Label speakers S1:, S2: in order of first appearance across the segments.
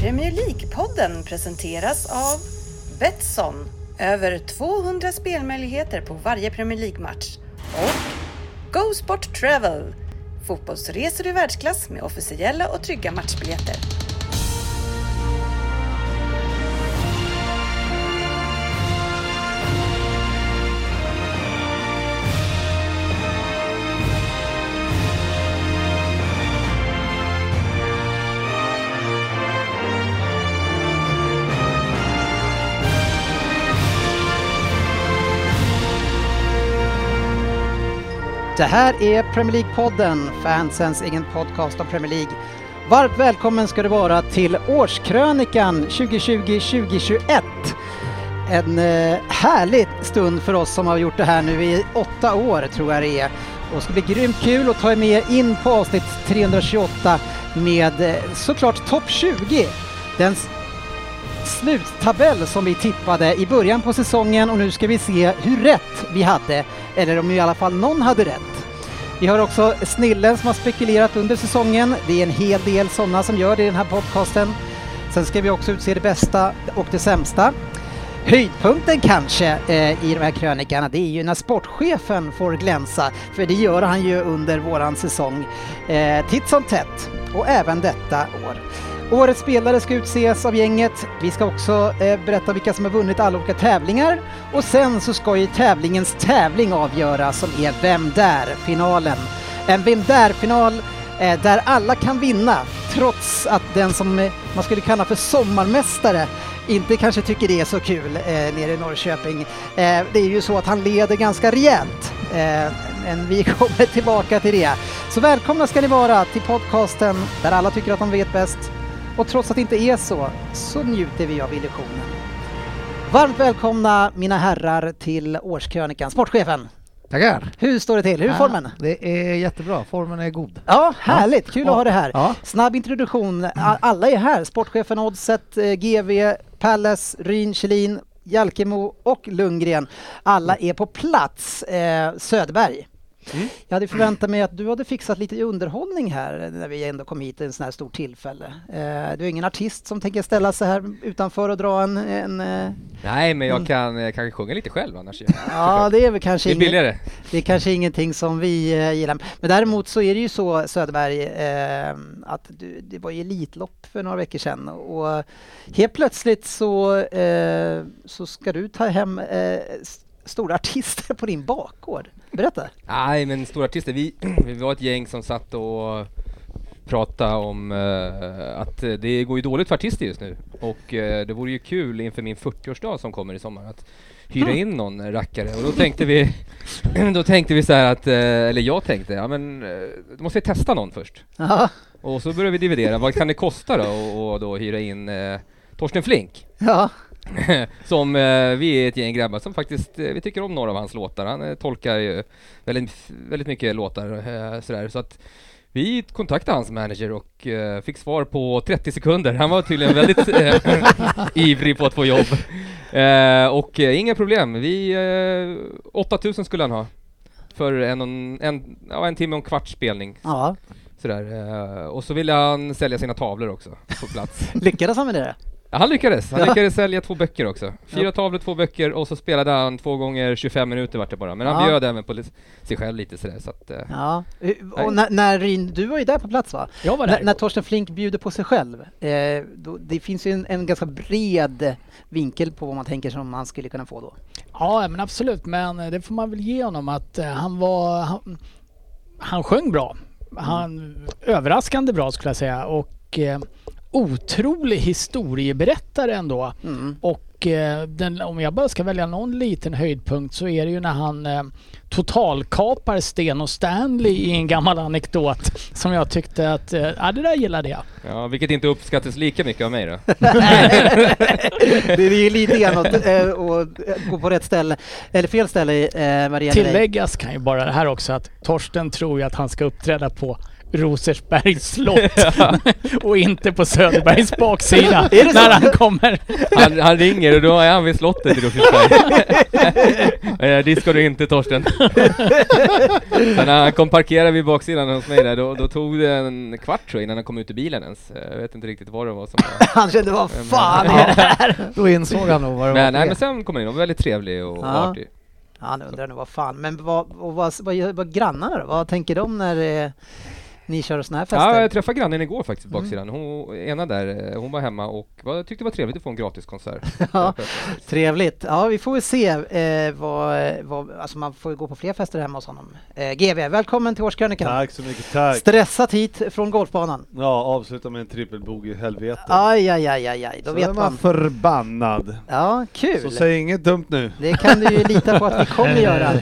S1: Premier League-podden presenteras av Betsson. Över 200 spelmöjligheter på varje Premier League-match. Och Go Sport Travel. Fotbollsresor i världsklass med officiella och trygga matchbiljetter.
S2: Det här är Premier League-podden, fansens egen podcast om Premier League. Varmt välkommen ska du vara till årskrönikan 2020-2021. En eh, härlig stund för oss som har gjort det här nu i åtta år tror jag det är. Och det ska bli grymt kul att ta er med in på avsnitt 328 med eh, såklart topp 20. Den s- sluttabell som vi tippade i början på säsongen och nu ska vi se hur rätt vi hade, eller om i alla fall någon hade rätt. Vi har också snillen som har spekulerat under säsongen. Det är en hel del sådana som gör det i den här podcasten. Sen ska vi också utse det bästa och det sämsta. Höjdpunkten kanske eh, i de här krönikorna, det är ju när sportchefen får glänsa, för det gör han ju under våran säsong eh, titt som tätt och även detta år. Årets spelare ska utses av gänget. Vi ska också eh, berätta vilka som har vunnit alla olika tävlingar och sen så ska ju tävlingens tävling avgöras som är Vem där-finalen. En Vem där-final eh, där alla kan vinna trots att den som eh, man skulle kalla för sommarmästare inte kanske tycker det är så kul eh, nere i Norrköping. Eh, det är ju så att han leder ganska rejält. Eh, men vi kommer tillbaka till det. Så välkomna ska ni vara till podcasten där alla tycker att de vet bäst. Och trots att det inte är så, så njuter vi av illusionen. Varmt välkomna mina herrar till årskrönikan. Sportchefen,
S3: Tackar!
S2: hur står det till? Hur är formen?
S3: Ja, det är jättebra, formen är god.
S2: Ja, härligt! Kul att ha det här.
S3: Ja.
S2: Snabb introduktion. A- Alla är här. Sportchefen Oddset, eh, GV, Pallas, Ryn, Kjellin, Jalkemo och Lundgren. Alla är på plats. Eh, Söderberg. Jag hade förväntat mig att du hade fixat lite underhållning här eh, när vi ändå kom hit i en sån här stor tillfälle. Eh, Du är ingen artist som tänker ställa sig här utanför och dra en... en eh,
S4: Nej, men jag kan eh, kanske sjunga lite själv annars.
S2: ja, det är väl kanske
S4: Det är
S2: ingen-
S4: billigare.
S2: det är kanske ingenting som vi eh, gillar. Men däremot så är det ju så Söderberg eh, att du, det var ju Elitlopp för några veckor sedan och helt plötsligt så, eh, så ska du ta hem eh, s- stora artister på din bakgård. Berätta!
S4: Nej, men stora artister. Vi, vi var ett gäng som satt och pratade om eh, att eh, det går ju dåligt för artister just nu. Och eh, det vore ju kul inför min 40-årsdag som kommer i sommar att hyra in någon rackare. Och då tänkte vi, då tänkte vi så här att, eh, eller jag tänkte, ja men eh, då måste vi testa någon först.
S2: Ja,
S4: Och så började vi dividera, vad kan det kosta då? Och, och då hyra in eh, Torsten Flink.
S2: ja,
S4: som eh, vi är ett gäng grabbar som faktiskt, eh, vi tycker om några av hans låtar. Han eh, tolkar ju väldigt, väldigt mycket låtar eh, sådär. Så att vi kontaktade hans manager och eh, fick svar på 30 sekunder. Han var tydligen väldigt eh, ivrig på att få jobb. Eh, och eh, inga problem. Vi, eh, 8000 skulle han ha. För en, och en, en, ja, en timme och en kvarts spelning.
S2: ja.
S4: Sådär. Eh, och så ville han sälja sina tavlor också på plats.
S2: Lyckades han med det?
S4: Ja, han lyckades. Han lyckades sälja två böcker också. Fyra tavlor, två böcker och så spelade han två gånger 25 minuter vart det bara. Men han
S2: Ja.
S4: bjöd även på li- sig själv lite sådär så att... eh,
S2: Ja. Och när, när Ryn, du var ju där på plats va?
S3: Jag var
S2: När, när Torsten Flink bjuder på sig själv. Eh, då, det finns ju en, en ganska bred vinkel på vad man tänker som man skulle kunna få då.
S3: Ja men absolut, men eh, det får man väl ge honom att eh, han var... Han, han sjöng bra. Han, Överraskande bra skulle jag säga och eh, otrolig historieberättare ändå.
S2: Mm.
S3: Och eh, den, om jag bara ska välja någon liten höjdpunkt så är det ju när han eh, totalkapar Sten och Stanley i en gammal anekdot som jag tyckte att, eh, ja det där gillade jag.
S4: Ja, vilket inte uppskattas lika mycket av mig då.
S2: det är ju lite grann att, eh, att gå på rätt ställe, eller fel ställe eh, vad det gäller dig.
S3: Tilläggas kan ju bara det här också att Torsten tror ju att han ska uppträda på Rosersbergs slott och inte på Söderbergs baksida
S2: Är det så?
S3: när han kommer.
S4: Han, han ringer och då är han vid slottet i Rosersberg. eh, det ska du inte Torsten. Men när han kom parkera vid baksidan hos mig där, då, då tog det en kvart tror jag innan han kom ut ur bilen ens. Eh, Jag vet inte riktigt vad det var som var.
S2: Han kände vad
S4: Men-
S2: fan är det här?
S5: Då insåg han nog vad det
S4: Men,
S5: var.
S4: nej, men sen kom han in och var väldigt trevlig och
S2: Ja.
S4: artig.
S2: Han undrar nu vad fan, men vad, och vad, vad, gör- vad grannarna då? Vad tänker de när eh, ni kör sådana här
S4: Ja,
S2: fester? Mm.
S4: jag träffade grannen igår faktiskt på baksidan. Hon, ena där, eh, hon var hemma och var, tyckte det var trevligt att få en gratiskonsert.
S2: Ja. Trevligt. Ja, vi får väl se eh, vad, vad, alltså man får ju gå på fler fester hemma hos honom. Eh, GB, välkommen till årskrönikan.
S6: Tack så mycket, tack!
S2: Stressat hit från golfbanan.
S6: Ja, avsluta med en trippelbogey, helvete.
S2: Aj, aj, aj, aj, aj. då
S6: så är
S2: vet
S6: man
S2: man.
S6: förbannad.
S2: Ja, kul.
S6: Så säg inget dumt nu.
S2: Det kan du ju lita på att vi kommer göra.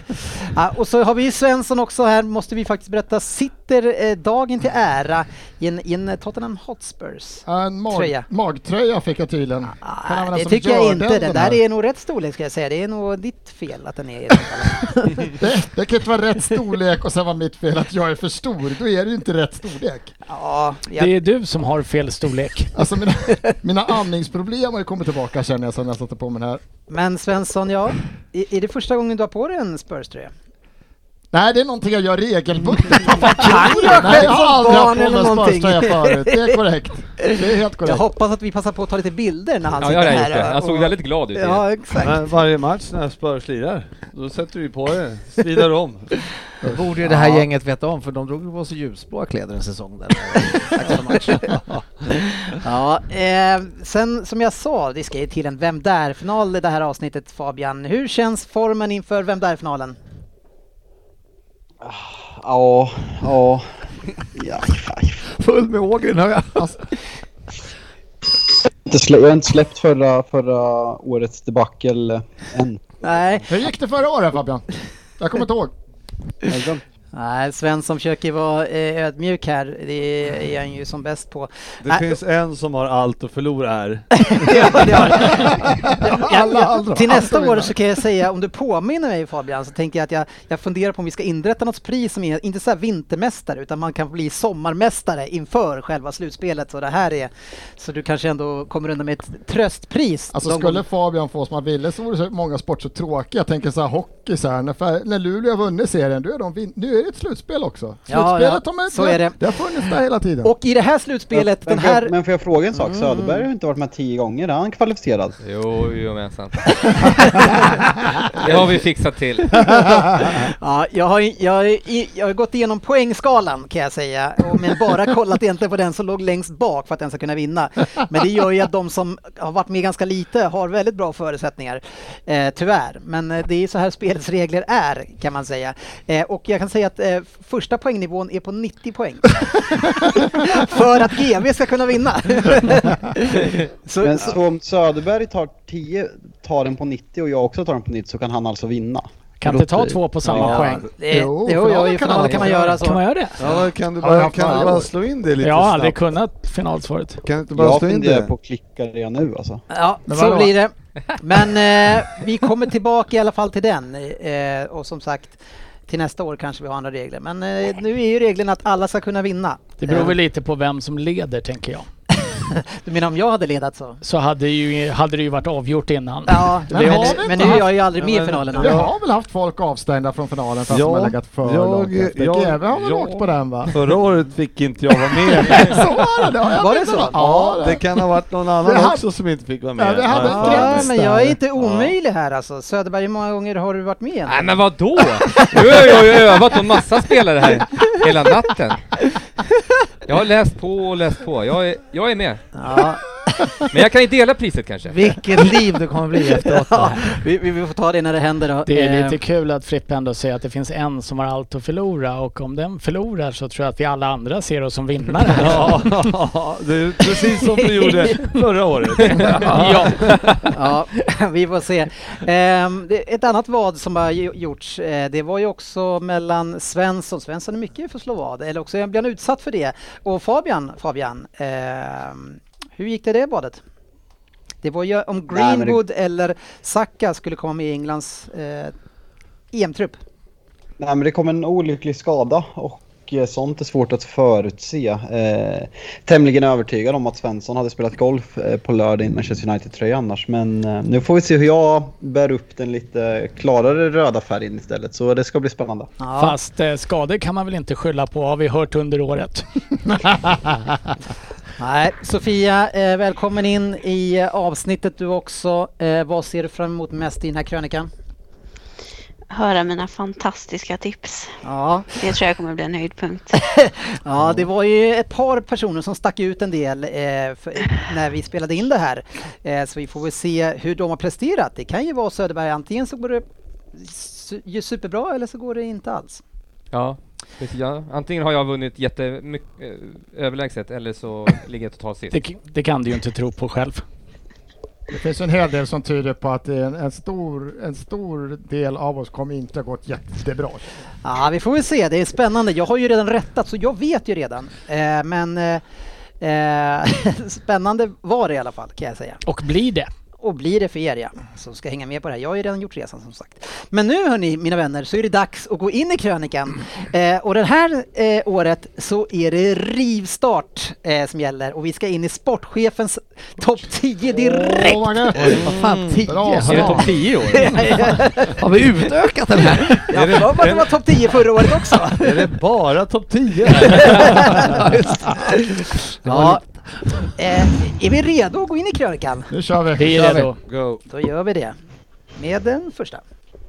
S2: Ja, och så har vi Svensson också här, måste vi faktiskt berätta, sitter eh, dagen till ära i en, i en Tottenham Hotspurs.
S5: Ja, En mag,
S2: Tröja.
S5: magtröja fick jag tydligen. Kan
S2: Ah,
S5: användas
S2: det
S5: som
S2: tycker jag
S5: gördel,
S2: inte. Den där
S5: här.
S2: är nog rätt storlek ska jag säga. Det är nog ditt fel att den är i alla fall.
S5: det, det kan inte vara rätt storlek och sen var mitt fel att jag är för stor. Då är det ju inte rätt storlek.
S2: Ja,
S3: Det
S2: jag,
S3: är du som har fel storlek.
S5: Alltså mina, mina andningsproblem har ju kommit tillbaka känner jag sen jag satte på mig den här.
S2: men Svensson, ja. i- Är det första gången du har på dig en Spurs-tröja?
S5: Nej, det är någonting jag gör regelbundet.
S2: Mm,
S5: Vad fan tror du? Nej, jag
S2: som
S5: har aldrig
S2: barn
S5: haft på
S2: eller
S5: mig
S2: någonting.
S5: Spurs-tröja förut. Det är korrekt. Det är helt
S2: Jag
S5: korrekt.
S2: hoppas att vi passar på att ta lite bilder när han
S4: Ja, jag
S2: sitter
S4: har
S2: Alltså, här.
S4: gjort det. Han
S2: och-
S4: såg väldigt glad ut. i det.
S2: Ja, exakt.
S6: Men varje match när Spurs lirar, då sätter vi på det. Svidar om.
S7: Det borde ju det här
S2: Ja.
S7: gänget veta om för de drog ju på sig ljusblåa kläder en säsong där.
S2: Ja, eh, sen som jag sa, det ska ju till en Vem Där-final i det här avsnittet Fabian. Hur känns formen inför Vem Där-finalen?
S8: Ja, ja. ja, ja.
S7: Full med ågren hör jag. Alltså,
S8: Inte slä- Jag har inte släppt förra, förra årets debacle än.
S2: Nej,
S5: Hur gick det förra året Fabian? Jag kommer inte ihåg.
S8: Jag har glömt.
S2: Nej Svensson försöker vara eh, ödmjuk här. Det är han ju som bäst på.
S6: Det
S2: Nej.
S6: finns en som har allt att förlora här.
S2: Ja, det har jag.
S5: Alla andra.
S2: Till
S5: Alla
S2: nästa år
S5: vinner.
S2: så kan jag säga, om du påminner mig Fabian, så tänker jag att jag, jag funderar på om vi ska inrätta något pris som är, inte så här vintermästare, utan man kan bli sommarmästare inför själva slutspelet. Så det här är, så du kanske ändå kommer undan med ett tröstpris.
S5: Alltså
S2: någon
S5: skulle
S2: gång.
S5: Fabian få som han ville så vore så många sporter så tråkiga. Jag tänker så här hockey så här, när, Fär- när Luleå har vunnit serien, då är de vin- nu är det ett slutspel också. Slutspelet
S2: Ja, ja,
S5: de är,
S2: så är det.
S5: det har funnits där hela tiden.
S2: Och i det här slutspelet,
S8: men,
S2: den här...
S8: får jag, men får jag fråga en sak? Söderberg har inte varit med tio gånger. Är han kvalificerad?
S4: Jo, jo men sant. Det har vi fixat till.
S2: Ja, jag, har, jag, har, jag har gått igenom poängskalan kan jag säga, och- men bara kollat egentligen på den som låg längst bak för att den ska kunna vinna. Men det gör ju att de som har varit med ganska lite har väldigt bra förutsättningar, eh, tyvärr. Men eh, det är så här spelets regler är, kan man säga. Eh, och jag kan säga att eh, första poängnivån är på 90 poäng. för att GV ska kunna vinna. så,
S8: Men så om Söderberg tar 10, tar den på 90 och jag också tar den på 90 så kan han alltså vinna.
S3: Kan inte ta två på samma
S8: Ja.
S3: poäng.
S2: det,
S5: Jo,
S2: jo, jo, i
S5: finalen kan
S2: finalen kan man göra så.
S3: Kan man göra det?
S6: Ja, kan du
S5: Har jag
S6: bara,
S5: haft
S6: kan
S5: alla
S6: du bara
S5: år?
S6: slå in det lite
S3: Jag har aldrig
S6: snabbt?
S3: kunnat finalsvaret.
S6: Kan du inte bara
S8: Jag
S6: slå in
S8: funderar
S6: det?
S8: på att klicka det nu alltså.
S2: Ja,
S5: Men
S2: så
S5: vadå?
S2: blir det. Men eh, vi kommer tillbaka i alla fall till den. Eh, och som sagt, till nästa år kanske vi har andra regler. Men eh, nu är ju regeln att alla ska kunna vinna.
S3: Det beror
S2: Eh,
S3: väl lite på vem som leder tänker jag.
S2: Du menar om jag hade ledat så?
S3: Så hade, ju, hade det ju varit avgjort innan.
S2: Ja,
S5: Men
S2: men,
S5: har vi
S2: men, nu
S5: inte
S2: är
S5: haft-
S2: jag ju aldrig med i
S6: Ja, men-
S2: finalerna.
S5: Vi har väl haft folk avstängda från finalen fast de har legat för
S6: jag-
S5: långt efter.
S6: jag-
S5: GV har väl
S6: jag-
S5: åkt på den va?
S6: Förra året fick inte jag vara med.
S5: Så var det, det har jag
S2: Var det
S5: inte
S2: så?
S5: något-
S6: Ja, det kan ha varit någon annan
S5: Vi hade-
S6: också som inte fick vara med.
S5: Ja, vi hade
S6: Nej,
S5: en
S6: fan.
S2: Ja,
S5: gräns
S2: men
S5: där.
S2: jag är inte omöjlig här alltså. Söderberg, hur många gånger har du varit med?
S4: Nej men vadå? Nu har jag ju övat på massa spelare här hela natten. Jag har läst på och läst på. Jag är, jag är med.
S2: Ja,
S4: Men jag kan inte dela priset kanske.
S7: vilket liv det kommer bli efteråt.
S2: ja, vi, vi vi får ta det när det händer. då.
S3: Det är
S2: Eh,
S3: lite kul att Frippe ändå säger att det finns en som har allt att förlora och om den förlorar så tror jag att vi alla andra ser oss som vinnare.
S6: Ja, det är precis som du gjorde förra året.
S3: ja.
S2: Ja, vi får se. Ehm, det- ett annat vad som har gj- gjorts, eh, det var ju också mellan Svensson, Svensson är mycket för att slå vad, eller också blir han utsatt för det, och Fabian, Fabian, ehm, hur gick det det vadet? Det var ju om
S8: Nej, men det-
S2: Greenwood eller Saka skulle komma med i Englands eh, EM-trupp.
S8: Nej men det kom en olycklig skada och och eh, sånt är svårt att förutse. Eh, tämligen övertygad om att Svensson hade spelat golf eh, på lördag i Manchester United-tröja annars. Men eh, nu får vi se hur jag bär upp den lite klarare röda färgen istället. Så det ska bli spännande.
S3: Fast eh, skador kan man väl inte skylla på har vi hört under året.
S2: Nej, Sofia, eh, välkommen in i eh, avsnittet du också. Eh, vad ser du fram emot mest i den här krönikan?
S9: höra mina fantastiska tips.
S2: Ja,
S9: Det tror jag kommer bli en höjdpunkt.
S2: ja det var ju ett par personer som stack ut en del eh, för, när vi spelade in det här. Eh, så vi får väl se hur de har presterat. Det kan ju vara Söderberg, antingen så går det su- ju superbra eller så går det inte alls.
S4: Ja, precis. Ja. Antingen har jag vunnit jättemycket överlägset eller så ligger jag totalt sist.
S3: Det, k- det kan du ju inte tro på själv.
S5: Det finns ju en hel del som tyder på att det är en, en, stor, en stor del av oss kommer inte ha gått jättebra.
S2: Ja, vi får väl se. Det är spännande. Jag har ju redan rättat, så jag vet ju redan. Eh, men eh, eh, spännande var det i alla fall, kan jag säga.
S3: Och blir det.
S2: Och blir det för er, ja, som ska hänga med på det här. Jag har ju redan gjort resan, som sagt. Men nu, hörni, mina vänner, så är det dags att gå in i krönikan. Eh, och det här eh, året så är det rivstart eh, som gäller. Och vi ska in i sportchefens topp 10 direkt.
S5: Oh my God.
S7: Vad fan, 10?
S5: Bra,
S7: Har
S4: Är det
S7: vi-
S4: topp 10 i år?
S7: Har vi utökat den här?
S2: Jag har för mig att det var topp 10 förra året också.
S6: Är det bara topp 10?
S2: Ja. Eh, är vi redo att gå in i krönikan?
S5: Nu kör vi.
S3: Vi
S5: Kör
S3: är
S5: vi.
S3: redo.
S6: Go.
S2: Då gör vi det. Med den första.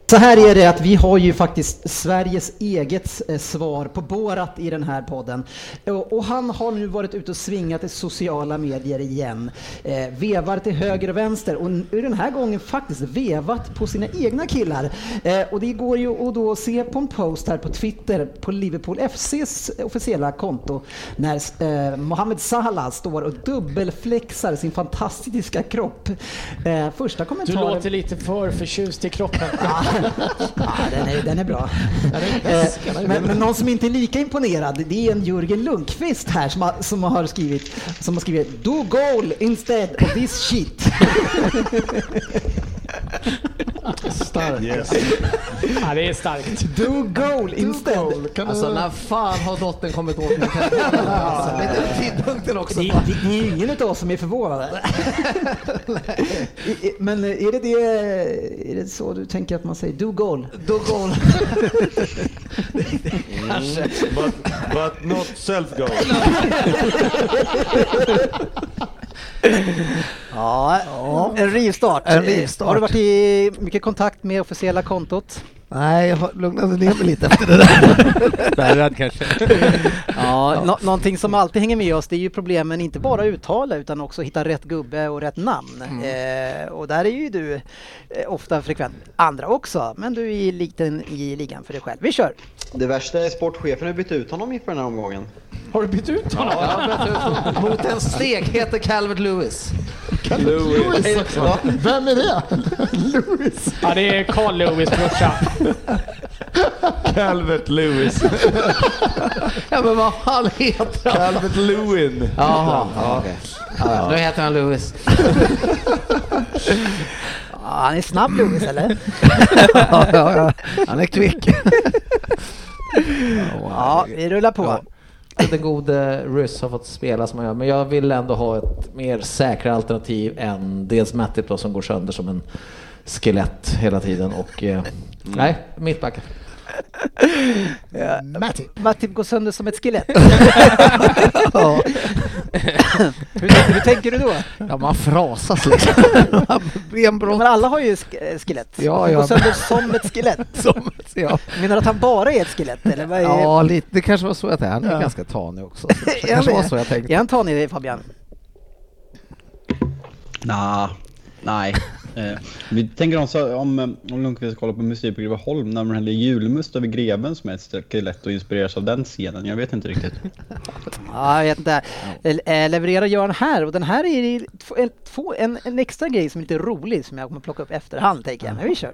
S2: Så här är det att vi har ju faktiskt Sveriges eget eh, svar på Borat i den här podden. Och och han har nu varit ute och svingat i sociala medier igen. Eh, vevar till höger och vänster och n- den här gången faktiskt vevat på sina egna killar. Eh, och det går ju att då se på en post här på Twitter på Liverpool FCs officiella konto när eh, Mohamed Salah står och dubbelflexar sin fantastiska kropp. Eh, första
S3: Du
S2: kommentaren...
S3: låter lite för förtjust i kroppen.
S2: Ja, den är, den är bra. Eh, men, men någon som inte är lika imponerad, det är en Jörgen Lundqvist här som har, som har skrivit, som har skrivit Do goal instead of this shit.
S5: Stark.
S3: ja, det är starkt.
S2: Do goal instead.
S5: Goal. Kan du-
S7: Alltså när fan har dottern kommit åt mig? Alltså, det är den tidpunkten också.
S2: Det, det, det är ingen av oss som är förvånade. I- i- Men eh, är det, det, är det så du tänker att man säger do goal?
S7: Då går
S6: But, but not self go.
S2: Ja, en rivstart.
S7: En rivstart.
S2: Har du varit i mycket kontakt med officiella kontot?
S7: Nej, jag har lugnat ner mig lite efter det där.
S4: Spärrad kanske.
S2: Ja, nå- någonting som alltid hänger med oss det är ju problemen inte bara uttala utan också hitta rätt gubbe och rätt namn.
S7: Mm.
S2: Eh, och där är ju du eh, ofta frekvent. Andra också, men du är liten i ligan för dig själv. Vi kör!
S8: Det värsta är sportchefen har bytt ut honom inför den här omgången.
S3: Har du bytt ut honom?
S7: Mot en steg heter Calvert Lewis.
S6: Louis.
S8: Hej då.
S5: Vem är det? Louis.
S3: Ja, det är Carl Lewis brorsa.
S6: Calvert Lewis.
S7: Ja men vad fan heter han?
S6: Calvert Lewin.
S7: Jaha, okej. Ja, Nu heter han Lewis.
S2: Ja, han är snabb Lewis eller?
S7: Ja, ja, ja. Han är kvick.
S2: Ja, vi rullar på.
S7: Den gode Ryss har fått spela som han gör, men jag vill ändå ha ett mer säkra alternativ än dels Matip då, som går sönder som en skelett hela tiden och eh, nej, mittbacken.
S5: Matti.
S2: Matip går sönder som ett skelett. Ja. hur, hur tänker du då?
S7: Ja, man frasas liksom.
S2: Ja,
S7: Benbrott
S2: Men alla har ju sk- eh, skelett.
S7: Ja,
S2: Han
S7: ja.
S2: går sönder som ett skelett.
S7: som ja.
S2: Menar du att han bara är ett skelett eller? Vad är...
S7: ja, lite. Det kanske var så jag tänkte. Han är ganska tanig också. så Det kanske var så jag
S2: Är
S7: tänkte.
S2: han tanig Fabian?
S8: Nah, nej. Eh, vi tänker om, så- om, eh, om Lundqvist kollar på musik på Greveholm när man häller julmust över greven som är ett stycke lätt och inspireras av den scenen. Jag vet inte riktigt.
S2: Ja, jag vet inte. Le- eh, Levererar Göran här och den här är i- två- en, två- en, en extra grej som är lite rolig som jag kommer plocka upp efterhand tänker jag. Men vi kör.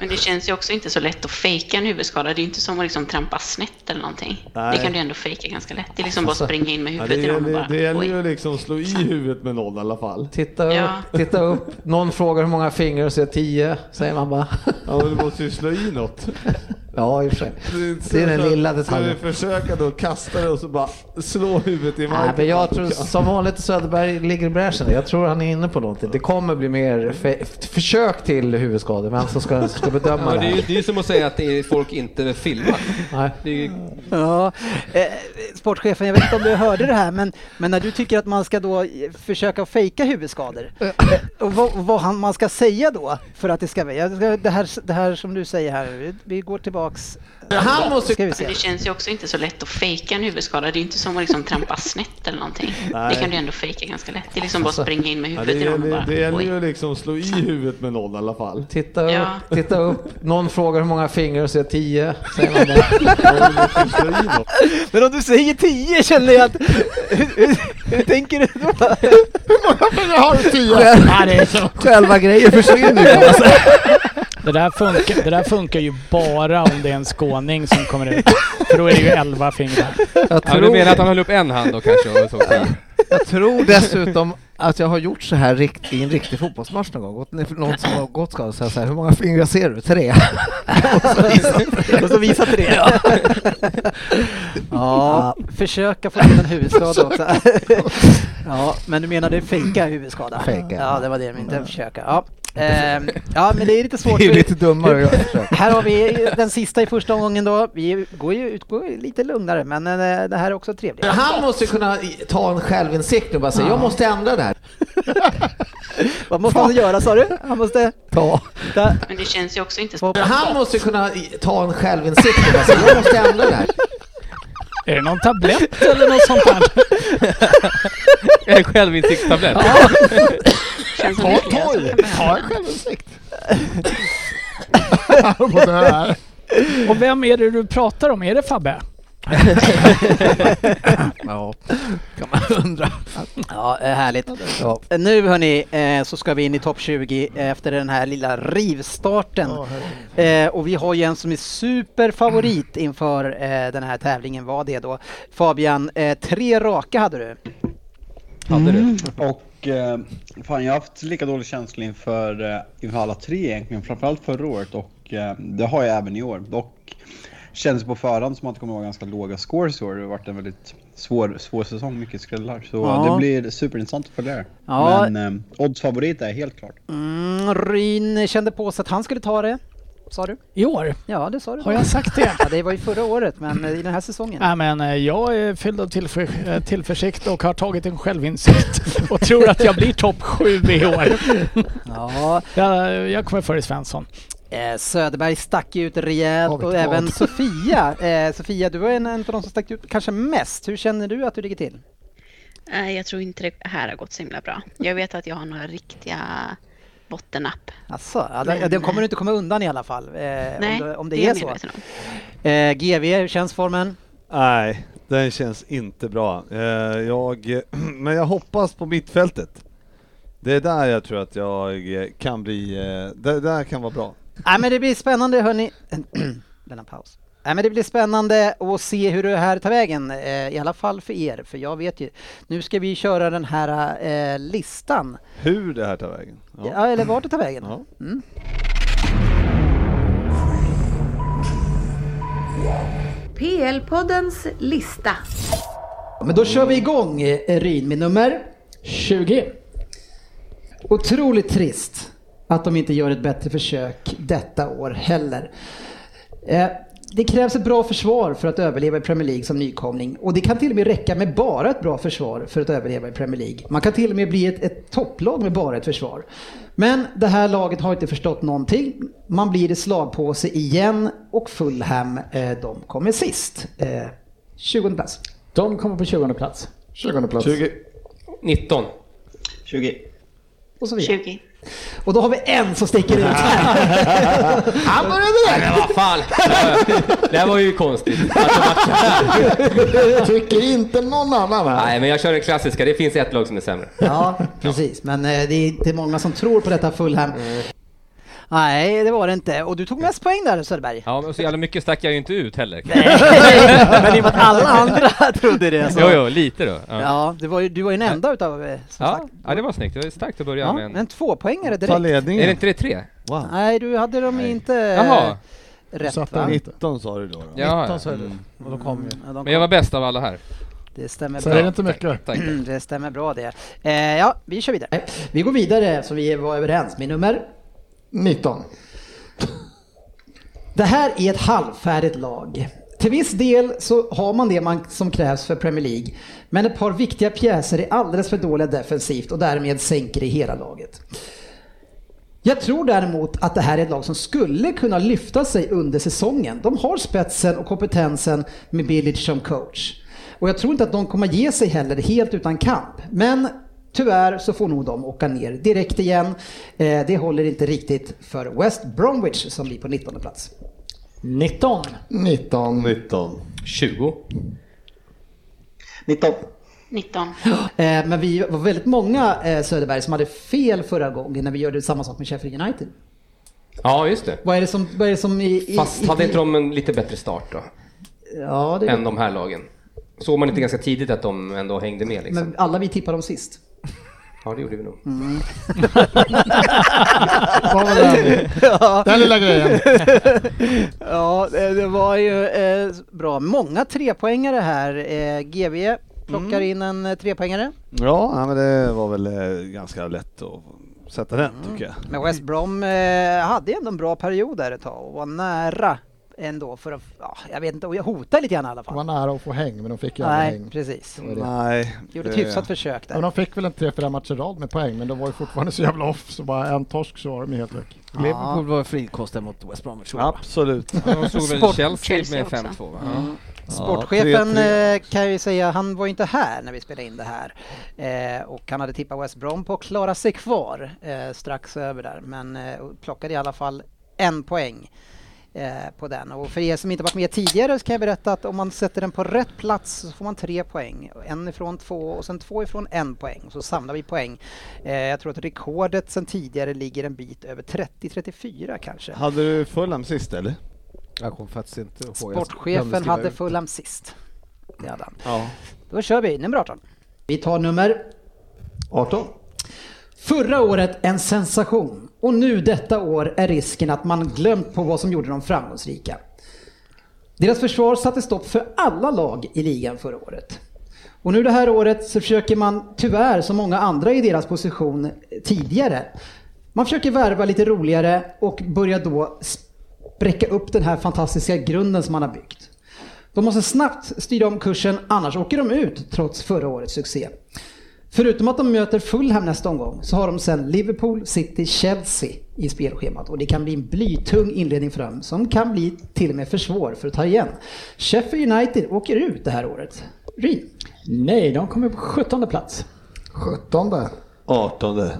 S9: Men det känns ju också inte så lätt att fejka en huvudskada. Det är ju inte som att liksom trampa snett eller någonting.
S6: Nej. Alltså,
S9: Det kan du ändå fejka ganska lätt. Det är liksom bara att springa in med
S6: Ja,
S9: huvudet
S6: det
S9: i dem och
S6: gäller,
S9: bara...
S6: det gäller
S9: oj.
S6: ju liksom att slå i huvudet med någon i alla fall.
S7: Titta upp,
S9: Ja.
S7: titta upp. Någon frågar hur många fingrar och säger tio. Säger man bara.
S6: Ja, men du måste ju slå i något.
S7: Ja, i och för sig. Det är den lilla
S6: Ska vi
S7: detaljen.
S6: försöka då kasta det och så bara slå huvudet i marken?
S7: Nej, men jag tror som vanligt Söderberg ligger i bräschen. Jag tror han är inne på någonting. Det kommer bli mer fe- försök till huvudskador. Vem som ska, ska bedöma
S4: Ja,
S7: det
S4: det, är ju,
S7: här.
S4: det är ju som att säga att det är folk inte filmar.
S7: Nej.
S4: Det är ju,
S2: Ja, eh, sportchefen, jag vet inte om du hörde det här, men, men när du tycker att man ska då eh, försöka fejka huvudskador, eh, och vad, vad han, man ska säga då för att det ska vara, jag ska- det här, det här som du säger här, vi, vi går tillbaks.
S7: Han måste
S2: Ska vi
S9: Men
S2: se.
S9: det känns ju också inte så lätt att fejka en huvudskada. Det är ju inte som att liksom trampa snett eller någonting. Det kan du ändå fejka ganska lätt. Det är liksom bara att springa in med
S6: Ja, det,
S9: huvudet i dem och
S6: gäller,
S9: bara...
S6: det gäller
S9: oj.
S6: ju liksom att slå i huvudet med någon i alla fall.
S7: Titta upp,
S9: Ja.
S7: titta upp. Någon frågar hur många fingrar och säger tio. Säger man bara.
S6: Slå i någon.
S2: Men om du säger 10 känner jag att, hur, hur, hur tänker du då?
S10: Jag har tio!
S7: Själva grejen försvinner ju.
S3: Det där, funkar, det där funkar ju bara om det är en skåning som kommer ut. För då är det ju elva fingrar.
S7: Jag
S4: ja, du
S7: tror,
S4: menar att han höll upp en hand då kanske? Och så.
S7: jag tror dessutom att jag har gjort så här rikt, i en riktig fotbollsmatch någon gång. Gått ner för Någon som har gått skadad och sagt så här, hur många fingrar ser du? Tre?
S2: Och så visa till det. Ja. försöka få till en huvudskada också. ja, men du menade fejka huvudskada?
S7: Fejka, ja.
S2: Ja, det var det jag menade, försöka. Ja. Ehm, ja, men det är lite svårt.
S7: Det är ju lite dummare. Jag försöker.
S2: Här har vi den sista i första omgången då. Vi går ju utgår ju lite lugnare, men eh, det här är också trevligt.
S7: Han måste ju kunna i- ta en självinsikt och bara säga, jag måste ändra det här.
S2: Vad måste han göra sa du? Han måste...
S7: Ta.
S2: Ta,
S9: Men det känns ju också inte så...
S2: få-
S7: Han måste ju kunna i- ta en självinsikt och bara säga, jag måste ändra det här.
S3: Är det någon tablett eller något sånt där?
S4: En självinsiktstablett.
S9: Känns som det är flera som kan behöva.
S10: Ta en självinsikt. På det här.
S3: Och vem är det du pratar om? Är det Fabbe?
S7: Ja, kan man undra.
S2: Ja, eh, härligt.
S7: Ja.
S2: Eh, Nu hörni eh, så ska vi in i topp 20 efter den här lilla rivstarten. Eh, Och vi har ju en som är superfavorit inför eh, den här tävlingen. Vad det då? Fabian, eh, tre raka hade du.
S4: Hade du?
S8: Mm. Och eh, fan, jag har haft lika dålig känsla inför, eh, inför alla tre egentligen. Framförallt förra året och eh, det har jag även i år. Dock känns det på förhand som att det kommer att vara ganska låga scores i år. Det har varit en väldigt svår, svår säsong, mycket skrällar. Så
S2: Ja.
S8: det blir superintressant att följa det här.
S2: Ja.
S8: Men eh, oddsfavorit är helt klart.
S2: Mm, Ryn kände på sig att han skulle ta det. Sa du?
S3: I år?
S2: Ja, det sa du.
S3: Har jag sagt det?
S2: Ja, det var ju förra året, men eh, i den här säsongen.
S3: Nej men eh, jag är fylld av tillför, eh, tillförsikt och har tagit en självinsikt och tror att jag blir topp sju i år.
S2: Ja,
S3: Jag, jag kommer före Svensson.
S2: eh, Söderberg stack ju ut rejält
S10: Har vi
S2: och
S10: kvar?
S2: även Sofia. Eh, Sofia, du var en, en av de som stack ut kanske mest. Hur känner du att du ligger till?
S9: Nej, jag tror inte det här har gått så himla bra. Jag vet att jag har några riktiga bottennapp.
S2: Asså, ja, den,
S9: Men,
S2: den kommer du
S9: eh,
S2: inte komma undan i alla fall. Eh, om
S9: Nej,
S2: det, om det,
S9: det är
S2: är
S9: jag
S2: så.
S9: medveten om.
S2: Eh, GV, hur känns formen?
S6: Nej, den känns inte bra. Eh, Jag, men jag hoppas på mittfältet. Det är där jag tror att jag eh, kan bli, eh, det där kan vara bra.
S2: Nej men det blir spännande hörni. Denna paus. Nej men det blir spännande att se hur det här tar vägen, eh, i alla fall för er, för jag vet ju. Nu ska vi köra den här eh, listan,
S6: Hur det här tar vägen.
S2: ja.
S6: Ja.
S2: eller vart det tar vägen. Mm.
S6: Ja.
S1: PL-poddens lista.
S2: Men då kör vi igång eh, Ryn med nummer.
S3: 20.
S2: Otroligt trist att de inte gör ett bättre försök detta år heller. Eh, Det krävs ett bra försvar för att överleva i Premier League som nykomling och det kan till och med räcka med bara ett bra försvar för att överleva i Premier League. Man kan till och med bli ett, ett topplag med bara ett försvar. Men det här laget har inte förstått någonting. Man blir i slagpåse igen och Fulham, eh, de kommer sist. Eh, 20 plats.
S3: De kommer på 20 plats.
S10: 20 plats.
S4: 19.
S8: 20.
S2: Och så vidare.
S9: 20.
S2: Och då har vi en som sticker ut här.
S7: Han började direkt!
S4: Vad fan! Det här var ju konstigt.
S10: Jag tycker inte någon annan här.
S4: Nej, men jag kör den klassiska. Det finns ett lag som är sämre.
S2: Ja, precis. Men eh, det är inte många som tror på detta Fulham. Nej, det var det inte. Och du tog mest poäng där Söderberg.
S4: Ja, men så jävla mycket stack jag ju inte ut heller.
S2: Men i och med att alla andra trodde det så.
S4: Jo, jo, lite då. Ja,
S2: Ja, det var ju, du var ju den enda utav eh, som
S4: ja.
S2: sagt.
S4: ja det var snyggt. Det var starkt att börja
S2: Ja,
S4: med
S2: men
S4: en...
S2: en tvåpoängare
S6: Ta
S2: direkt.
S4: Är det
S6: ledningen.
S4: inte det tre?
S6: Wow.
S2: Nej, du hade dem inte...
S4: Jaha.
S2: eh,
S11: rätt
S5: satt
S11: va?
S5: där.
S6: 19 sa du då? då.
S10: Ja, ja.
S5: 19 så är det. Och då kom ju.
S11: Ja, de
S10: Men jag var
S11: kom.
S10: bäst av alla här.
S11: Det stämmer
S5: Så är det
S11: bra. Mm,
S5: inte mycket.
S10: Tack.
S11: Det stämmer bra det. Eh, ja, vi kör vidare.
S2: Nej, Eh, Vi går vidare så vi var överens. Min nummer?
S5: 19.
S2: Det här är ett halvfärdigt lag. Till viss del så har man det man, som krävs för Premier League. Men ett par viktiga pjäser är alldeles för dåliga defensivt och därmed sänker det hela laget. Jag tror däremot att det här är ett lag som skulle kunna lyfta sig under säsongen. De har spetsen och kompetensen med Bilic som coach. Och jag tror inte att de kommer ge sig heller helt utan kamp. Men tyvärr så får nog de åka ner direkt igen. Eh, det håller inte riktigt för West Bromwich som blir på 19 plats.
S12: 19.
S5: 19.
S6: 19.
S10: 20.
S2: 19.
S9: 19.
S2: Eh, men vi var väldigt många eh, Söderberg som hade fel förra gången när vi gjorde samma sak med Sheffield United.
S4: Ja, just det.
S2: Vad är det som, vad är det som i, i,
S4: Fast
S2: i,
S4: hade inte de en lite bättre start då?
S2: Ja, det,
S4: Än de här lagen? Såg man inte ganska tidigt att de ändå hängde med liksom?
S2: men Mm. alla vi tippade dem sist.
S4: Ja, det gjorde vi nog.
S5: Vad var det? Den lilla grejen.
S11: Ja, eh, det var ju eh, bra. Många trepoängare här. Eh, GB
S2: Mm.
S11: plockar in en eh, trepoängare
S6: Ja, nej, men det var väl eh, ganska lätt att sätta den
S7: Mm.
S6: tycker jag.
S11: Men West Brom eh, hade ju ändå en bra period där ett tag och var nära ändå för att, ja, jag vet inte, och jag hotade lite grann i alla
S5: De var
S11: fall.
S5: nära att få häng, men de fick ju aldrig
S11: Nej,
S5: häng.
S11: precis.
S5: Det var det.
S6: Nej.
S11: Gjorde ett
S6: det-
S11: hyfsat försök
S5: Ja,
S11: där.
S5: Men de fick väl en tre, fyra matcher i rad med poäng, men de var ju fortfarande så jävla off så bara en torsk så var de ju helt väck.
S11: Ja.
S7: Liverpool var frikostiga mot West Bromwich.
S6: Absolut.
S10: Ja, de slog väl
S11: Sport-
S10: Chelsea
S9: Chelsea
S10: med
S9: också.
S10: 5-2 va? Ja.
S11: Sportchefen
S6: 3-3.
S11: eh, kan jag ju säga, han var ju inte här när vi spelade in det här. Eh, och han hade tippat West Brom på att klara sig kvar eh, strax över där, men eh, och plockade i alla fall en poäng eh, på den. Och för er som inte varit med tidigare så kan jag berätta att om man sätter den på rätt plats så får man tre poäng. En ifrån två och sen två ifrån en poäng. Och så samlar vi poäng. Eh, jag tror att rekordet sen tidigare ligger en bit över 30-34 kanske.
S2: eh,
S6: Hade du Fulham sist eller?
S7: Jag kommer faktiskt inte ihåg. Jag glömde
S11: Sportchefen
S7: skriva
S11: hade
S7: ut.
S11: Fulham sist. Det hade han.
S6: Ja.
S11: Då kör vi, nummer 18.
S2: Vi tar nummer
S6: 18.
S2: Förra året en sensation och nu detta år är risken att man glömt på vad som gjorde dem framgångsrika. Deras försvar satte stopp för alla lag i ligan förra året. Och nu det här året så försöker man tyvärr som många andra i deras position tidigare. Man försöker värva lite roligare och börjar då spräcka upp den här fantastiska grunden som man har byggt. De måste snabbt styra om kursen annars åker de ut trots förra årets succé. Förutom att de möter Fulham nästa omgång så har de sen Liverpool, City, Chelsea i spelschemat och det kan bli en blytung inledning för dem som kan bli till och med för svår för att ta igen. Sheffield United åker ut det här året. Ryn.
S12: Nej, de kommer på 17 plats.
S5: 17.
S6: 18.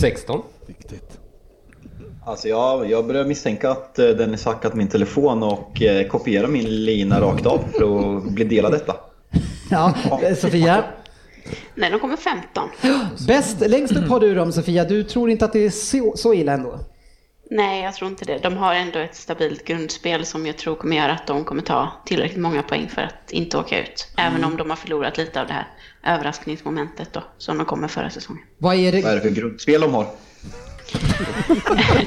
S4: 16.
S6: Viktigt.
S8: Alltså jag, jag börjar misstänka att eh, Dennis har hackat min telefon och eh, kopierar min lina rakt av för att bli delad detta.
S2: Ja, eh, Sofia.
S9: Nej, de kommer 15.
S2: Bäst, längst upp har du dem Sofia. Du tror inte att det är så, så illa ändå?
S9: Nej, jag tror inte det. De har ändå ett stabilt grundspel som jag tror kommer göra att de kommer ta tillräckligt många poäng för att inte åka ut. Även
S6: Mm.
S9: om de har förlorat lite av det här överraskningsmomentet då, som de kom med förra säsongen.
S2: Vad är
S8: Vad är
S2: det?
S8: det för grundspel de har?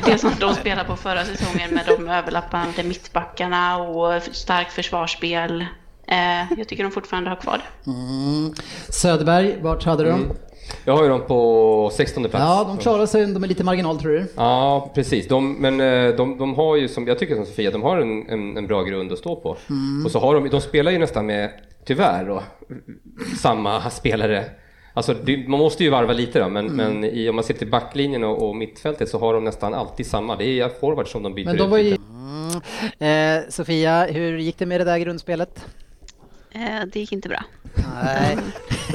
S9: det som de spelade på förra säsongen med de överlappande mittbackarna och starkt försvarsspel. Eh, jag tycker de fortfarande har kvar det.
S2: Mm. Söderberg, vart hade du
S10: Mm,
S2: dem?
S4: Jag har ju dem på 16 plats.
S2: Ja, de klarar sig ändå med lite marginal tror du.
S4: Ja, precis. De, men eh, de, de har ju, som, jag tycker som Sofia, de har en, en, en bra grund att stå på. Och så har de, de spelar ju nästan med, tyvärr då, samma spelare. Alltså, det, man måste ju varva lite då, men, men i, om man ser till backlinjen och, och mittfältet så har de nästan alltid samma. Det är forwards som de byter
S2: Men de
S4: ut
S2: var ju Mm.
S4: lite.
S11: Eh, Sofia, hur gick det med det där grundspelet?
S9: Eh, det gick inte bra.
S11: Nej.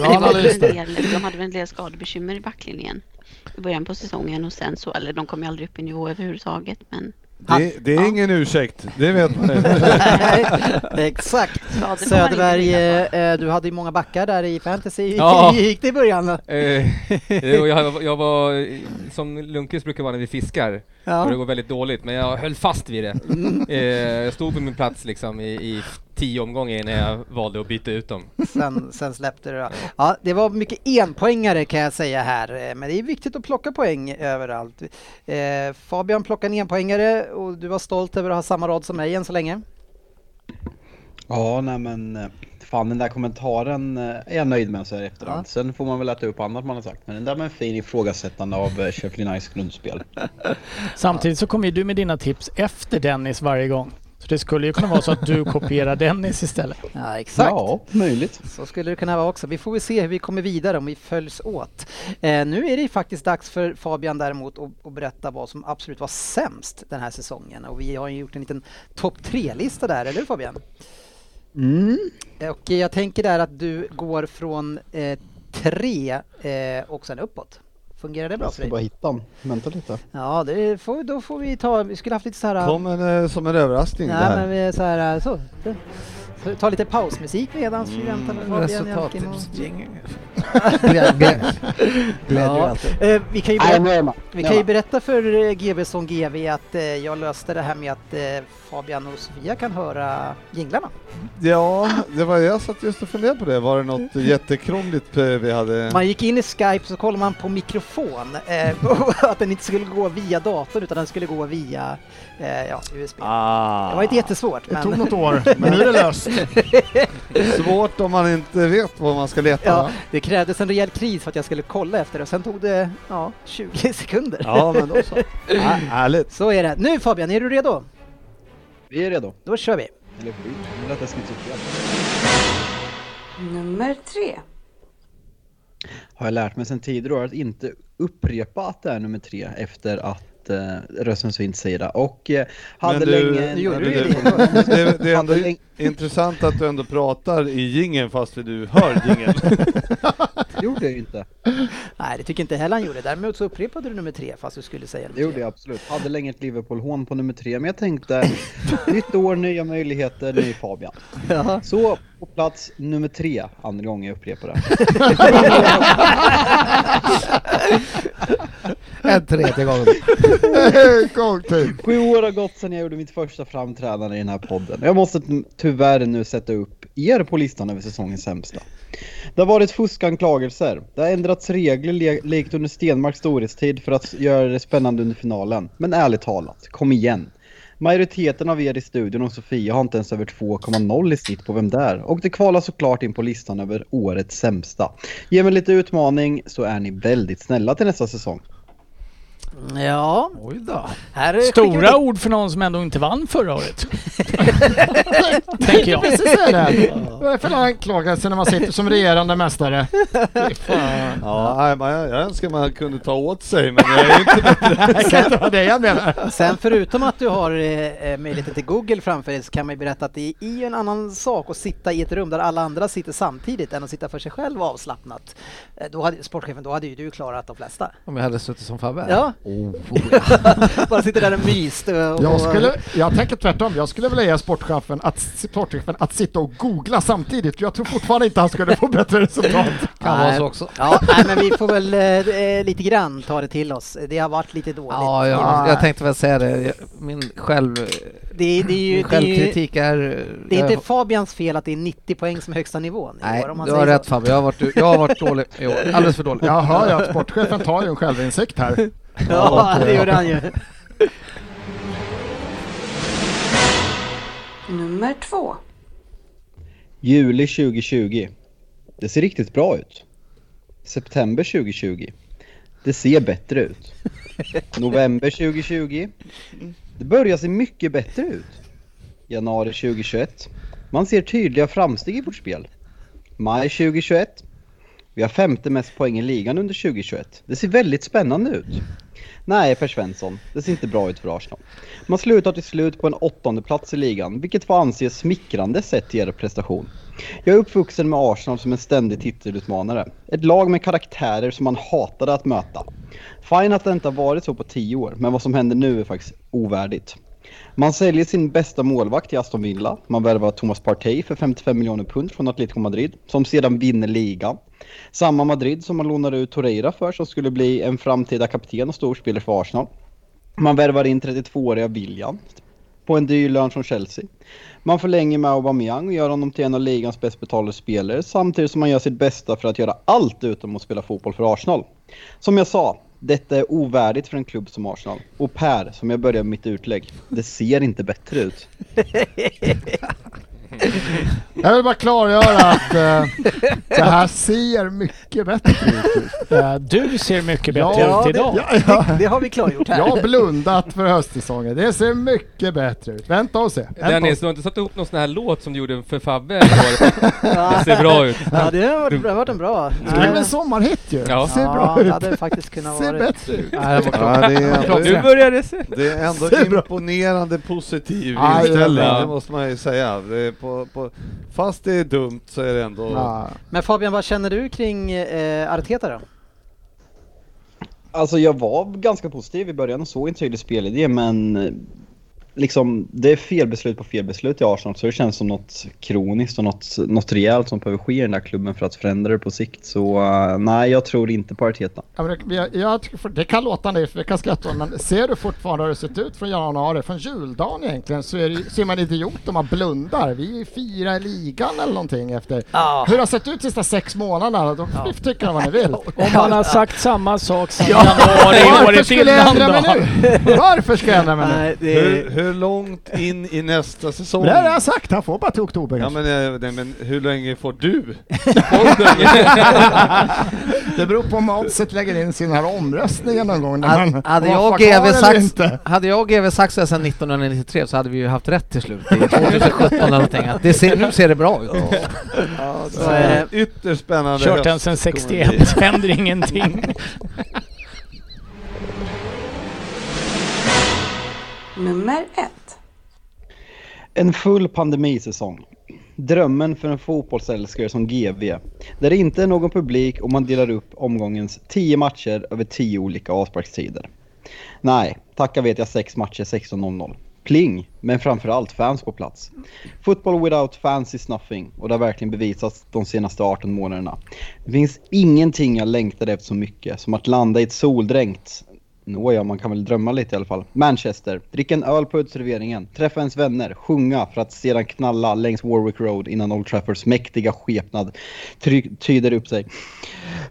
S9: Men det var väl en del, de hade väl en del skadebekymmer i backlinjen i början på säsongen och sen så, eller de kom ju aldrig upp i nivå överhuvudtaget men
S6: Det, det är ingen ursäkt, det vet man
S11: Nej, Exakt.
S9: skador får man inte
S11: Söderberg,
S9: vinna på.
S11: eh, eh, du hade ju många backar där i fantasy.
S10: Ja.
S11: Hur gick det i början?
S10: Eh, jo, jag, var- jag var, som Lundqvist brukar vara när vi fiskar,
S11: Ja.
S2: Mm.
S10: och det går väldigt dåligt, men jag höll fast vid det. Eh, jag stod på min plats liksom i, i tio omgångar innan jag valde att byta ut dem.
S2: Sen, sen släppte det. då. Ja, det var mycket enpoängare kan jag säga här, eh, men det är viktigt att plocka poäng överallt. Eh, Fabian plockade en enpoängare och du var stolt över att ha samma rad som mig än så länge.
S8: Ja, nej men eh, fan den där kommentaren eh, är jag nöjd med så här i efterhand. Sen får man väl äta upp annat man har sagt. Men den där med en fin ifrågasättande av eh, Sheffield Uniteds grundspel.
S3: Samtidigt så kommer ju du med dina tips efter Dennis varje gång. Så det skulle ju kunna vara så att du kopierar Dennis istället.
S2: Ja, exakt.
S8: Ja, möjligt.
S2: Så skulle det kunna vara också. Vi får väl se hur vi kommer vidare om vi följs åt. Eh, nu är det faktiskt dags för Fabian däremot att, att berätta vad som absolut var sämst den här säsongen. Och vi har ju gjort en liten topp tre-lista där, eller hur Fabian? Eh, Och jag tänker där att du går från eh, tre eh, och sen uppåt. Fungerar det bra
S8: Jag
S2: för
S8: ska
S2: dig?
S8: bara hitta den. Vänta lite.
S2: Ja, det får, då får vi ta, vi skulle haft lite så här...
S13: Kommer eh, som en överraskning det
S2: Nej,
S13: här.
S2: men vi är så här, äh, så. Så Ta lite pausmusik medan vi väntar på Fabian Jalkin och-
S7: Resultattipsjingel.
S2: Ja,
S7: Glädjer alltid.
S2: eh, vi kan ju
S8: Nej, nu
S2: berätta,
S8: är man.
S2: vi
S8: Nu
S2: kan
S8: är
S2: ju
S8: man.
S2: berätta för eh, GB som GV att eh, jag löste det här med att eh, Fabian och Sofia kan höra jinglarna.
S13: Ja, det var jag satt just och funderade på det. Var det något jättekrångligt eh, vi hade?
S2: Man gick in i Skype så kollade man på mikrofon, eh, och att den inte skulle gå via datorn utan den skulle gå via eh, ja, USB.
S13: Ah.
S2: Det var inte jättesvårt
S14: Det tog
S2: men
S14: något år, men nu är det löst.
S13: Svårt om man inte vet var man ska leta.
S2: ja, det krävdes en rejäl kris för att jag skulle kolla efter det och sen tog det ja, 20 sekunder.
S13: Ja, men då så. Ja, härligt.
S2: Så är det. Nu Fabian, är du redo?
S8: Vi är redo.
S2: Då kör vi!
S8: Eller hur? Det lät nästan lite fel.
S1: Nummer tre.
S8: Har jag lärt mig sen tidigare år att inte upprepa att det är nummer tre efter att eh, rösten så inte säger det. Och eh, hade länge...
S2: Du gjorde
S13: men
S2: ju
S13: du-
S2: det.
S13: det, det är ändå
S8: Hade länge-
S13: intressant att du ändå pratar i jingeln fast du hör jingeln.
S8: Det gjorde jag ju inte.
S2: Nej, det tycker inte heller han gjorde. Däremot så upprepade du nummer tre fast du skulle
S8: Det
S2: säga nummer
S8: gjorde
S2: tre.
S8: jag absolut. Hade länge ett Liverpool-hån på nummer tre, men jag tänkte nytt år, nya möjligheter, ny Fabian.
S2: Ja.
S8: Så på plats nummer tre, andra gången jag upprepar det.
S7: En tredje gång.
S14: Gång till.
S8: Sju år har gått sedan jag gjorde mitt första framträdande i den här podden. Jag måste t- tyvärr nu sätta upp er på listan över säsongens sämsta. Det har varit fuskanklagelser. Det har ändrats regler le- likt under Stenmarks storhetstid för att s- göra det spännande under finalen. Men ärligt talat, kom igen. Majoriteten av er i studion och Sofia har inte ens över 2,0 i snitt på vem där. Och det kvalar såklart in på listan över årets sämsta. Ge mig lite utmaning så är ni väldigt snälla till nästa säsong.
S2: Ja,
S7: Oj då.
S2: här är-
S3: Stora ord för någon som ändå inte vann förra året. Tänker jag.
S14: Precis är det. Varför har han klagat sig när man sitter som regerande mästare? Fy fan.
S13: Ja, nej, men jag, jag önskar man kunde ta åt sig men jag är inte
S14: Det kan inte vara det jag menar.
S2: Sen förutom att du har eh, eh, möjligheten till Google framför dig så kan man ju berätta att det är ju en annan sak att sitta i ett rum där alla andra sitter samtidigt än att sitta för sig själv avslappnat. Eh, Då hade, sportchefen, då hade ju du klarat de flesta.
S7: Om jag hade suttit som Fabbe.
S2: Ja, bara sitter där och myst. Och,
S14: Jag,
S2: och-
S14: skulle, jag tänker tvärtom. Jag skulle vilja ge sportchefen att, sportchefen att sitta och googla samtidigt. Jag tror fortfarande inte han skulle få bättre resultat.
S7: Kan vara
S2: Nej.
S7: så också.
S2: Ja, nej, men vi får väl eh, eh, lite grann ta det till oss. Det har varit lite dåligt.
S7: Ja, ja, jag tänkte väl säga det. Jag- Min, själv,
S2: Det, det är ju,
S7: min
S2: det är ju
S7: självkritik är...
S2: Det är
S7: jag-
S2: inte Fabians fel att det är 90 poäng som är högsta nivån. i
S7: Nej,
S2: år, om man
S7: du har
S2: säger
S7: rätt
S2: så.
S7: Fabbe. Jag har varit, jag har varit dålig i år. Alldeles för dålig.
S14: Jag hör ju att sportchefen tar ju en självinsikt här.
S2: Ja, det gjorde han ju.
S1: Nummer två.
S8: Juli 2020. Det ser riktigt bra ut. September 2020. Det ser bättre ut. November 2020. Det börjar se mycket bättre ut. Januari 2021. Man ser tydliga framsteg i vårt spel. Maj 2021. Vi har femte mest poäng i ligan under 2021. Det ser väldigt spännande ut. Nej, Per Svensson, det ser inte bra ut för Arsenal. Man slutar till slut på en åttonde plats i ligan, vilket får anses smickrande sett till er prestation. Jag är uppvuxen med Arsenal som en ständig titelutmanare. Ett lag med karaktärer som man hatade att möta. Fine att det inte har varit så på tio år, men vad som händer nu är faktiskt ovärdigt. Man säljer sin bästa målvakt till Aston Villa. Man värvar Thomas Partey för 55 miljoner pund från Atletico Madrid, som sedan vinner ligan. Samma Madrid som man lånade ut Torreira för, som skulle bli en framtida kapten och storspelare för Arsenal. Man värvar in 32-åriga William på en dyr lön från Chelsea. Man förlänger med Aubameyang och gör honom till en av ligans bäst betalade spelare samtidigt som man gör sitt bästa för att göra allt utom att spela fotboll för Arsenal. Som jag sa, detta är ovärdigt för en klubb som Arsenal. Och Per, som jag började mitt utlägg, det ser inte bättre ut.
S5: Jag vill bara klargöra att eh, det här ser mycket bättre ut.
S3: du ser mycket bättre
S5: Ja,
S3: ut
S5: det-
S3: idag.
S5: ja, ja.
S2: Det har vi klargjort här.
S5: Jag har blundat för höstsäsongen. Det ser mycket bättre ut. Vänta och se. Vänta och
S4: Dennis,
S5: se.
S4: du har inte satt ihop någon sån här låt som du gjorde för Fabbe igår? Det ser bra ut.
S2: Ja, det har varit, det har varit en bra.
S5: Det blev en sommarhit ju.
S4: Ja.
S5: Ser bra
S2: ja,
S5: ut.
S2: det hade faktiskt kunnat
S5: Ser
S2: vara
S5: bättre ut.
S6: Ja, det är ändå,
S4: Nu börjar det se...
S6: det är ändå
S5: Ser bra.
S6: imponerande positiv
S5: Ja,
S6: inställning,
S4: ja.
S6: det måste man ju säga. Det är på, på, fast det är dumt så är det ändå...
S5: Ja.
S2: Men Fabian, vad känner du kring eh, Arteta då?
S8: Alltså jag var ganska positiv i början och såg en tydlig spelidé men eh, liksom det är fel beslut på fel beslut i Arsenal så det känns som något kroniskt och något, något rejält som behöver ske i den där klubben för att förändra det på sikt. Så eh, nej, jag tror inte på Arteta.
S5: Ja, men det, jag, jag, tycker för- det kan låta nej, för det kan skratta åt, men ser du fortfarande hur det sett ut från januari, från juldagen egentligen, så är, det, så är man idiot om man blundar. Vi firar ligan eller någonting efter
S2: Ja.
S5: hur det har sett ut de sista sex månaderna. Då får ni tycka vad ni vill.
S3: Om man har sagt samma sak sedan
S5: Ja.
S3: januari
S5: Varför
S3: året
S5: skulle jag
S3: innan
S5: ändra mig
S3: då.
S5: nu? Varför ska jag ändra mig nu?
S2: Nej, det
S6: Hur,
S2: är...
S6: hur långt in i nästa säsong?
S5: Men Det har jag sagt, han får bara till oktober.
S6: Ja
S5: kanske.
S6: men, eh, nej, men hur länge får du?
S5: Det beror på om Oddset lägger in sin här omröstningen någon gång. när
S7: Hade-
S5: man-
S7: Hade
S5: om man
S7: jag
S5: får kvar
S7: GV
S5: eller
S7: Sax,
S5: inte.
S7: hade jag GV Saxa sedan 1993 så hade vi ju haft rätt till slut. I 2017 eller någonting. Att Det ser, nu ser det bra ut.
S2: Så är det.
S6: Ytterst spännande
S3: Kört den
S6: höst
S3: sedan
S6: kommer det
S3: 61, händer ingenting.
S1: Nummer ett.
S8: En full pandemisäsong. Drömmen för en fotbollsälskare som GV. Där det inte är någon publik och man delar upp omgångens 10 matcher över 10 olika avsparkstider. Nej, tacka vet jag 6 matcher 16.00. Pling, men framförallt fans på plats. Football without fans is nothing och det har verkligen bevisats de senaste 18 månaderna. Det finns ingenting jag längtade efter så mycket som att landa i ett soldränkt Nåja, man kan väl drömma lite i alla fall. Manchester. Dricka en öl på uteserveringen, träffa ens vänner, sjunga för att sedan knalla längs Warwick Road innan Old Traffords mäktiga skepnad try- tyder upp sig.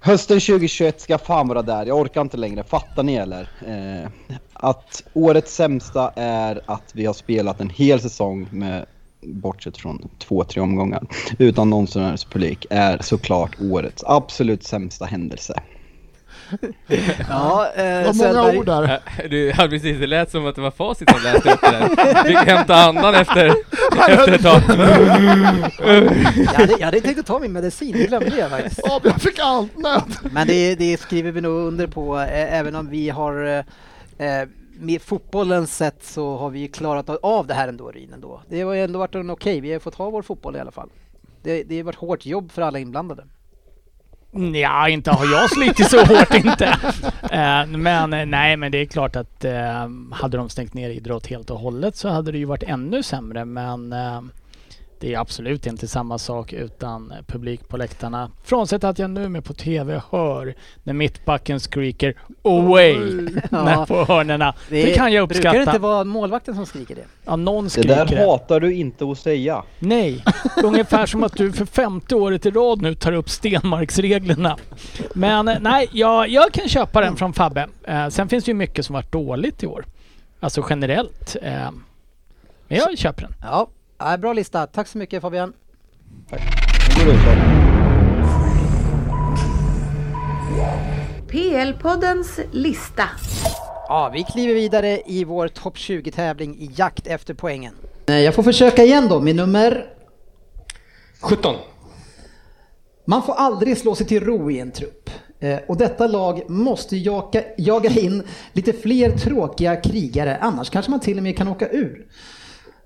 S8: Hösten 2021 ska fan vara där, jag orkar inte längre, fattar ni eller? Eh, att årets sämsta är att vi har spelat en hel säsong med bortsett från två, tre omgångar, utan någon sån här publik är såklart årets absolut sämsta händelse.
S2: Ja, eh,
S5: Vad
S2: Söderberg.
S5: många ord där.
S4: Du, ja, precis, det lät som att det var facit som läste upp det där. Fick hämta andan efter, efter ett tag.
S2: Jag hade, jag hade tänkt att ta min medicin, jag glömde det faktiskt.
S5: Ja, Jag fick allt nöd.
S2: Men det, det skriver vi nog under på, eh, även om vi har eh, eh, med fotbollens sätt så har vi ju klarat av det här ändå, Ryn. Ändå. Det har ju ändå varit en okej, vi har fått ha vår fotboll i alla fall. Det, det har varit hårt jobb för alla inblandade.
S3: Ja, inte har jag slitit så hårt inte. Eh, Men eh, nej, men det är klart att eh, hade de stängt ner idrott helt och hållet så hade det ju varit ännu sämre. Men eh, det är absolut inte samma sak utan publik på läktarna. Frånsett att jag nu med på TV hör när mittbacken skriker away när Mm. på hörnerna. Det, kan jag
S2: brukar det inte
S3: uppskatta.
S2: vara målvakten som skriker det?
S3: Ja, någon
S8: Det
S3: skriker
S8: där
S3: det.
S8: hatar du inte att säga.
S3: Nej, ungefär som att du för femte året i rad nu tar upp Stenmarksreglerna. Men eh, nej, jag, jag kan köpa den från Fabbe. Eh, sen finns det ju mycket som varit dåligt i år. Alltså generellt. Eh, men jag köper den.
S2: Ja, ja, bra lista. Tack så mycket Fabian.
S8: Det går ut då.
S15: PL-poddens lista.
S2: Ja, vi kliver vidare i vår topp 20-tävling i jakt efter poängen. Eh, Jag får försöka igen då med nummer...
S16: 17.
S9: Man får aldrig slå sig till ro i en trupp. Eh, Och detta lag måste jaka, jaga in lite fler tråkiga krigare, annars kanske man till och med kan åka ur.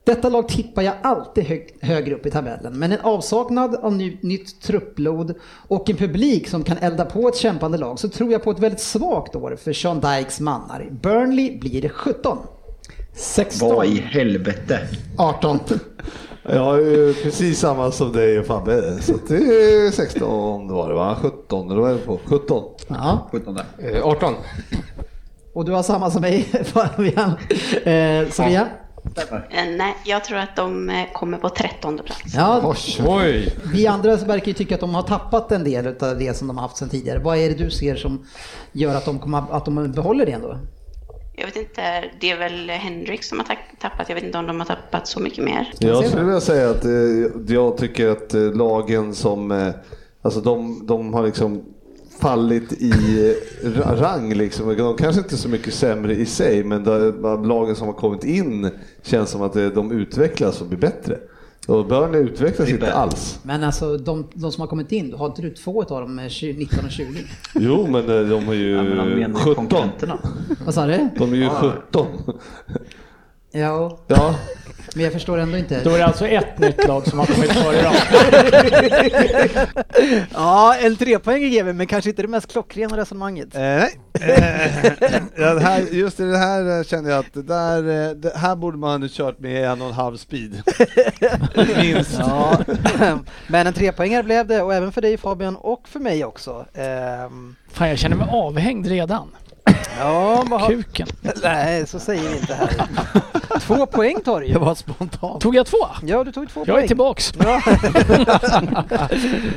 S9: Detta lag tippar jag alltid hög, högre upp i tabellen, men en avsaknad av ny, nytt truppblod och en publik som kan elda på ett kämpande lag så tror jag på ett väldigt svagt år för Sean Dykes mannar. Burnley blir 17.
S5: 16,
S8: helvete?
S5: 18.
S6: Jag har ju precis samma som dig och Fabbe, så att det är 16 det var det va? 17 eller vad är det på? 17?
S9: Ja,
S8: 17 där.
S16: Eh, 18.
S9: och du har samma som mig Fabian. Eh, Sofia? Eh, Nej, jag tror att de eh, kommer på trettonde plats.
S17: Ja,
S4: Oj.
S17: vi andra verkar ju tycka att de har tappat en del av det som de har haft sedan tidigare. Vad är det du ser som gör att de, kommer, att de behåller det ändå?
S9: Jag vet inte, det är väl Henrik som har tack- tappat. Jag vet inte om de har tappat så mycket mer.
S6: Jag skulle vilja säga att eh, jag tycker att eh, lagen som, eh, alltså de, de har liksom fallit i eh, ra- rang liksom. De kanske inte är så mycket sämre i sig, men de, de lagen som har kommit in känns som att eh, de utvecklas och blir bättre. Och Burnley utvecklas inte alls.
S17: Men alltså de, de som har kommit in, har inte du två av dem med 20, 19 och 20?
S6: Jo, men eh, de är ju
S17: men de menar ju
S6: 17.
S17: Vad sa du?
S6: De är ju
S17: Ja.
S6: 17.
S17: Ja,
S6: Ja.
S17: men jag förstår ändå inte.
S3: Då är det alltså ett nytt lag som har kommit före dem.
S2: ja, en trepoängig GV, men kanske inte det mest klockrena resonemanget.
S6: Eh, nej. Eh, Ja, det här, just i det här eh, kände jag att det där, eh, det här borde man ha kört med en och en halv speed. Minst.
S2: Ja. Men en trepoängare blev det och även för dig Fabian och för mig också. Ehm,
S3: Fan, jag känner mig avhängd redan.
S2: ja, vad har...
S3: Kuken.
S2: Nej, så säger vi inte här. Två poäng tar du ju.
S3: Det var
S2: spontant.
S3: Tog jag två?
S2: Ja, du tog två poäng.
S3: Jag är tillbaks.
S2: Ja.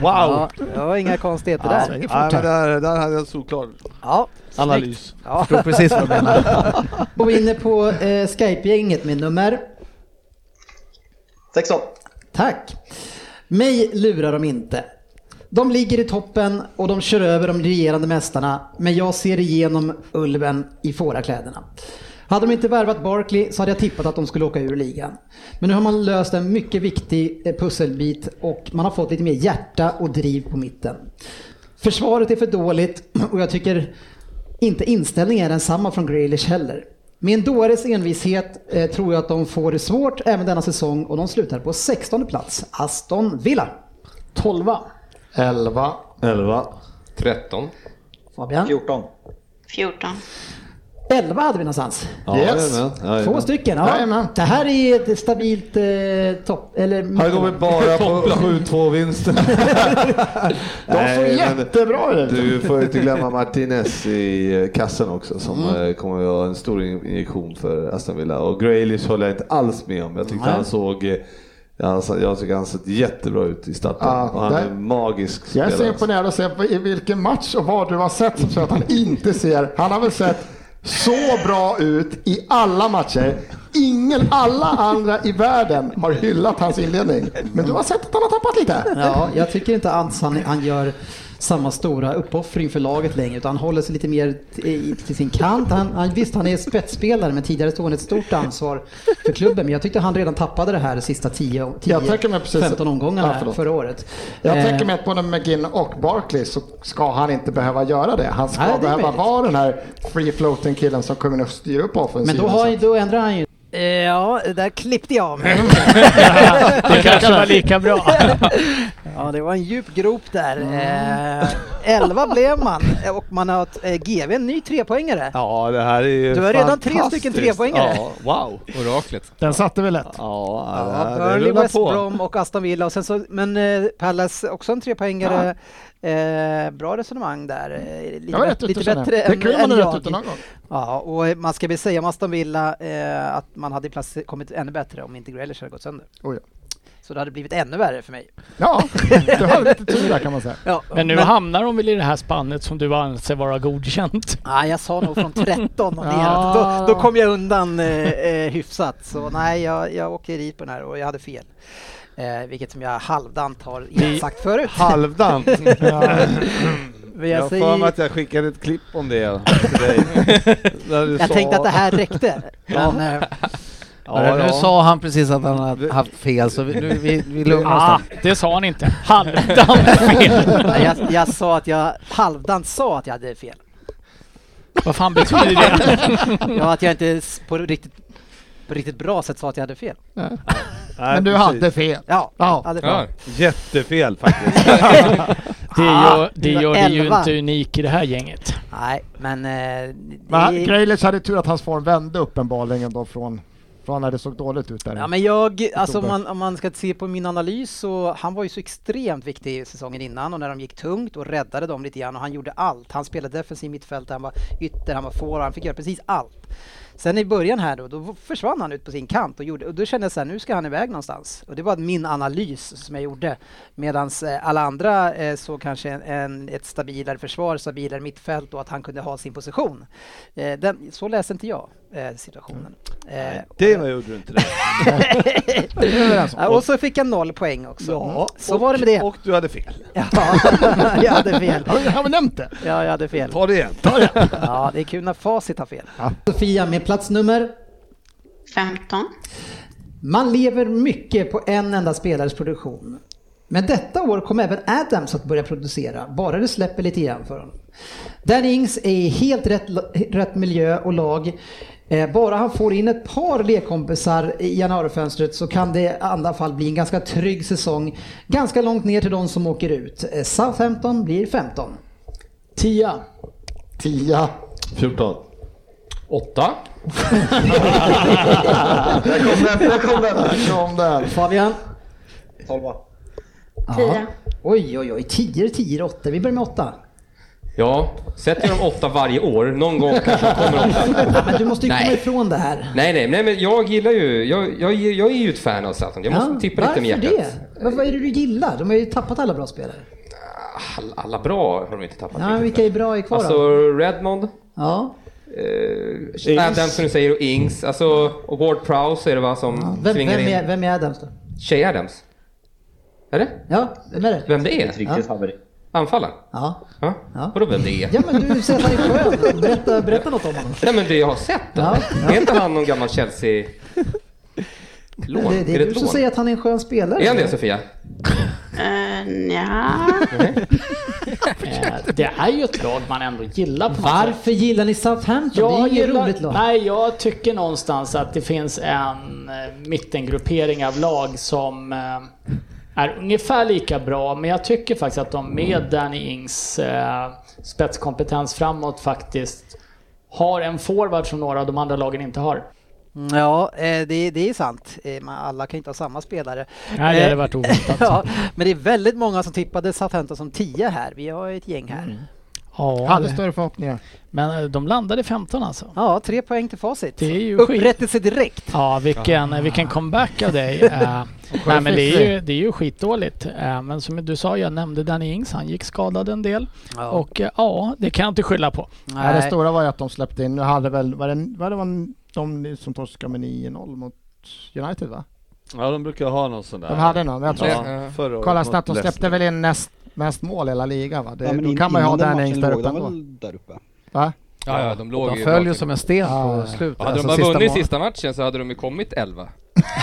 S3: Wow.
S2: Ja, ja, inga konstigheter
S6: Ja,
S2: där.
S6: nej, men där, där hade jag solklar
S2: Ja,
S6: analys.
S2: Ja.
S17: Förstod precis vad du menar. Och vi är inne på eh, Skype-gänget med nummer?
S18: 16.
S17: Tack. Mig lurar de inte. De ligger i toppen och de kör över de regerande mästarna, men jag ser igenom ulven i fårakläderna. Hade de inte värvat Barkley så hade jag tippat att de skulle åka ur ligan. Men nu har man löst en mycket viktig eh, pusselbit och man har fått lite mer hjärta och driv på mitten. Försvaret är för dåligt och jag tycker inte inställningen är densamma från Grealish heller. Med en dåres envishet eh, tror jag att de får det svårt även denna säsong och de slutar på 16 plats. Aston Villa. 12.
S5: 11.
S6: 11.
S4: 13.
S17: Fabian.
S18: 14.
S9: 14.
S17: 11 hade vi någonstans.
S6: Ja, Yes. jajamän, jajamän.
S17: Två stycken. Ja.
S5: Jajamän.
S17: Det här är ett stabilt eh, topp... Eller...
S6: Här går vi bara på 7-2-vinsten.
S5: De såg jättebra ut.
S6: Du får ju inte glömma Martinez i eh, kassen också som
S5: Mm.
S6: eh, kommer att vara en stor injektion för Aston Villa. Och Graylish håller jag inte alls med om. Jag tyckte
S5: Nej.
S6: han såg eh, jag sa- jag tycker han sett jättebra ut i starten.
S5: Ja,
S6: och han är
S5: där-
S6: en magisk
S5: Jag är så
S6: spelare.
S5: imponerad att se på i vilken match och vad du har sett som så att han inte ser. Han har väl sett så bra ut i alla matcher. Ingen, alla andra i världen har hyllat hans inledning. Men du har sett att han har tappat lite.
S17: Ja, jag tycker inte alls han, han gör samma stora uppoffring för laget längre utan han håller sig lite mer t- i- till sin kant. Han, han, visst, han är spetsspelare men tidigare tog han ett stort ansvar för klubben. Men jag tyckte han redan tappade det här de sista 10-15 omgångarna
S5: Ja,
S17: här
S5: förlåt.
S17: förra året.
S5: Jag
S17: Eh,
S5: tänker mig att både McGinn och Barkley så ska han inte behöva göra det. Han ska
S17: Nej, det är
S5: behöva
S17: möjligt.
S5: vara den här free floating killen som kommer att styra upp offensiven.
S17: men då, har, ju- då ändrar han ju.
S2: Eh, Ja, där klippte jag av mig.
S3: Det kanske var lika bra.
S2: Ja, det var en djup grop där. Eh, 11 blev man och man har ett, eh, GV, en ny trepoängare.
S6: Ja, det här är ju
S2: Du har redan tre
S6: fantastiskt.
S2: stycken trepoängare.
S6: Ja, wow.
S4: Oraklet.
S5: Den satte vi lätt.
S6: Ja, det här-
S2: Ja,
S6: det
S2: Burnley,
S6: rullar
S2: West
S6: på.
S2: Brom och Aston Villa. Och sen så, men eh, Palace också en trepoängare. Eh, bra resonemang där. Eh, lite
S5: Mm. Jag var
S2: bä-
S5: rätt ute
S2: lite
S5: känner jag.
S2: bättre
S5: Det är
S2: än,
S5: kul om man
S2: än
S5: är
S2: jag.
S5: rätt ute någon gång.
S2: Ja, och eh, man ska väl säga om Aston Villa eh, att man hade placer- kommit ännu bättre om inte Grealish hade gått sönder.
S5: Oj.
S2: Så det hade blivit ännu värre för mig.
S5: Ja, du har lite tur där kan man säga.
S2: Ja,
S3: Men nu hamnar de väl i det här spannet som du anser vara godkänt.
S2: Nej, jag sa nog från 13 och neråt.
S3: Ja.
S2: Då, då kom jag undan eh, eh, hyfsat. Så nej, jag, jag åker dit på den här och jag hade fel. Eh, vilket som jag halvdant har sagt förut.
S6: Halvdant.
S2: Men
S6: Jag
S2: jag
S6: har för mig
S2: säger,
S6: att jag skickade ett klipp om det till dig. Där du
S2: jag
S6: sa-
S2: tänkte att det här räckte. Men, eh,
S6: Ja,
S7: nu
S6: ja.
S7: sa han precis att han hade haft fel så vi, nu, vi, vi lugnar oss
S3: Ah,
S7: där.
S3: det sa han inte. Halvdant fel.
S2: nej, jag, jag sa att jag halvdant sa att jag hade fel.
S3: Vad fan betyder det?
S2: Ja, att jag inte s- på riktigt, på riktigt bra sätt sa att jag hade fel.
S6: Nej,
S5: Men du
S6: precis.
S5: hade fel.
S2: Ja,
S5: Ja.
S2: hade
S4: Ja.
S2: fel.
S6: Jättefel faktiskt.
S3: Det gör, det
S2: det var
S3: gör det
S2: Ah,
S3: ju
S2: elva.
S3: inte unik i det här gänget.
S2: Nej, men... Eh, det,
S5: Men Grealish hade tur att hans form vände uppenbarligen då från För han hade såg dåligt ut där.
S2: Ja, men jag, alltså om man, om man ska se på min analys så han var ju så extremt viktig i säsongen innan och när de gick tungt och räddade dem lite grann och han gjorde allt. Han spelade defensiv mittfält, han var ytter, han var forward, han fick göra precis allt. Sen i början här då, då försvann han ut på sin kant och, gjorde, och då kände jag så här, nu ska han iväg någonstans. Och det var min analys som jag gjorde. Medan alla andra eh, såg kanske en, en, ett stabilare försvar, stabilare mittfält och att han kunde ha sin position. Eh, den, så läste inte jag eh, situationen.
S6: Mm.
S2: Eh,
S6: Det var gjorde du inte det. alltså-
S2: Ja, och så fick jag noll poäng också.
S6: Ja,
S2: så var det med det.
S6: Och du hade fel.
S2: Ja, jag hade fel.
S5: Har har vi nämnt det?
S2: Ja, jag hade fel.
S6: Ta det igen.
S2: Ta det igen. Ja, det är kul när facit har fel.
S19: Sofia med plats nummer?
S9: 15.
S19: Man lever mycket på en enda spelares produktion. Men detta år kommer även Adams att börja producera, bara det släpper lite grann för honom. Dan Ings är i helt rätt, rätt miljö och lag. Eh, Bara han får in ett par lekkompisar i januarifönstret så kan det i andra fall bli en ganska trygg säsong. Ganska långt ner till de som åker ut. Eh, Southampton blir 15.
S3: 10.
S5: 10.
S13: 14.
S4: 8.
S14: Där kom den, där kom den, där kom den.
S19: Fabian?
S8: 12.
S19: Ja. Oj, oj, oj. 10, 10, 8. Vi börjar med 8.
S4: Ja, sätter jag dem åtta varje år, någon gång kanske de kommer åtta.
S19: Ja, men du måste ju
S4: Nej.
S19: komma ifrån det här.
S4: Nej, nej, nej, men jag gillar ju, jag, jag, jag är ju ett fan av Zlatan. Jag måste
S19: Ja,
S4: tippa lite med hjärtat.
S19: Varför det? Vad- Vad är det du gillar? De har ju tappat alla bra spelare.
S4: Alla, alla bra har de inte tappat.
S19: Ja, men vilka är bra är kvar
S4: Alltså
S19: då?
S4: Redmond.
S19: Ja.
S4: Eh, Adam som du säger och Ings. Alltså, och Ward Prowse är det va som
S19: Vem, vem,
S4: svingar in.
S19: är, vem är Adams då?
S4: Tjej Adams. Är det?
S19: Ja, vem är det?
S4: Vem det är?
S19: Ett riktigt
S4: ja. Anfallaren?
S19: Ja.
S4: ja. Vadå vem det är?
S19: Ja men du säger att han är skön. Berätta, berätta något om honom.
S4: Nej men det jag har sett då. Är inte han någon gammal Chelsea... Lån?
S19: Det, det är, du som säger att han är en skön spelare. Eh,
S4: Är han det Sofia?
S9: Uh, ja.
S20: Eh, Det är ju ett lag man ändå gillar på något sätt.
S19: Varför gillar ni Southampton? det är ju inget roligt lag.
S20: Nej, jag tycker någonstans att det finns en eh, mittengruppering av lag som eh, är ungefär lika bra, men jag tycker faktiskt att de med Danny Ings eh, spetskompetens framåt faktiskt har en forward som några av de andra lagen inte har.
S2: Ja, eh, det, det är sant. Eh, man- Alla kan inte ha samma spelare.
S20: Nej, det hade
S2: Eh,
S20: varit oväntat.
S2: ja, men det är väldigt många som tippade Southampton som 10 här. Vi har ett gäng här.
S20: Mm,
S3: Ja,
S5: Hade större förhoppningar.
S3: Men eh, de landade 15 alltså.
S2: Ja, tre poäng till facit.
S3: Det är ju skit.
S2: Upprättelse direkt.
S3: Ja, vilken, vilken comeback av dig. Eh, nej, men det, är ju, det är ju skitdåligt. Eh, men som du sa, jag nämnde Danny Ings. Han gick skadad en del.
S5: Ja.
S3: Och eh, ja, det kan jag inte skylla på.
S5: Nej. det stora var ju att de släppte in, nu hade väl, var det, var det man, de som torskade med 9-0 mot United va?
S6: Ja, de brukar ha någon sån där.
S5: De hade någon, men jag tror...
S6: Ja, förra året
S5: kolla
S6: mot
S5: snabbt, de
S6: Leicester.
S5: släppte väl in näst, mest mål i hela ligan va? Det,
S6: Ja, men
S5: då
S6: in-
S5: kan man ju ha
S6: innan den
S5: den
S6: matchen
S5: längst där
S6: låg
S5: uppe
S6: de
S5: ändå.
S6: väl där uppe?
S5: Va?
S4: Ja, ja, de låg
S7: de
S4: ju
S7: följer
S4: bakom.
S7: som en sten
S5: Ja,
S7: på slutet.
S4: Hade
S7: alltså
S4: de bara
S7: sista
S4: vunnit
S7: mål.
S4: sista matchen så hade de ju kommit 11.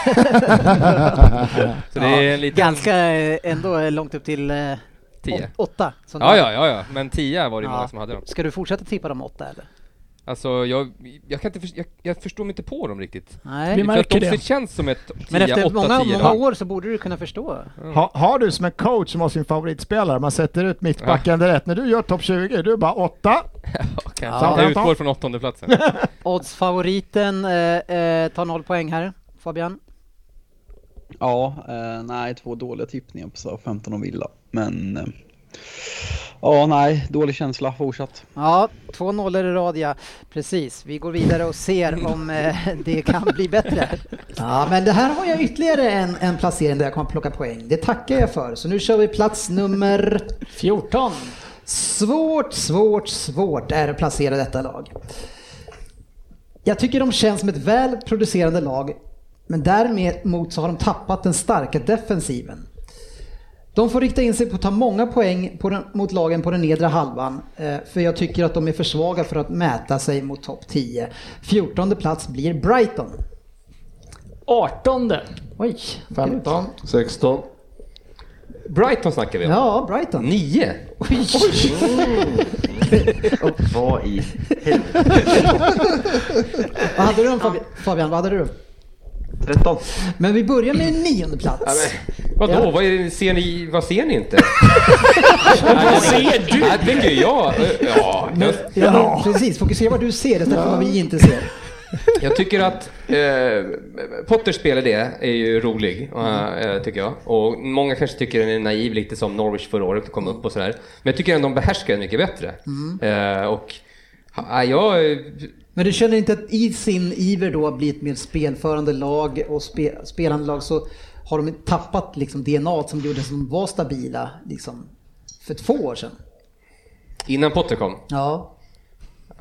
S4: så det
S2: Ja,
S4: är en liten...
S2: Ganska eh, ändå långt upp till eh,
S4: Tio.
S2: åt- åtta. som
S4: Ja,
S2: du-
S4: ja, ja, ja. Men tio var det många som hade dem.
S2: Ska du fortsätta tippa de åtta eller?
S4: Alltså jag, jag kan inte, först- jag, jag förstår mig inte på dem riktigt.
S2: Nej.
S5: Vi
S4: För
S5: märker
S4: att de
S5: det.
S4: känns som ett 10,
S2: Men efter
S4: 8,
S2: många,
S4: 10
S2: många år så borde du kunna förstå.
S5: Ha, har du som en coach som har sin favoritspelare, man sätter ut mittbacken direkt. När du gör topp 20, du är bara åtta.
S4: Kanske. Jag utgår från åttonde platsen.
S2: Oddsfavoriten eh, eh, tar noll poäng här, Fabian.
S8: Ja, eh, nej, två dåliga tippningar på så 15 och Villa. Men eh, ja, nej, dålig känsla fortsatt.
S2: Ja, två nollor i rad ja. Precis, vi går vidare och ser om eh, det kan bli bättre.
S19: Ja men det här har jag ytterligare en, en placering där jag kommer plocka poäng. Det tackar jag för. Så nu kör vi plats nummer...
S20: 14.
S19: Svårt, svårt, svårt är det att placera detta lag. Jag tycker de känns som ett väl producerande lag, men däremot så har de tappat den starka defensiven. De får rikta in sig på att ta många poäng på den, mot lagen på den nedre halvan, eh, för jag tycker att de är för svaga för att mäta sig mot topp 10. 14 plats blir Brighton.
S20: 18.
S19: Oj.
S5: 15.
S13: 16.
S4: Brighton snackar vi om.
S19: Ja, Brighton.
S4: 9.
S19: Oj.
S21: Vad i
S19: Vad hade du om Fabian? Fabian, vad hade du?
S21: 13.
S19: Men vi börjar med en nionde plats.
S4: Vadå,
S19: Ja.
S4: vad, är det, ser ni, vad ser ni inte?
S19: Vad ser
S4: du? Det tycker jag. Ja, jag
S19: Ja, precis. Fokusera vad du ser istället för vad vi inte ser.
S4: Jag tycker att eh, Potters spelidé är ju rolig, eh, tycker jag. Och många kanske tycker den är naiv, lite som Norwich förra året kom upp och sådär. Men jag tycker ändå de behärskar den mycket bättre. Eh, och ja, jag...
S10: Men du känner inte att i sin iver då att bli ett mer spelförande lag och spe, spelande lag så har de tappat liksom DNA som gjorde att de var stabila liksom för två år sedan?
S4: Innan Potter kom?
S10: Ja.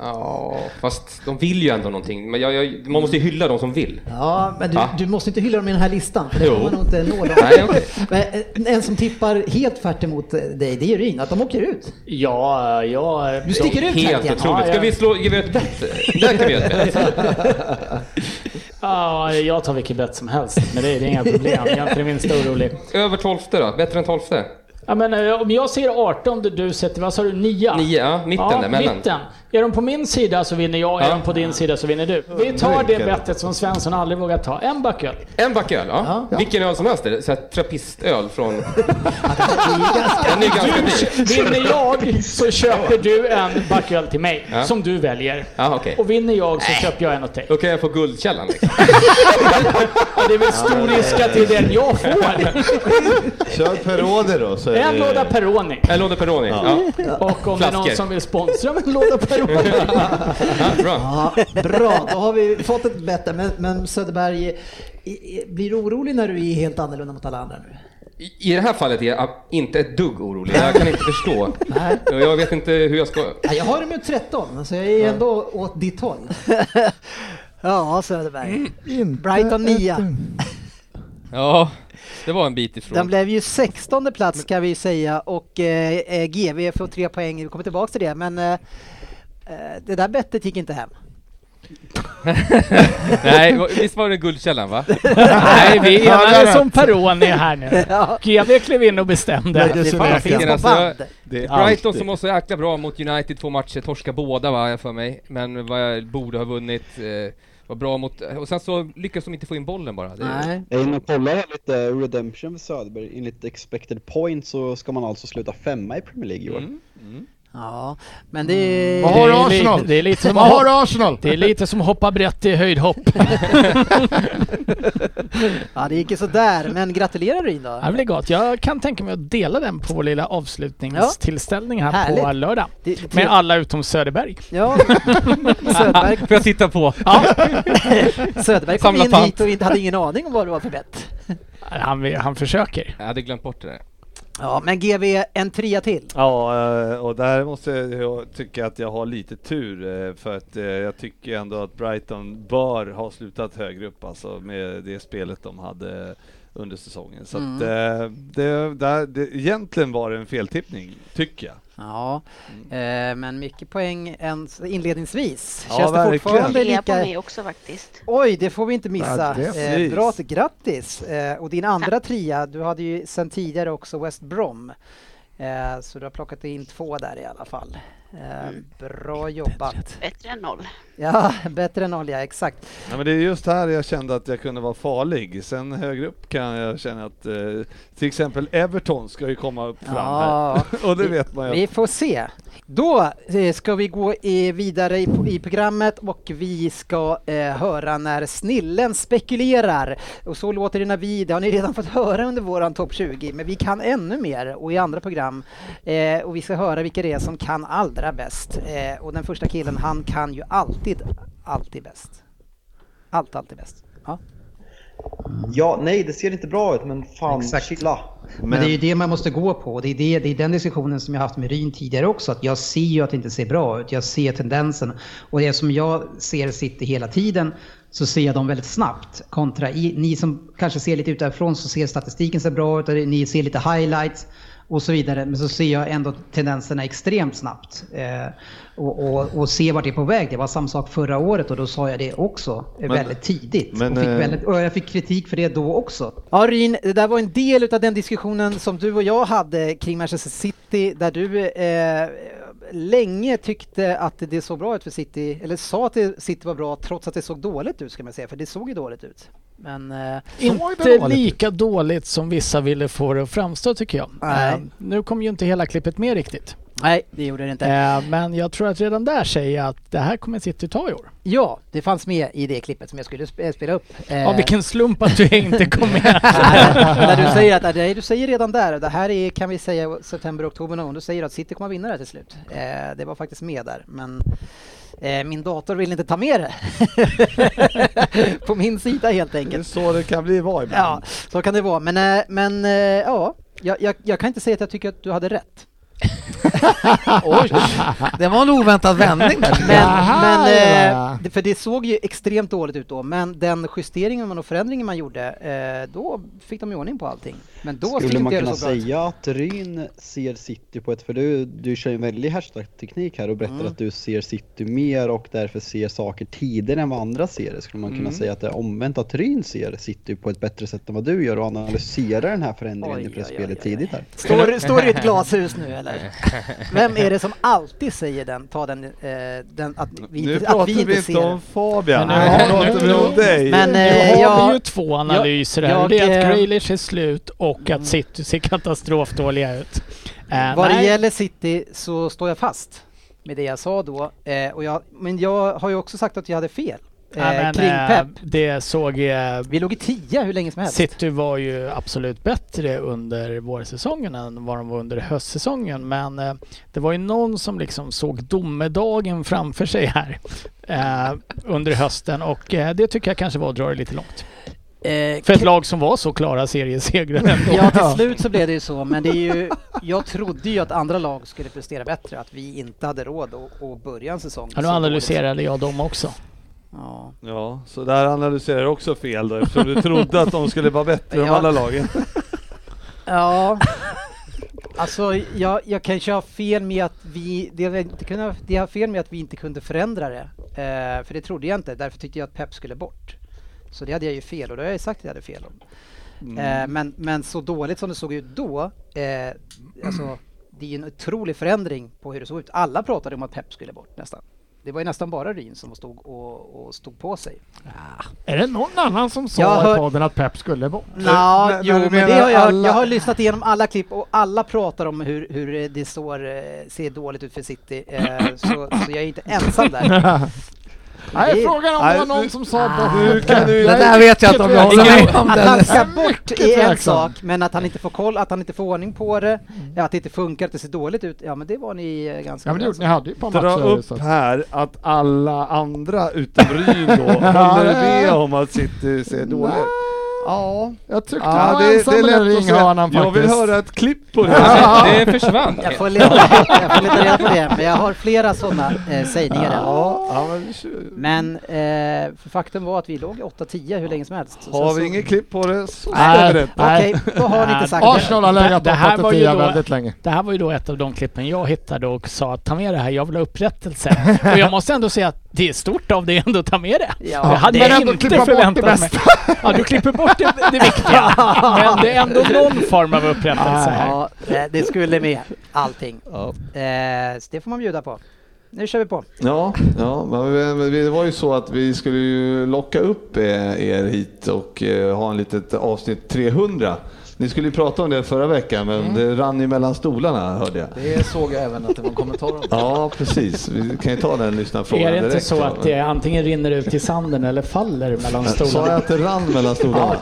S4: Ja, fast de vill ju ändå någonting. Men jag, jag, man måste ju hylla de som vill.
S10: Ja, men du,
S4: Va?
S10: du måste inte hylla dem i den här listan. För det
S4: Jo.
S10: kommer nog inte nå dem.
S4: Nej, okej.
S10: Men en- En som tippar helt tvärt emot eh, dig, det är Ryn, att de åker ut.
S3: Ja, ja... eh,
S10: Du sticker ut
S4: Helt
S10: verkligen.
S4: otroligt.
S3: Ja,
S4: Ska
S3: ja.
S4: vi slå, ge vi ett bett? Där kan vi göra ett bett.
S3: Ja, jag tar vilket bett som helst, men det är, det är inga problem. Jag är inte det minsta orolig.
S4: Över tolfte då? Bättre än tolfte?
S3: Ja, men, eh, om jag säger 18, du- du sätter, vad sa du, 9?
S4: 9, ja. Mitten där, mellan.
S3: mitten. Är de på min sida så vinner jag, är
S4: Ja.
S3: de på din sida så vinner du. Vi tar det
S4: Dricker.
S3: bettet som Svensson aldrig vågat ta. En backöl.
S4: En backöl, ja. Vilken öl som helst är det. Så här trappistöl från... Den är ganska
S3: Du,
S4: dyr.
S3: vinner jag så köper du en backöl till mig,
S4: Ja.
S3: som du väljer.
S4: Ja, okej.
S3: Och vinner jag så köper jag en åt dig.
S4: Då kan jag få Guldkällan liksom.
S3: Ja, det är väl stor risk att det är den jag får.
S7: Kör Peroni då. Så är
S3: En
S7: det-
S3: låda Peroni.
S4: En låda Peroni, ja.
S3: Och om det är någon
S4: Flaskor.
S3: som vill sponsra med en låda Peroni.
S4: Ja, bra.
S10: Ja, bra, då har vi fått ett bett där. men, men Söderberg, i- i- blir du orolig när du är helt annorlunda mot alla andra nu?
S4: I det här fallet är jag inte ett dugg orolig. Jag kan inte förstå. Och Jag vet inte hur jag ska...
S10: Ja, Jag har det med 13, så jag är ändå åt ditt håll. ja, Söderberg.
S4: Mm.
S10: Brighton 9.
S4: Ja, det var en bit ifrån.
S2: Den blev ju 16 plats ska vi ju säga och eh, eh, GV får tre poäng. Vi kommer tillbaka till det men eh, eh, det där bettet gick inte hem.
S4: Nej, va- visst var det Guldkällan va?
S3: Nej, vi
S4: Ja, det
S3: enades
S4: är
S3: om Peroni här nu. GW klev in och bestämde.
S4: Det är fan fint. Alltså, jag-
S6: Det är
S4: Brighton
S6: alltid.
S4: som var så jäkla bra mot United två matcher, torska båda va, jag för mig. Men vad jag borde ha vunnit. Eh, var bra mot... Och sen så lyckas de inte få in bollen bara. Det,
S8: Jag är inne och kollar här lite redemption för Söderberg. Enligt expected point så ska man alltså sluta femma i Premier League i år.
S5: Mm.
S2: Ja, men det är...
S8: Mm. Vad har Arsenal?
S3: Lite, Mm. det är lite som
S8: Vad
S3: att
S8: har
S3: hoppa-
S8: Arsenal?
S3: Det är lite som att hoppa brett i höjdhopp.
S2: ja, det gick ju sådär, men gratulerar Ryn då.
S3: Det blir gott. Jag kan tänka mig att dela den på vår lilla avslutningstillställning här på
S2: Härligt.
S3: lördag.
S2: Det- det-
S3: Med alla utom Söderberg.
S2: Ja,
S3: Söderberg.
S4: Får jag titta på?
S3: Ja.
S2: Söderberg kom in hit och inte hade ingen aning om vad det var för bett.
S3: Han, han försöker.
S4: Jag hade glömt bort det där.
S2: Ja, men GV en trea till.
S6: Ja, eh, och där måste jag tycka att jag har lite tur eh, för att eh, jag tycker ändå att Brighton bör ha slutat högre upp alltså med det spelet de hade under säsongen. Så att,
S2: Mm.
S6: eh, det, där, det, egentligen var det en feltippning, tycker jag.
S2: Ja, eh, men mycket poäng ens inledningsvis.
S6: Ja,
S2: Känns det
S6: verkligen.
S2: fortfarande
S9: Det är på
S2: lika...
S9: mig också faktiskt.
S2: Oj, det får vi inte
S9: Ja,
S2: missa.
S9: det-
S2: Eh, bra, till- grattis! Eh, och din andra tria, du hade ju sedan tidigare också West Brom. Eh, så du har plockat in två där i alla fall. Eh, bra jobbat!
S9: Bättre än noll.
S2: Ja, bättre än olja, exakt.
S6: Ja, men det är just här jag kände att jag kunde vara farlig. Sen högre upp kan jag känna att eh, till exempel Everton ska ju komma upp fram
S2: Ja,
S6: här. och det vet man ju.
S2: Vi
S6: att-
S2: får se. Då eh, ska vi gå i- vidare i, i programmet och vi ska eh, höra när snillen spekulerar. Och så låter det när vi, det har ni redan fått höra under våran topp 20, men vi kan ännu mer och i andra program. Eh, och vi ska höra vilka det är som kan allra bäst. Eh, och den första killen, han kan ju alltid, alltid bäst. Allt, alltid bäst. Ja.
S8: Ja, nej, det ser inte bra ut, men fan, chilla.
S2: Men, det är ju det man måste gå på. Det är, det, det är den diskussionen som jag haft med Ryn tidigare också. Att jag ser ju att det inte ser bra ut. Jag ser tendensen. Och det som jag ser sitter hela tiden så ser jag dem väldigt snabbt. Kontra i, ni som kanske ser lite utifrån så ser statistiken så bra ut. Och ni ser lite highlights och så vidare. Men så ser jag ändå tendenserna extremt snabbt. Eh, och, och, och ser vart det är på väg. Det var samma sak förra året och då sa jag det också eh,
S7: Men-
S2: väldigt tidigt.
S7: men,
S2: och, fick
S7: eh,
S2: väldigt, och jag fick kritik för det då också. Ja, Ryn, det där var en del av den diskussionen som du och jag hade kring Manchester City där du eh, länge tyckte att det såg bra ut för City, eller sa att det- City var bra trots att det såg dåligt ut ska man säga, för det såg ju dåligt ut. Men eh,
S3: Inte lika dåligt som vissa ville få det att framstå tycker jag.
S2: Nej.
S3: Eh, Nu kom ju inte hela klippet med riktigt.
S2: Nej, det gjorde det inte.
S3: Eh, men jag tror att redan där säger jag att det här kommer City ta i år.
S2: Ja, det fanns med i det klippet som jag skulle sp- eh, spela upp.
S3: Ja, vilken slump att du inte kom med.
S2: när du säger att, nej, du säger redan där, det här är, kan vi säga september, oktober någon gång, du säger att City kommer att vinna det här till slut. Eh, det var faktiskt med där, men eh, min dator vill inte ta med det. På min sida helt enkelt.
S6: så det kan bli var
S2: Ja, så kan det vara. Men, eh, men eh, ja, jag, jag, jag kan inte säga att jag tycker att du hade rätt.
S7: Oj, det var en oväntad vändning.
S2: Men, men, eh, det- för det såg ju extremt dåligt ut då, men den justeringen man och förändringen man gjorde, eh, då fick de i ordning på allting. Men då
S8: Skulle
S2: såg
S8: man
S2: inte det
S8: kunna
S2: så bra ut.
S8: säga att Ryn ser City på ett... För du, du kör ju en väldig hashtag-teknik här och berättar
S2: Mm.
S8: att du ser City mer och därför ser saker tidigare än vad andra ser det. Skulle man kunna
S2: Mm.
S8: säga att det är omvänt att Ryn ser City på ett bättre sätt än vad du gör och analyserar den här förändringen
S2: Oj,
S8: i pressspelet tidigt här?
S2: Står, står i ett glashus nu eller? Vem är det som alltid säger den, ta den, eh, den att vi,
S6: Nu
S2: inte-
S6: pratar
S2: att
S6: vi
S2: vi inte
S6: inte
S2: ser
S6: om
S2: den?
S6: Fabian.
S3: Men nu-
S6: Nej,
S3: nu-
S6: pratar vi
S3: nu-
S6: om dig.
S2: Men,
S3: nu
S2: eh,
S3: har
S2: jag-
S3: vi ju två analyser här.
S2: jag-
S3: det är att
S2: eh,
S3: Grealish är slut och att City ser katastrofdåliga ut. Eh,
S2: Vad det
S3: nej.
S2: gäller City så står jag fast med det jag sa då. Eh, och jag, men jag har ju också sagt att jag hade fel eh,
S3: Nej, men,
S2: kring
S3: eh,
S2: Pep.
S3: Det såg... eh,
S2: Vi låg i tia hur länge som helst.
S3: City var ju absolut bättre under vårsäsongen än vad de var under höstsäsongen. Men eh, det var ju någon som liksom såg domedagen framför sig här eh, under hösten och eh, det tycker jag kanske var att dra det lite långt. För ett lag som var så klara seriesegrare ändå.
S2: Eh, Ja, till slut så blev det ju så, men det är ju, jag trodde ju att andra lag skulle prestera bättre, att vi inte hade råd att, att börja en säsong.
S3: Ja, nu
S2: så
S3: analyserade jag dem också.
S2: Ja.
S6: Ja, så där analyserar du också fel då eftersom du trodde att de skulle vara bättre än
S2: Ja.
S6: alla lagen.
S2: Ja. Alltså, jag, jag kanske har fel med att vi... Det jag inte kunde, det jag har fel med att vi inte kunde förändra det. Eh, för det trodde jag inte. Därför tyckte jag att Pep skulle bort. Så det hade jag ju fel och det har jag ju sagt att jag hade fel om. Eh,
S19: Mm.
S2: men, men så dåligt som det såg ut då, eh, alltså, det är ju en otrolig förändring på hur det såg ut. Alla pratade om att Pep skulle bort nästan. Det var ju nästan bara Ryn som stod och, och stod på sig.
S5: Är det någon annan som sa
S2: Jag hör-
S5: i podden att Pep skulle bort?
S2: Nå, jo, men det har jag,
S5: alla-
S2: jag har lyssnat igenom alla klipp och alla pratar om hur, hur det står, eh, ser dåligt ut för City, eh, så, så jag är ju inte ensam där.
S5: Nej,
S2: Det-
S5: frågan om det var någon som sa bort.
S2: hur kan du-
S5: Jag är
S2: Det där vet jag inte om jag
S5: mycket
S2: håller med
S5: tveksam.
S2: om, Att han ska bort
S5: Mycket
S2: är en sak,
S5: tveksam.
S2: men att han inte får koll, att han inte får ordning på det, ja, att det inte funkar, att det ser dåligt ut, ja men det var ni eh, ganska
S5: Ja, men det
S2: överens
S5: gjorde
S2: om.
S5: ni. hade ju ett par
S6: Dra
S5: matcher.
S6: upp
S5: så att-
S6: här att alla andra utom Ryn då håller med om att City ser dåligt ut.
S5: Ja, jag tyckte
S6: Ja,
S5: han var
S6: det- det är
S5: ensam i
S6: lätt
S5: den
S6: att
S5: ringhörnan
S6: säga. Jag
S5: faktiskt.
S6: vill höra ett klipp på det här. Det försvann.
S2: Jag får leta, jag får leta reda på det, men jag har flera sådana eh, sägningar.
S6: Ja,
S2: men eh, för faktum var att vi låg i 8-10 hur länge som helst. Så-
S6: Har
S2: så-
S6: vi inget klipp på det så
S3: Nej,
S6: stämmer det.
S2: Okej, då Äh, har ni inte sagt det.
S5: Arsenal har legat på 8-10 väldigt länge.
S3: Det här var ju då ett av de klippen jag hittade och sa att ta med det här, jag vill ha upprättelse. och jag måste ändå säga att det är stort av dig ändå att ta med det.
S2: Ja,
S3: jag hade
S2: det är
S3: jag
S2: ändå
S3: inte
S2: klippa bort det
S3: förväntat mig.
S2: bästa.
S3: ja, du klipper bort det, det viktiga. Men det är ändå någon form av upprättelse här.
S2: Ja, eh, det skulle med allting. Eh, så det får man bjuda på. Nu kör vi på.
S13: Ja, ja men vi- men det var ju så att vi skulle ju locka upp eh, er hit och eh, ha en litet avsnitt 300. Ni skulle ju prata om det förra veckan men
S5: Mm.
S13: det rann ju mellan stolarna hörde jag.
S22: Det såg jag även att det var en kommentar om.
S13: Ja, precis. Vi kan ju ta den lyssnarfrågan
S3: Är det inte
S13: direkt
S3: så
S13: då.
S3: att det antingen rinner ut i sanden eller faller mellan
S13: Sa jag
S3: stolarna?
S13: att det rann mellan stolarna?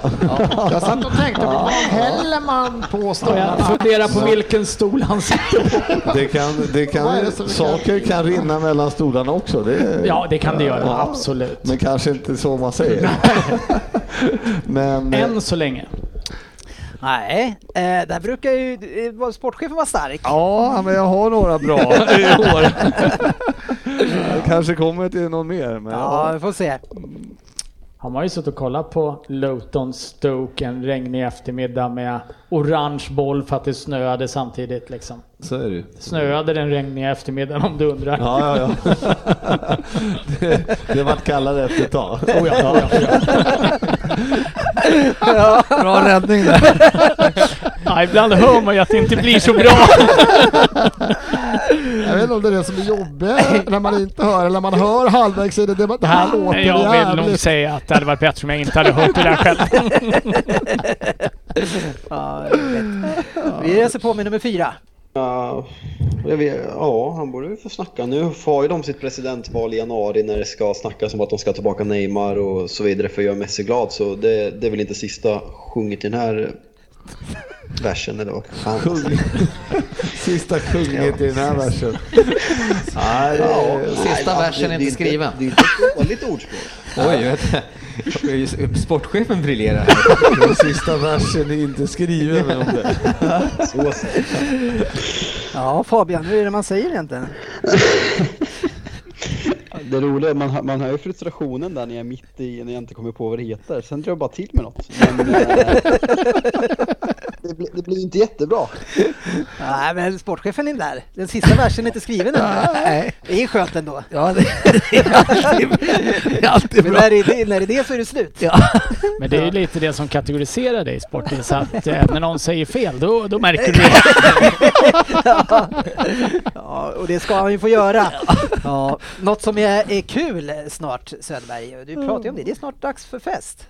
S5: Jag satt och tänkte, vad häller man på stolarna?
S3: Jag funderar på vilken stol han sitter på.
S13: Det kan, det kan,
S5: Vad är det som-
S13: saker kan rinna mellan stolarna också. Det,
S3: Ja, det kan det göra, absolut.
S13: Men kanske inte så man säger. Men,
S3: Än så länge.
S2: Nej, eh, där brukar ju eh, vara- sportchefen vara stark.
S6: Ja, men jag har några bra i år. Det kanske kommer till någon mer. Men
S2: Ja, vi får se.
S3: Han har ju suttit och kollat på Luton Stoke en regnig eftermiddag med orange boll för att det snöade samtidigt liksom.
S13: Så är det ju.
S3: Snöade den regniga eftermiddagen om du undrar?
S13: Ja, ja, ja. Det, det vart kallare efter ett tag.
S3: Oh ja, oh ja, oh
S2: ja.
S3: Bra räddning där. ja, ibland hör man ju att det inte blir så bra.
S5: Jag vet inte om det är det som är jobbigt när man inte hör, eller man hör halvvägs i det, det, det här låter
S3: Jag vill
S5: jävligt.
S3: nog säga att det hade varit bättre om jag inte hade hört det där själv.
S2: ja, jag vet. Vi reser på med nummer fyra.
S8: Ja, jag vet, ja, han borde ju få snacka. Nu har ju de sitt presidentval i januari när det ska snackas om att de ska tillbaka Neymar och så vidare för att göra Messi glad. Så det, det är väl inte sista sjunget i den här versen eller vad fan. alltså.
S23: Sista sjunget i den här versen.
S8: Nej,
S24: Ja,
S4: eh,
S24: sista versen är inte skriven.
S8: Det är inte ett dåligt ordspråk.
S25: Oj, vet, sportchefen briljerar.
S23: Den sista versen är inte skriven om det.
S10: Ja Fabian, hur är det man säger egentligen?
S8: Det roliga är man, hör- man hör ju frustrationen där när jag är mitt i, när jag inte kommer på vad det heter. Sen drar jag bara till med något. Men, eh, det, blir, det blir inte jättebra.
S10: Nej men sportchefen är där. Den sista versen är inte skriven än.
S7: Nej.
S10: Det är skönt ändå.
S7: Ja, det är alltid, det är alltid
S10: men
S7: bra.
S10: när det, är det- när det är det så är det slut.
S3: Men det är ju lite det som kategoriserar dig i sporten, så att eh, när någon säger fel, då, då märker du det.
S10: Ja, och det ska han ju få göra. Ja. Något som är, är kul snart Söderberg, du pratar ju om det, det är snart dags för fest.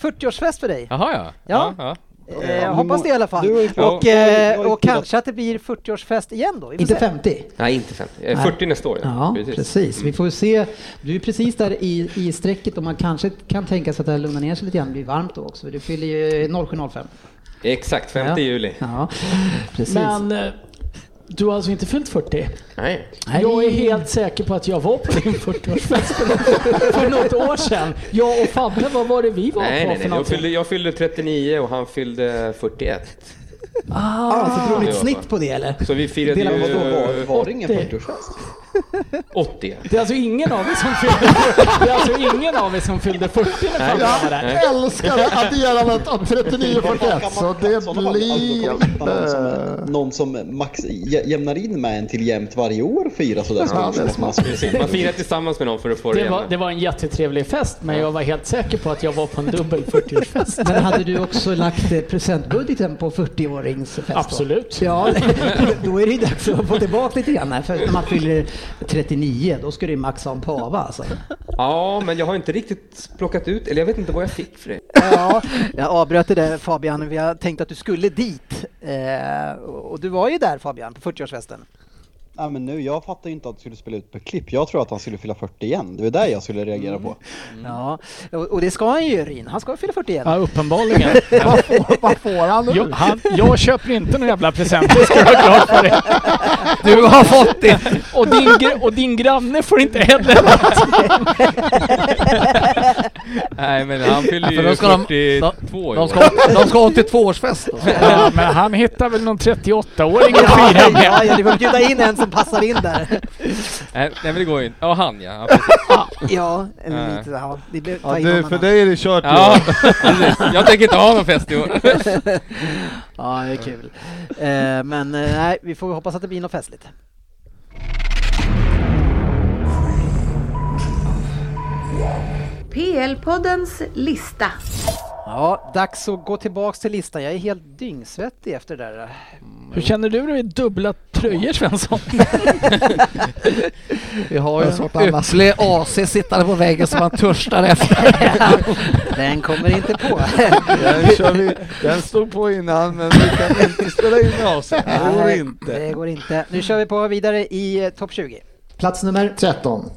S10: 40-årsfest för dig.
S25: Jaha ja.
S10: Ja.
S25: ja.
S10: Eh, jag hoppas det i alla fall.
S25: Du har ju-
S10: Och,
S25: Ja.
S10: eh,
S25: Jag har ju
S10: och
S25: kollat.
S10: kanske att det blir 40-årsfest igen då. vi får
S2: Inte
S10: se.
S2: 50?
S4: Nej, inte 50. Eh,
S2: Nej.
S4: 40 nästa år.
S2: Ja, precis. Vi får se. Du är precis där i, i strecket och man kanske kan tänka sig att det här lugnar ner sig lite grann. Det blir varmt då också. Du fyller ju 07.05.
S4: Exakt, 5
S2: Ja.
S4: juli.
S2: Ja, precis.
S3: Men eh, du har alltså inte fyllt 40?
S4: Nej.
S3: Jag är helt säker på att jag var på din 40-årsfest för något- för något år sedan. Jag och Fabbe, vad var det vi var
S4: Nej,
S3: på
S4: nej,
S3: för
S4: nej. Jag
S3: någonting?
S4: fyllde, jag fyllde 39 och han fyllde 41.
S10: Ah, så drog ni ett
S4: Ja.
S10: snitt på det eller?
S4: Så vi firade
S10: Delar
S4: ju...
S10: man- vadå, var-
S8: var det ingen
S4: 40-årsfest? 80.
S3: Det är alltså ingen av er som fyllde, det är alltså ingen av er som fyllde 40 när Fabbe var där.
S5: Jag älskar adderandet av 39 och 41. Så det
S8: Sådana fall, alltså, då kommer vi hitta någon
S5: blev...
S8: som- alltså, Någon som max, jä- jämnar in med en till jämt varje år och firar sådär.
S4: Ja, det är smart. Precis. Man firar
S8: Precis.
S4: tillsammans med någon för att få det
S3: Det var,
S4: igen.
S3: det var en jättetrevlig fest, men jag var helt säker på att jag var på en dubbel 40-årsfest.
S2: Men hade du också lagt eh, presentbudgeten på 40-åringsfest? då?
S3: Absolut.
S2: Ja, då är det ju dags att få tillbaka lite grann här. För när man fyller 39, då ska du ju max ha en pava alltså.
S4: Ja, men jag har inte riktigt plockat ut, eller jag vet inte vad jag fick för det.
S10: Ja, jag avbröt det där Fabian, vi har tänkt att du skulle dit. Eh, och och du var ju där Fabian, på 40-årsfesten.
S8: Ja, men nu, jag fattar ju inte att du skulle spela ut på klipp. Jag tror att han skulle fylla 40 igen. Det var där jag skulle reagera på.
S10: Ja, och, och det ska han ju Rin, han ska fylla 41.
S3: Ja, uppenbarligen.
S10: Vad får han
S3: Jag, han, jag köper inte några jävla presenter, ska du ha klart för dig.
S7: Du har fått det.
S3: Och din, gr- och din granne får inte heller
S4: Nej, men han fyller
S7: Ja, för
S4: ju
S7: då ska de-
S4: 42
S7: de-
S4: i
S7: de
S4: år.
S7: ska- de ska ha 82-årsfest då.
S3: Ja, men han hittar väl någon 38-åring att fira med.
S10: Ja, ja, du får bjuda in en som passar in där.
S4: Nej, nej, men det går ju inte. Ja, han ja. ja precis.
S10: Ja, eller
S4: Nej.
S10: lite, ja, det blir, ta
S6: Ja,
S10: in
S6: du,
S10: någon
S6: för
S10: annan.
S6: dig är det kört
S4: Ja,
S6: Johan.
S4: precis. Jag tänker inte ha någon fest i år.
S10: Ja, det är kul. Eh, men eh, nej, vi får hoppas att det blir något festligt.
S1: PL-poddens lista.
S10: Ja, dags att gå tillbaks till listan. Jag är helt dyngsvettig efter det där.
S3: Hur känner du dig i dubbla tröjor Svensson?
S7: Vi har ju
S10: En
S7: en
S10: sort annars.
S7: ypperlig AC sittande på väggen som man törstar efter.
S10: Den kommer inte på.
S6: Den, kör vi, den stod på innan men vi kan inte spela in med oss. Det går
S10: Nej,
S6: inte.
S10: Det går inte. Nu kör vi på vidare i eh, topp 20.
S2: Plats nummer
S5: 13.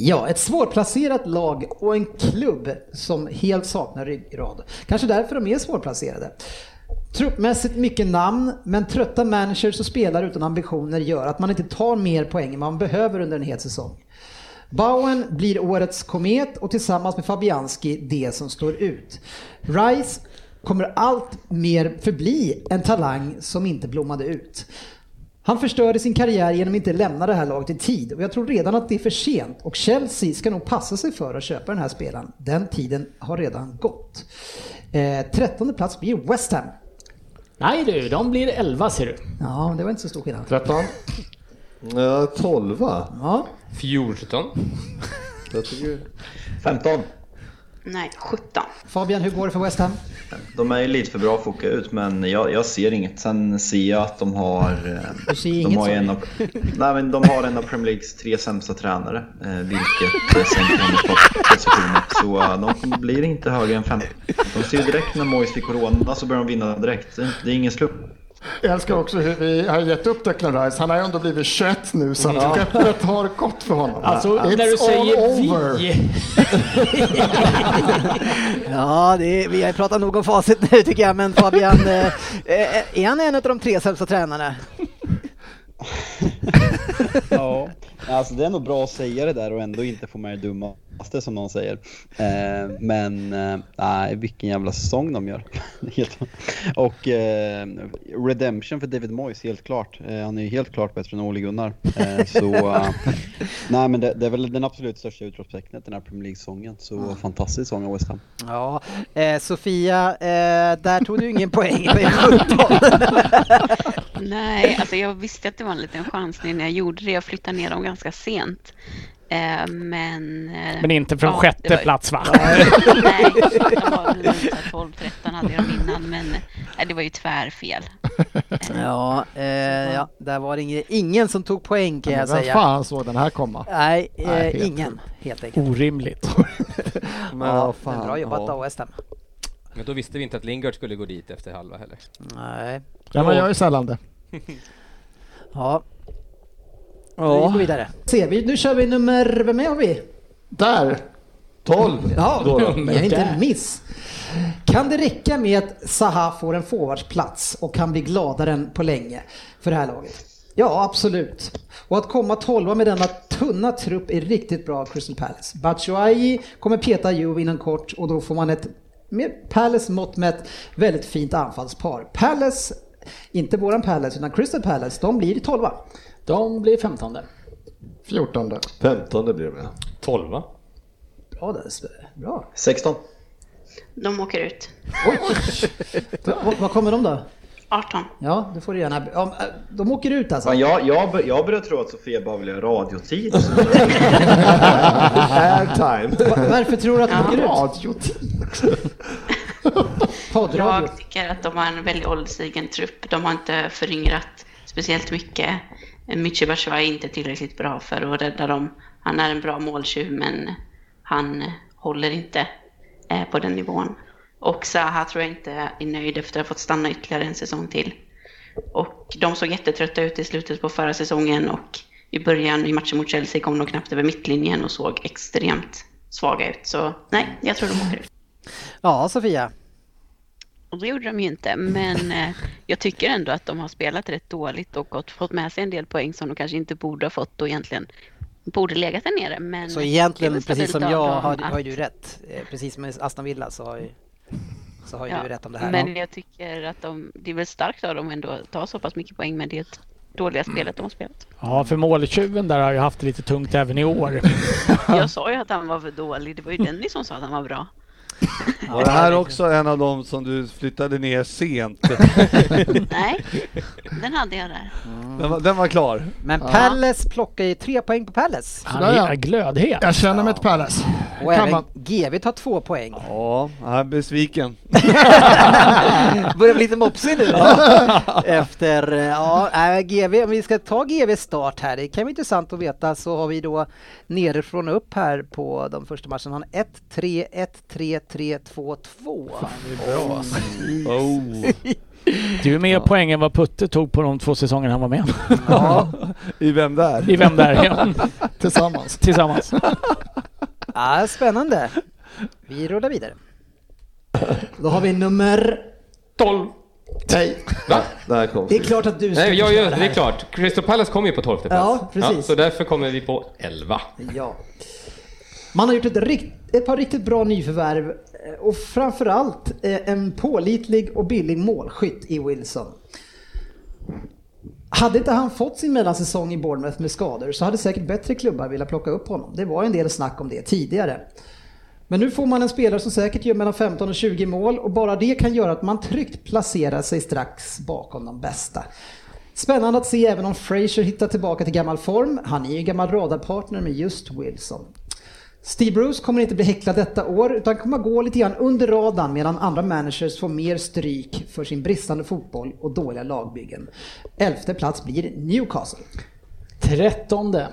S2: Ja, ett svårplacerat lag och en klubb som helt saknar ryggrad. Kanske därför de är svårplacerade. Truppmässigt mycket namn, men trötta managers och spelare utan ambitioner gör att man inte tar mer poäng än man behöver under en hel säsong. Bowen blir årets komet och tillsammans med Fabianski det som står ut. Rice kommer allt mer förbli en talang som inte blommade ut. Han förstörde sin karriär genom att inte lämna det här laget i tid och jag tror redan att det är för sent och Chelsea ska nog passa sig för att köpa den här spelaren. Den tiden har redan gått. Eh, trettonde plats blir West Ham.
S3: Nej du, de blir 11 ser du.
S2: Ja, det var inte så stor skillnad.
S5: 13.
S23: Ja, 12 va?
S2: Ja.
S4: 14.
S23: Jag tycker...
S26: 15.
S27: Nej, 17.
S2: Fabian, hur går det för West Ham?
S26: De är ju lite för bra att åka ut men jag, jag ser inget. Sen ser jag att de har... eh,
S2: Du ser
S26: de
S2: inget,
S26: har ju
S2: sa
S26: en
S2: du.
S26: av, Nej men de har en av Premier Leagues tre sämsta tränare. eh, Vilket eh, sänker hennes positioner. Så eh, de kommer- blir inte högre än 15. De ser ju direkt när Moise fick corona så börjar de vinna direkt. Det är- Det är ingen slump.
S14: Jag älskar också hur vi har gett upp Declan Rice. Han har ju ändå blivit 21 nu så
S5: Ja.
S14: att skeppet har gått för honom.
S5: Alltså,
S14: It's
S5: när du säger
S14: all
S5: vi-
S14: over.
S2: Ja, det är, vi har pratat nog om facit nu tycker jag, men Fabian, eh, eh, är han en av de tre sämsta tränarna?
S8: Ja. Alltså det är nog bra att säga det där och ändå inte få med det dummaste som någon säger. Eh, men eh, nej, vilken jävla säsong de gör. Helt- och eh, redemption för David Moyes, helt klart. Eh, han är ju helt klart bättre än Ole Gunnar. Eh, så eh, nej, men det, det är väl den absolut största utropstecknet den här Premier League-säsongen. Så
S2: Mm.
S8: fantastisk säsong av West Ham.
S2: Ja, eh, Sofia, eh, där tog du ingen poäng på er 17.
S9: Nej, alltså jag visste att det var en liten chansning när jag gjorde det. Jag flyttade ner dem ganska sent. Eh, Men, eh,
S3: Men inte från
S9: ja,
S3: sjätte
S9: det var-
S3: plats va?
S9: Nej, de var väl runt 12-13 hade jag dem innan, men eh, det var ju tvärfel.
S2: Ja, eh, ja, där var det ingen, ingen som tog poäng kan
S5: Men
S2: jag
S5: vem
S2: säga.
S5: fan såg den här komma?
S2: Nej, eh,
S5: Nej, helt
S2: ingen helt enkelt.
S3: Orimligt.
S2: Men ja, men bra jobbat av West Ham.
S10: Men då visste vi inte att Lingard skulle gå dit efter halva heller.
S2: Nej.
S5: Ja, man gör ju sällan det.
S2: Ja. Ja. Vi går vidare.
S19: Ser vi, nu kör vi nummer, vem har vi?
S14: Där!
S19: 12. Ja,
S2: Då då.
S19: jag är inte
S2: Där.
S19: en miss. Kan det räcka med att Zaha får en forwardsplats och kan bli gladare än på länge för det här laget? Ja, absolut. Och att komma tolva med denna tunna trupp är riktigt bra av Crystal Palace. Batshuayi kommer peta Juve inom kort och då får man ett med Palace mått mätt väldigt fint anfallspar. Palace, inte våran Palace utan Crystal Palace, de blir tolva.
S20: De blir femtonde.
S14: Fjortonde.
S13: Femtonde blir det med.
S4: Tolva.
S19: Ja, det är bra.
S21: 16.
S9: De åker ut.
S19: Vad- Vad kommer de då?
S9: 18.
S19: Ja, det får du gärna. ja, äh, De åker ut alltså?
S21: Fan, jag, jag, bör- jag börjar tro att Sofia bara vill ha radiotid.
S13: Airtime.
S19: Va- Varför tror du att de åker ut?
S9: Jag tycker att de har en väldigt ålderstigen trupp. De har inte föryngrat speciellt mycket. Michy Batshuayi är inte tillräckligt bra för att rädda dem. Han är en bra måltjuv, men han håller inte eh, på den nivån. Och Zaha tror jag inte är nöjd efter att ha fått stanna ytterligare en säsong till. Och de såg jättetrötta ut i slutet på förra säsongen och i början i matchen mot Chelsea kom de knappt över mittlinjen och såg extremt svaga ut. Så nej, jag tror de åker ut.
S2: Ja, Sofia.
S9: Och det gjorde de ju inte, men eh, jag tycker ändå att de har spelat rätt dåligt och gått, fått med sig en del poäng som de kanske inte borde ha fått och egentligen borde legat där nere. Men
S2: Så
S9: det är
S2: egentligen,
S9: väl
S2: precis som
S9: stabilt av
S2: jag,
S9: dem
S2: har, har
S9: att-
S2: ju rätt. Eh, Precis som med Aston Villa så har ju, så har ju
S9: Ja,
S2: du rätt om det här.
S9: Men jag tycker att de, det är väl starkt av dem ändå att ta så pass mycket poäng med det dåliga spelet de har spelat.
S3: Ja, för måltjuven där har ju haft det lite tungt även i år.
S2: Mm.
S9: Jag sa ju att han var för dålig, det var ju Dennis som sa att han var bra.
S6: Var det här också en av dem som du flyttade ner sent?
S9: Nej, den hade jag där.
S6: Mm. Den var, den var klar.
S2: Men Palace plockar ju tre poäng på Palace.
S6: Han är Sådär, ja.
S3: glödhet.
S14: Jag känner mig ett Palace.
S2: Och
S14: Kan
S2: även
S14: man-
S2: GV tar två poäng.
S6: Ja, jag är besviken.
S2: Börjar bli lite mopsig nu. Efter, eh, ja, eh, GV, om vi ska ta GV start här, det kan vara intressant att veta, så har vi då nerifrån och upp här på de första matcherna. Han 1-3, 1-3, 3-2-2.
S3: bra.
S6: alltså.
S2: Mm.
S6: Oh.
S3: Du är mer poäng än vad Putte tog på de två säsongerna han var med.
S6: I Vem där?
S3: I Vem där? Ja.
S5: Tillsammans.
S3: Tillsammans.
S2: Ja, spännande. Vi rullar vidare.
S19: Då har vi nummer...
S4: 12.
S19: Nej.
S4: Va?
S13: Där kom
S19: Det är klart att du ska
S4: Nej, jag,
S19: göra
S4: jag,
S19: det
S4: det är
S19: här.
S4: klart. Crystal Palace kommer ju på 12 plats.
S19: Ja, precis.
S4: så därför kommer vi på 11.
S19: Ja. Man har gjort ett, rikt, ett par riktigt bra nyförvärv eh, och framförallt eh, en pålitlig och billig målskytt i Wilson. Hade inte han fått sin mellansäsong i Bournemouth med skador så hade säkert bättre klubbar velat plocka upp honom. Det var ju en del snack om det tidigare. Men nu får man en spelare som säkert gör mellan 15 och 20 mål och bara det kan göra att man tryggt placerar sig strax bakom de bästa. Spännande att se även om Fraser hittar tillbaka till gammal form. Han är ju en gammal radarpartner med just Wilson. Steve Bruce kommer inte bli häcklad detta år utan kommer gå lite grann under radarn medan andra managers får mer stryk för sin bristande fotboll och dåliga lagbyggen. Elfte plats blir Newcastle.
S20: Trettonde.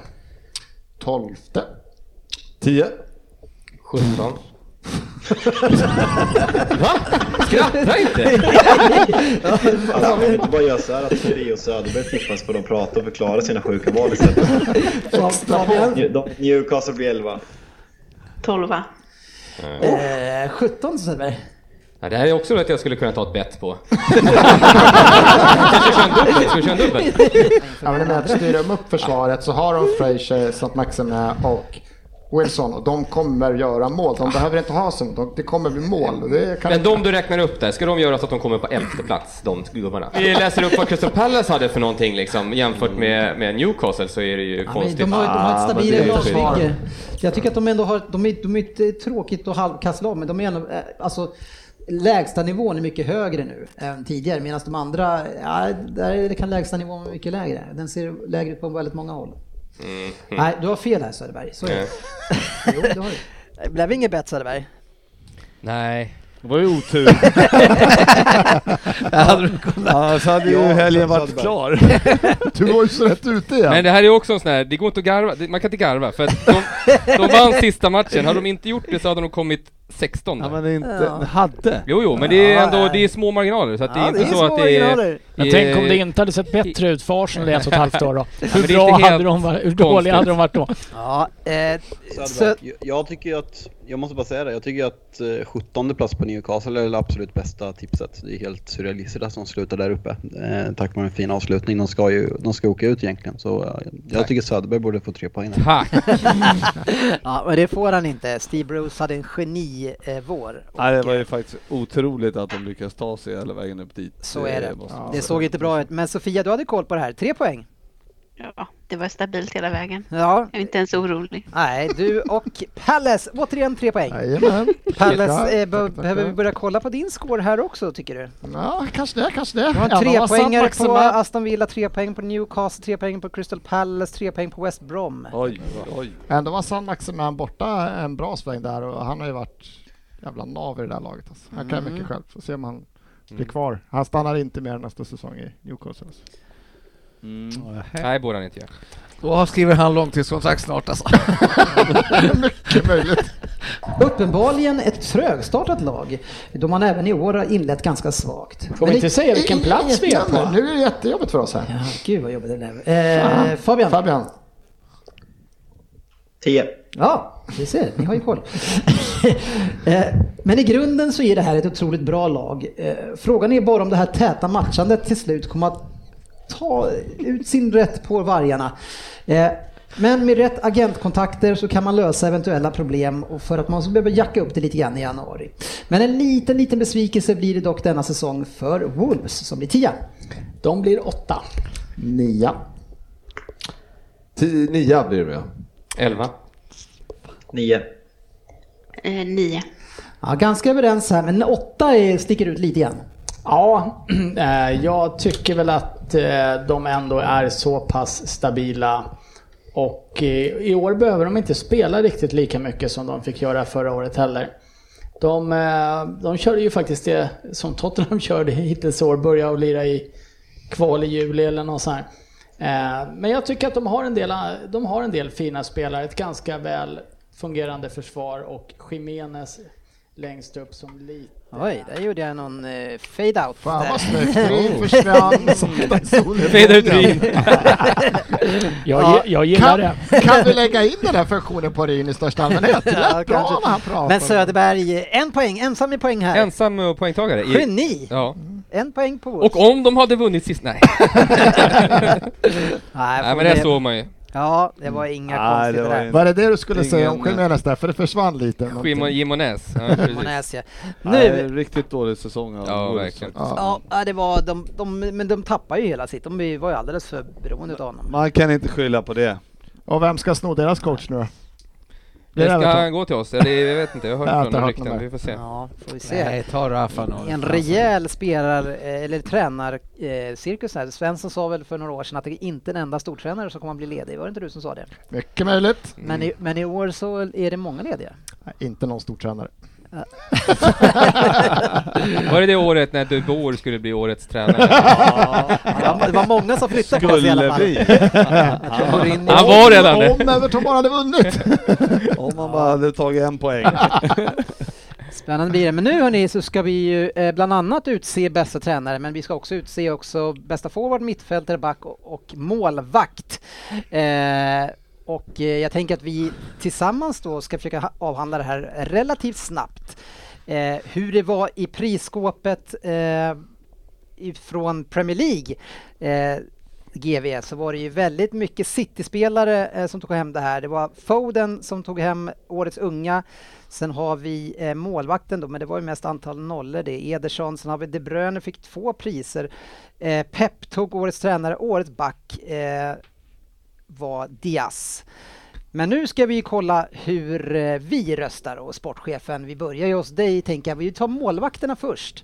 S14: Tolfte.
S13: Tio.
S4: 17.
S10: Skratta inte!
S21: Alltså, man inte bara göra så här att Fri och Söderberg tippas på de pratar och förklarar sina sjuka val istället. Nju- de- Newcastle blir 11.
S9: 12.
S19: Eh, 17 Söderberg.
S4: Ja, det här är också något jag skulle kunna ta ett bett på. Kanske köra en dubbel? Ska vi köra en dubbel?
S5: Ja, men med att styra de upp försvaret så har de Frazier, St. Maxime och Wilson och de kommer göra mål. De behöver inte ha så de, det kommer bli mål. och Det kan
S4: Men de du räknar upp där, ska de göra så att de kommer på elfte plats, de gubbarna? Vi läser upp vad Crystal Palace hade för någonting liksom, jämfört med, med Newcastle så är det ju
S19: Ja, men
S4: konstigt.
S19: de har, de har ett stabilare
S4: Ah, men det är
S19: lagbygge.
S4: ju-
S19: Jag tycker att de ändå har, de är, de är inte tråkigt och halvkast lag, men de är ändå, eh, alltså lägsta nivån är mycket högre nu än tidigare, medan de andra, ja, där är- kan lägsta nivån vara mycket lägre. Den ser lägre ut på väldigt många håll.
S4: Mm.
S19: Nej, du har fel här Söderberg. Så är det. jo, det har du.
S2: Det blev inget bett Söderberg.
S4: Nej.
S6: Det var ju otur. Ja, så hade ju helgen varit klar.
S14: Du var ju så rätt ute igen.
S4: Men det här är också en sån här, det går inte att garva, det- man kan inte garva för att de, de vann sista matchen, hade de inte gjort det så hade de kommit 16 där.
S6: Ja, men inte- Ja. hade.
S4: Jo, jo, men det är
S6: Ja,
S4: ändå,
S6: nej.
S4: det är små marginaler så att det
S6: Ja,
S4: är inte
S6: det är
S4: så
S6: små
S4: att det är...
S6: marginaler.
S3: Men
S4: är-
S3: tänk om det inte hade sett bättre ut för Arsenal i ett och ett halvt år då.
S4: Ja,
S3: Hur
S4: men det är
S3: bra
S4: inte
S3: hade
S4: helt
S3: de varit? Hur
S4: konstigt.
S3: dåliga hade de varit då?
S2: Ja, eh,
S8: Söderberg, jag- jag tycker ju att, jag måste bara säga det, jag tycker ju att eh, 17 plats på Newcastle är det absolut bästa tipset. Det är helt surrealistiskt att de slutar där uppe. Eh, tack vare en fin avslutning. De ska ju, de ska åka ut egentligen. Så eh, jag
S2: Tack.
S8: tycker Söderberg borde få tre poäng.
S4: Tack!
S2: ja, men det får han inte. Steve Bruce hade en geni-vår. Eh, vår.
S6: Nej, det var ju faktiskt otroligt att de lyckas ta sig hela vägen upp dit.
S2: så är det.
S6: måste man
S2: Det
S6: säga.
S2: såg inte bra ut. Men Sofia, du hade koll på det här. Tre poäng.
S9: Ja, det var stabilt hela vägen.
S2: Ja.
S9: Jag är inte ens orolig.
S2: Nej, du och Palace. Återigen tre poäng.
S9: Jajamän.
S5: Tackar,
S2: Palace, eh, be-
S5: tackar.
S2: behöver vi börja kolla på din score här också tycker du?
S5: Ja, kanske det, kanske det.
S2: Du har
S5: Ja,
S2: en
S5: de har satt
S2: trepoängare
S5: Maxima.
S2: på Aston Villa, tre poäng på Newcastle, tre poäng på Crystal Palace, tre poäng på West Brom.
S6: Oj, oj.
S5: Ändå var San Maximin borta en bra sväng där och han har ju varit jävla nav i det där laget. Alltså. Han kan ju
S2: Mm.
S5: mycket själv. Får se om han blir kvar. Han stannar inte mer nästa säsong i Newcastle. alltså.
S4: Mm. Nej, borde han inte göra.
S7: Då skriver han långtidskontrakt snart alltså.
S5: Mycket möjligt.
S19: Uppenbarligen ett trögstartat lag, då man även i år har inlett ganska svagt.
S5: Får vi inte säga vilken plats vi är på? Nu är det jättejobbigt för oss här.
S19: Ja, gud vad jobbigt det blev. Eh, Fabian.
S5: Fabian.
S21: 10.
S19: Ja, vi ser. Ni har ju koll. Eh, Men i grunden så är det här ett otroligt bra lag. Eh, Frågan är bara om det här täta matchandet till slut kommer att ta ut sin rätt på vargarna. Eh, Men med rätt agentkontakter så kan man lösa eventuella problem och för att man så behöver jacka upp det lite grann i januari. Men en liten, liten besvikelse blir det dock denna säsong för Wolves som blir 10.
S20: De blir åtta.
S5: Nia.
S13: Tio, nia blir det med.
S4: 11.
S21: 9.
S9: Eh, nio.
S19: Ja, ganska överens här, men 8 är- sticker ut lite grann.
S20: Ja, eh, jag tycker väl att eh, de ändå är så pass stabila. Och eh, i år behöver de inte spela riktigt lika mycket som de fick göra förra året heller. De, eh, de körde ju faktiskt det som Tottenham körde hittills i år, börja och lira i kval i juli eller något sånt här. Eh, Men jag tycker att de har, en del, de har en del fina spelare, ett ganska väl fungerande försvar och Jimenez längst upp som lite...
S2: Oj, där gjorde jag någon eh, fade-out.
S5: Fan
S2: där.
S5: vad snyggt. Ryn försvann. Sakta solen.
S2: Fade out Ryn.
S3: Jag,
S5: Ja,
S3: gi- jag gillar
S5: kan,
S3: det.
S5: Kan vi lägga in den här funktionen på Ryn i största allmänhet? Det lät
S2: Ja,
S5: bra
S2: kanske.
S5: när han pratade.
S2: Men Söderberg, en poäng, ensam i poäng här.
S4: Ensam och poängtagare. i-
S2: Geni!
S4: Ja.
S2: En poäng på Wolves.
S4: Och om de hade vunnit sist, nej. Nej, men det såg man ju.
S2: Ja, det var inga
S4: Nej,
S2: konstigheter
S4: det var
S2: där.
S4: inte-
S5: Var det det du skulle säga om
S6: Ingen-
S5: Jimenez där? För det försvann lite.
S4: Shimon Jimenez. Ja, precis.
S2: Jimenez, ja. Nu-
S6: Nej, riktigt dålig säsong av
S4: Ja,
S6: Wolves
S4: verkligen.
S6: faktiskt.
S2: Ja, ja, det var de, de, men de tappar ju hela sitt. De var ju alldeles för beroende av honom.
S6: Man kan inte skylla på det.
S5: Och vem ska sno deras coach nu då?
S4: Det ska
S5: Everton?
S4: han gå till oss? Eller jag vet inte, jag har
S5: Jag har
S4: hört
S5: inte
S4: några
S5: hört något
S4: rykten.
S5: mer.
S4: Vi får se.
S2: Ja, får vi se.
S7: Nej, ta Rafa nu.
S2: En rejäl spelar eh, eller tränarcirkus här. Svensson sa väl för några år sedan att det är inte en enda stortränare som kommer att bli ledig. Var det inte du som sa det?
S5: Mycket möjligt.
S2: Men, i, men i år så är det många lediga.
S5: Nej, inte någon stortränare.
S4: Var det det året när Dubor skulle bli årets tränare?
S2: Ja, det var många som flyttade på sig i alla fall.
S4: Han var redan det.
S5: Om Everton bara hade vunnit!
S6: Om man bara hade tagit en poäng.
S2: Spännande blir det. Men nu hörni så ska vi ju eh, bland annat utse bästa tränare men vi ska också utse också bästa forward, mittfältare, back och, och målvakt. Eh, och eh, jag tänker att vi tillsammans då ska försöka ha- avhandla det här relativt snabbt. Eh, hur det var i prisskåpet eh, ifrån Premier League eh, GV så var det ju väldigt mycket City-spelare eh, som tog hem det här. Det var Foden som tog hem årets unga. Sen har vi eh, målvakten då, men det var ju mest antal nollor det. Ederson, sen har vi De Bruyne fick två priser. Eh, Pep tog årets tränare, årets back eh, var Diaz. Men nu ska vi kolla hur eh, vi röstar och sportchefen, vi börjar ju hos dig tänker jag. Vi tar målvakterna först.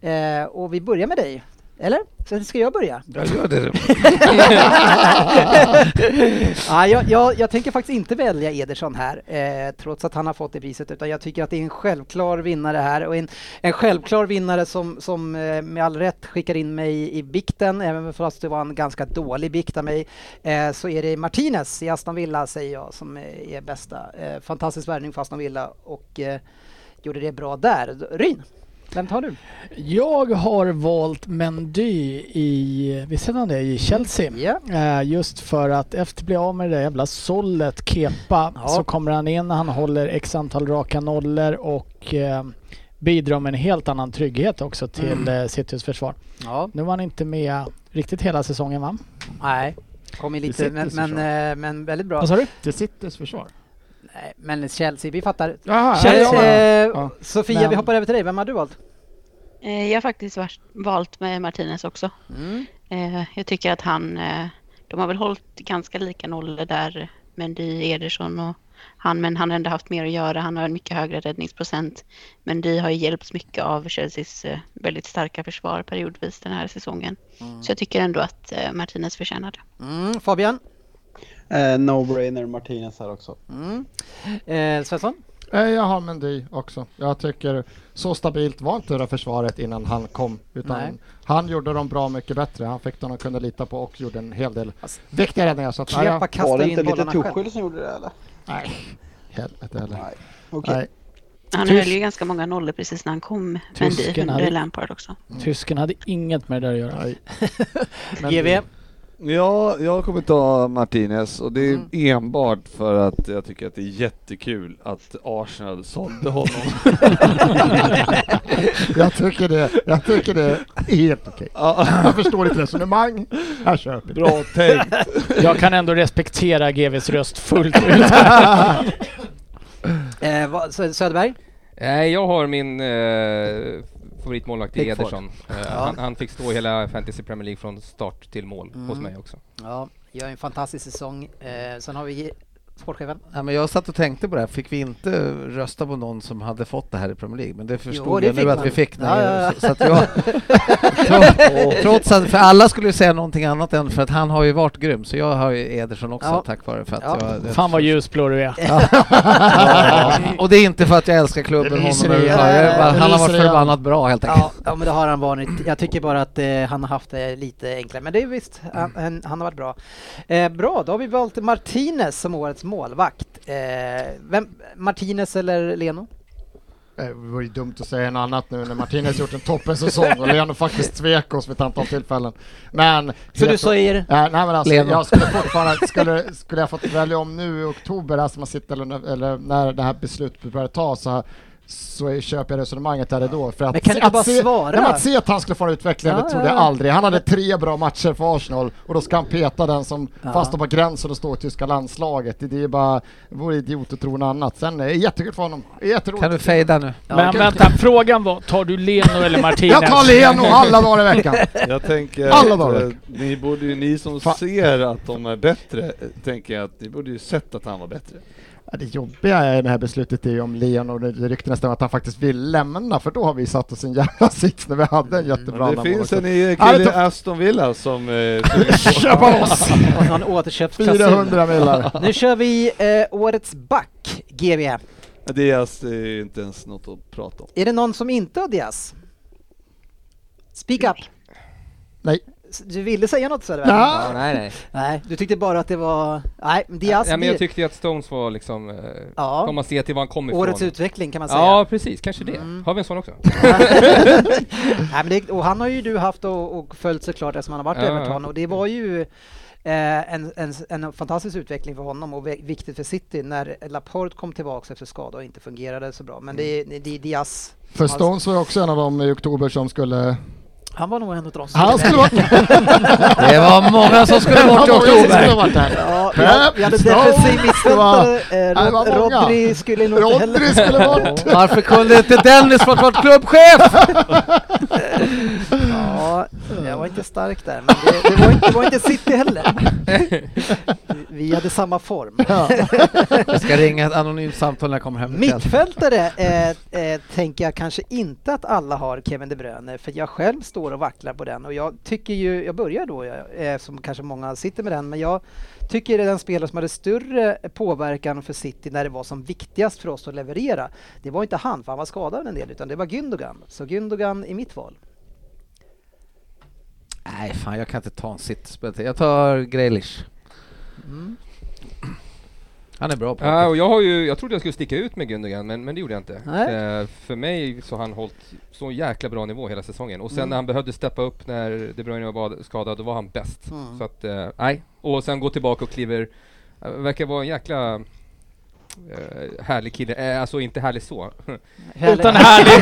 S2: Eh, och vi börjar med dig. Eller? Så ska jag börja?
S7: Jag gör det.
S2: ja, jag, jag, jag tänker faktiskt inte välja Ederson här, eh, trots att han har fått det priset, utan jag tycker att det är en självklar vinnare här och en, en självklar vinnare som, som eh, med all rätt skickar in mig i bikten, även fast det var en ganska dålig bikt av mig, eh, så är det Martinez i Aston Villa, säger jag, som eh, är bästa. Eh, fantastisk värvning för Aston Villa och eh, gjorde det bra där. Ryn, vem tar du?
S3: Jag har valt Mendy i, visst hette han det, i Chelsea. Eh, Just för att efter att bli av med det där jävla sollet Kepa så kommer han in, han håller x antal raka nollor och eh, bidrar med en helt annan trygghet också till
S2: Mm.
S3: mm. Citys försvar.
S2: Ja.
S3: Nu var han inte med riktigt hela säsongen va?
S2: Nej, kom in lite,
S3: Det
S2: men,
S3: sitter
S2: men, eh, men väldigt bra.
S3: Vad sa du?
S28: Det sitter försvar.
S2: Nej, men Chelsea, vi fattar.
S28: Jaha,
S2: Chelsea,
S28: ja, ja,
S2: eh,
S28: ja.
S2: Sofia,
S28: Men-
S2: vi hoppar över till dig. Vem har du valt?
S9: Eh, Jag har faktiskt vars- valt med Martinez också.
S2: Mm.
S9: Eh, Jag tycker att han, eh, de har väl hållit ganska lika nollor där, Mendy, Ederson och han, men han har ändå haft mer att göra. Han har en mycket högre räddningsprocent. Mendy har ju hjälpts mycket av Chelseas eh, väldigt starka försvar periodvis den här säsongen. Så jag tycker ändå att eh, Martinez förtjänar det.
S2: Mm, Fabian?
S8: Eh, No-brainer Martinez här också.
S2: Mm. Eh, Svensson?
S5: Eh, Jag har Mendy också. Jag tycker så stabilt var inte det där försvaret innan han kom. Utan
S2: Nej.
S5: han gjorde dem bra mycket bättre. Han fick dem att kunna lita på och gjorde en hel del
S2: Alltså,
S5: viktiga räddningar. Så att, ja, jag-
S8: Var det inte lite Tuchel som gjorde det eller?
S5: Nej. Helvete heller.
S8: Nej.
S5: Okej. Nej.
S9: Han
S3: Tysk-
S9: höll ju ganska många nollor precis när han kom, Mendy.
S3: Tysken
S9: Det
S3: hade-
S9: är Lampard också.
S3: Tysken hade inget med det där att göra.
S2: GV?
S6: Ja, jag kommer ta Martinez och det
S2: Mm.
S6: är enbart för att jag tycker att det är jättekul att Arsenal sålde honom.
S5: Jag tycker det, jag tycker det är helt okej.
S6: Ja.
S5: Jag förstår ditt resonemang. Jag köper det.
S6: Bra tänkt.
S3: Jag kan ändå respektera GVs röst fullt ut.
S2: Eh, vad- Sö- Söderberg?
S10: Nej, jag har min eh, favoritmålvakt i
S2: Pickford.
S10: Ederson. Eh,
S2: Ja.
S10: han, han fick stå hela Fantasy Premier League från start till mål hos
S2: Mm.
S10: mig också.
S2: Ja, gör en fantastisk säsong. Eh, sen har vi sportchefen.
S7: Nej, men jag satt och tänkte på det här, fick vi inte rösta på någon som hade fått det här i Premier League? Men det förstod
S2: det
S7: jag nu
S2: fick
S7: att
S2: man.
S7: vi fick.
S2: Ja, ja, ja.
S7: Så, så att jag, trots, trots att, för alla skulle ju säga någonting annat än för att han har ju varit grym, så jag har ju Ederson också
S3: Ja.
S7: tack vare för att
S3: Ja.
S7: jag...
S3: Fan vad ljusblå du är.
S7: Ja. Och det är inte för att jag älskar klubben honom överhuvudtaget. Jag bara- Han har varit förbannat bra helt enkelt.
S2: Ja, ja, men det har han varit. Jag tycker bara att eh, han har haft det lite enklare. Men det är visst, han,
S7: Mm.
S2: han, han har varit bra. Eh, bra, då har vi valt Martinez som årets målvakt. Eh, vem, Martinez eller Leno?
S5: Eh, Det vore ju dumt att säga något annat nu när Martinez gjort en toppensäsong och Leno faktiskt svek oss vid ett antal tillfällen. Men...
S2: Så du säger-
S5: Eh, nej men alltså,
S2: Leno.
S5: jag skulle fortfarande... Skulle, skulle jag fått välja om nu i oktober, alltså man sitter eller, när- eller när det här beslutet börjar tas så, så är- köper jag resonemanget där och då. För att,
S2: Men kan du inte
S5: att
S2: bara
S5: se,
S2: svara?
S5: Nej, men att se att han skulle få en utveckling,
S2: Ja,
S5: det trodde
S2: ja,
S5: jag
S2: ja.
S5: aldrig. Han hade tre bra matcher för Arsenal och då ska han peta den som
S2: Ja.
S5: fast på gränsen och står i tyska landslaget. Det, det är bara... Det vore idiot att tro något annat. Sen är det jättekul för honom. Det är jätteroligt.
S7: Kan du fejda nu?
S3: Men vänta, frågan var, tar du Leno eller Martinez?
S5: Jag tar Leno alla dagar i veckan.
S6: Jag tänker
S5: Alla
S6: att,
S5: dagar.
S6: eh, ni, borde, ju- ni som ser att de är bättre, eh, tänker jag att ni borde ju sett att han var bättre.
S5: Ja, Det jobbiga är det här beslutet är ju om Leon och det det ryktar nästan att han faktiskt vill lämna för då har vi satt oss i en jävla sits när vi hade en jättebra
S6: Men Mm, det
S5: annan
S6: finns en
S5: målvakt.
S6: i
S5: Ja,
S6: kille
S5: det
S6: i
S5: tar-
S6: Aston Villa som... eh,
S5: Köpa loss!
S2: Och han återköpsklausul.
S5: 400 millar.
S2: Nu kör vi eh, årets back, GV.
S6: Diaz är ju inte ens något att prata om.
S2: Är det någon som inte har Diaz? Speak up!
S5: Nej.
S2: Du ville säga något Söderberg?
S4: Ja. Ja, nej, nej.
S2: nej. Du tyckte bara att det var... Nej, men Diaz...
S4: ja, men jag tyckte ju att Stones var liksom, eh,
S2: Ja.
S4: om man ser till var han kom ifrån.
S2: Årets utveckling kan man säga. Mm.
S4: Ja, precis, kanske det. Har vi en sån också?
S2: Nej, men det, och han har ju du haft och, och följt såklart eftersom han har varit i
S4: Ja,
S2: Everton
S4: ja.
S2: och det var ju eh, en, en, en fantastisk utveckling för honom och vi- viktigt för City när Laporte kom tillbaka efter skada och inte fungerade så bra. Men det,
S4: Mm.
S2: det, det är Diaz.
S5: För Stones var ju också en av dem i oktober som skulle...
S2: Han var nog en av de
S5: Han skulle vara-
S2: Det
S5: var många som skulle bort i Det var många som oktober. skulle varit här.
S2: Ja, vi hade- vi hade
S5: Pep Stones,
S2: defensiv
S5: det var-
S2: mittfältare. eh,
S5: det var
S2: Rod-
S5: många.
S2: Rodri skulle nog
S5: Rodri
S2: inte heller...
S5: skulle bort.
S7: Varför kunde inte Dennis fått vara klubbchef?
S2: ja, jag var inte stark där, men det, det, var, inte, det var inte City heller. Vi hade samma form.
S7: Jag ska ringa ett anonymt samtal när jag kommer hem ikväll.
S2: Mittfältare eh, eh, tänker jag kanske inte att alla har Kevin De Bruyne för jag själv står och vacklar på den och jag tycker ju, jag börjar då jag, eh, som kanske många sitter med den, men jag tycker det är den spelare som hade större påverkan för City när det var som viktigast för oss att leverera. Det var inte han, för han var skadad en del, utan det var Gündogan. Så Gündogan i mitt val.
S7: Nej, fan jag kan inte ta en sittspel till. Jag tar Grealish. Han är bra på
S4: Ja, och jag, har ju, jag trodde jag skulle sticka ut med Gundogan, men, men det gjorde jag inte.
S7: Nej.
S4: Eh, för mig så har han hållit så jäkla bra nivå hela säsongen. Och sen
S29: Mm.
S4: när han behövde steppa upp när De Bruyne var bad- skadad, då var han bäst.
S29: Mm.
S4: Så att, eh, nej. Och sen gå tillbaka och kliver, eh, verkar vara en jäkla eh, härlig kille. Eh, alltså inte härlig så.
S2: Härlig.
S4: Utan härlig!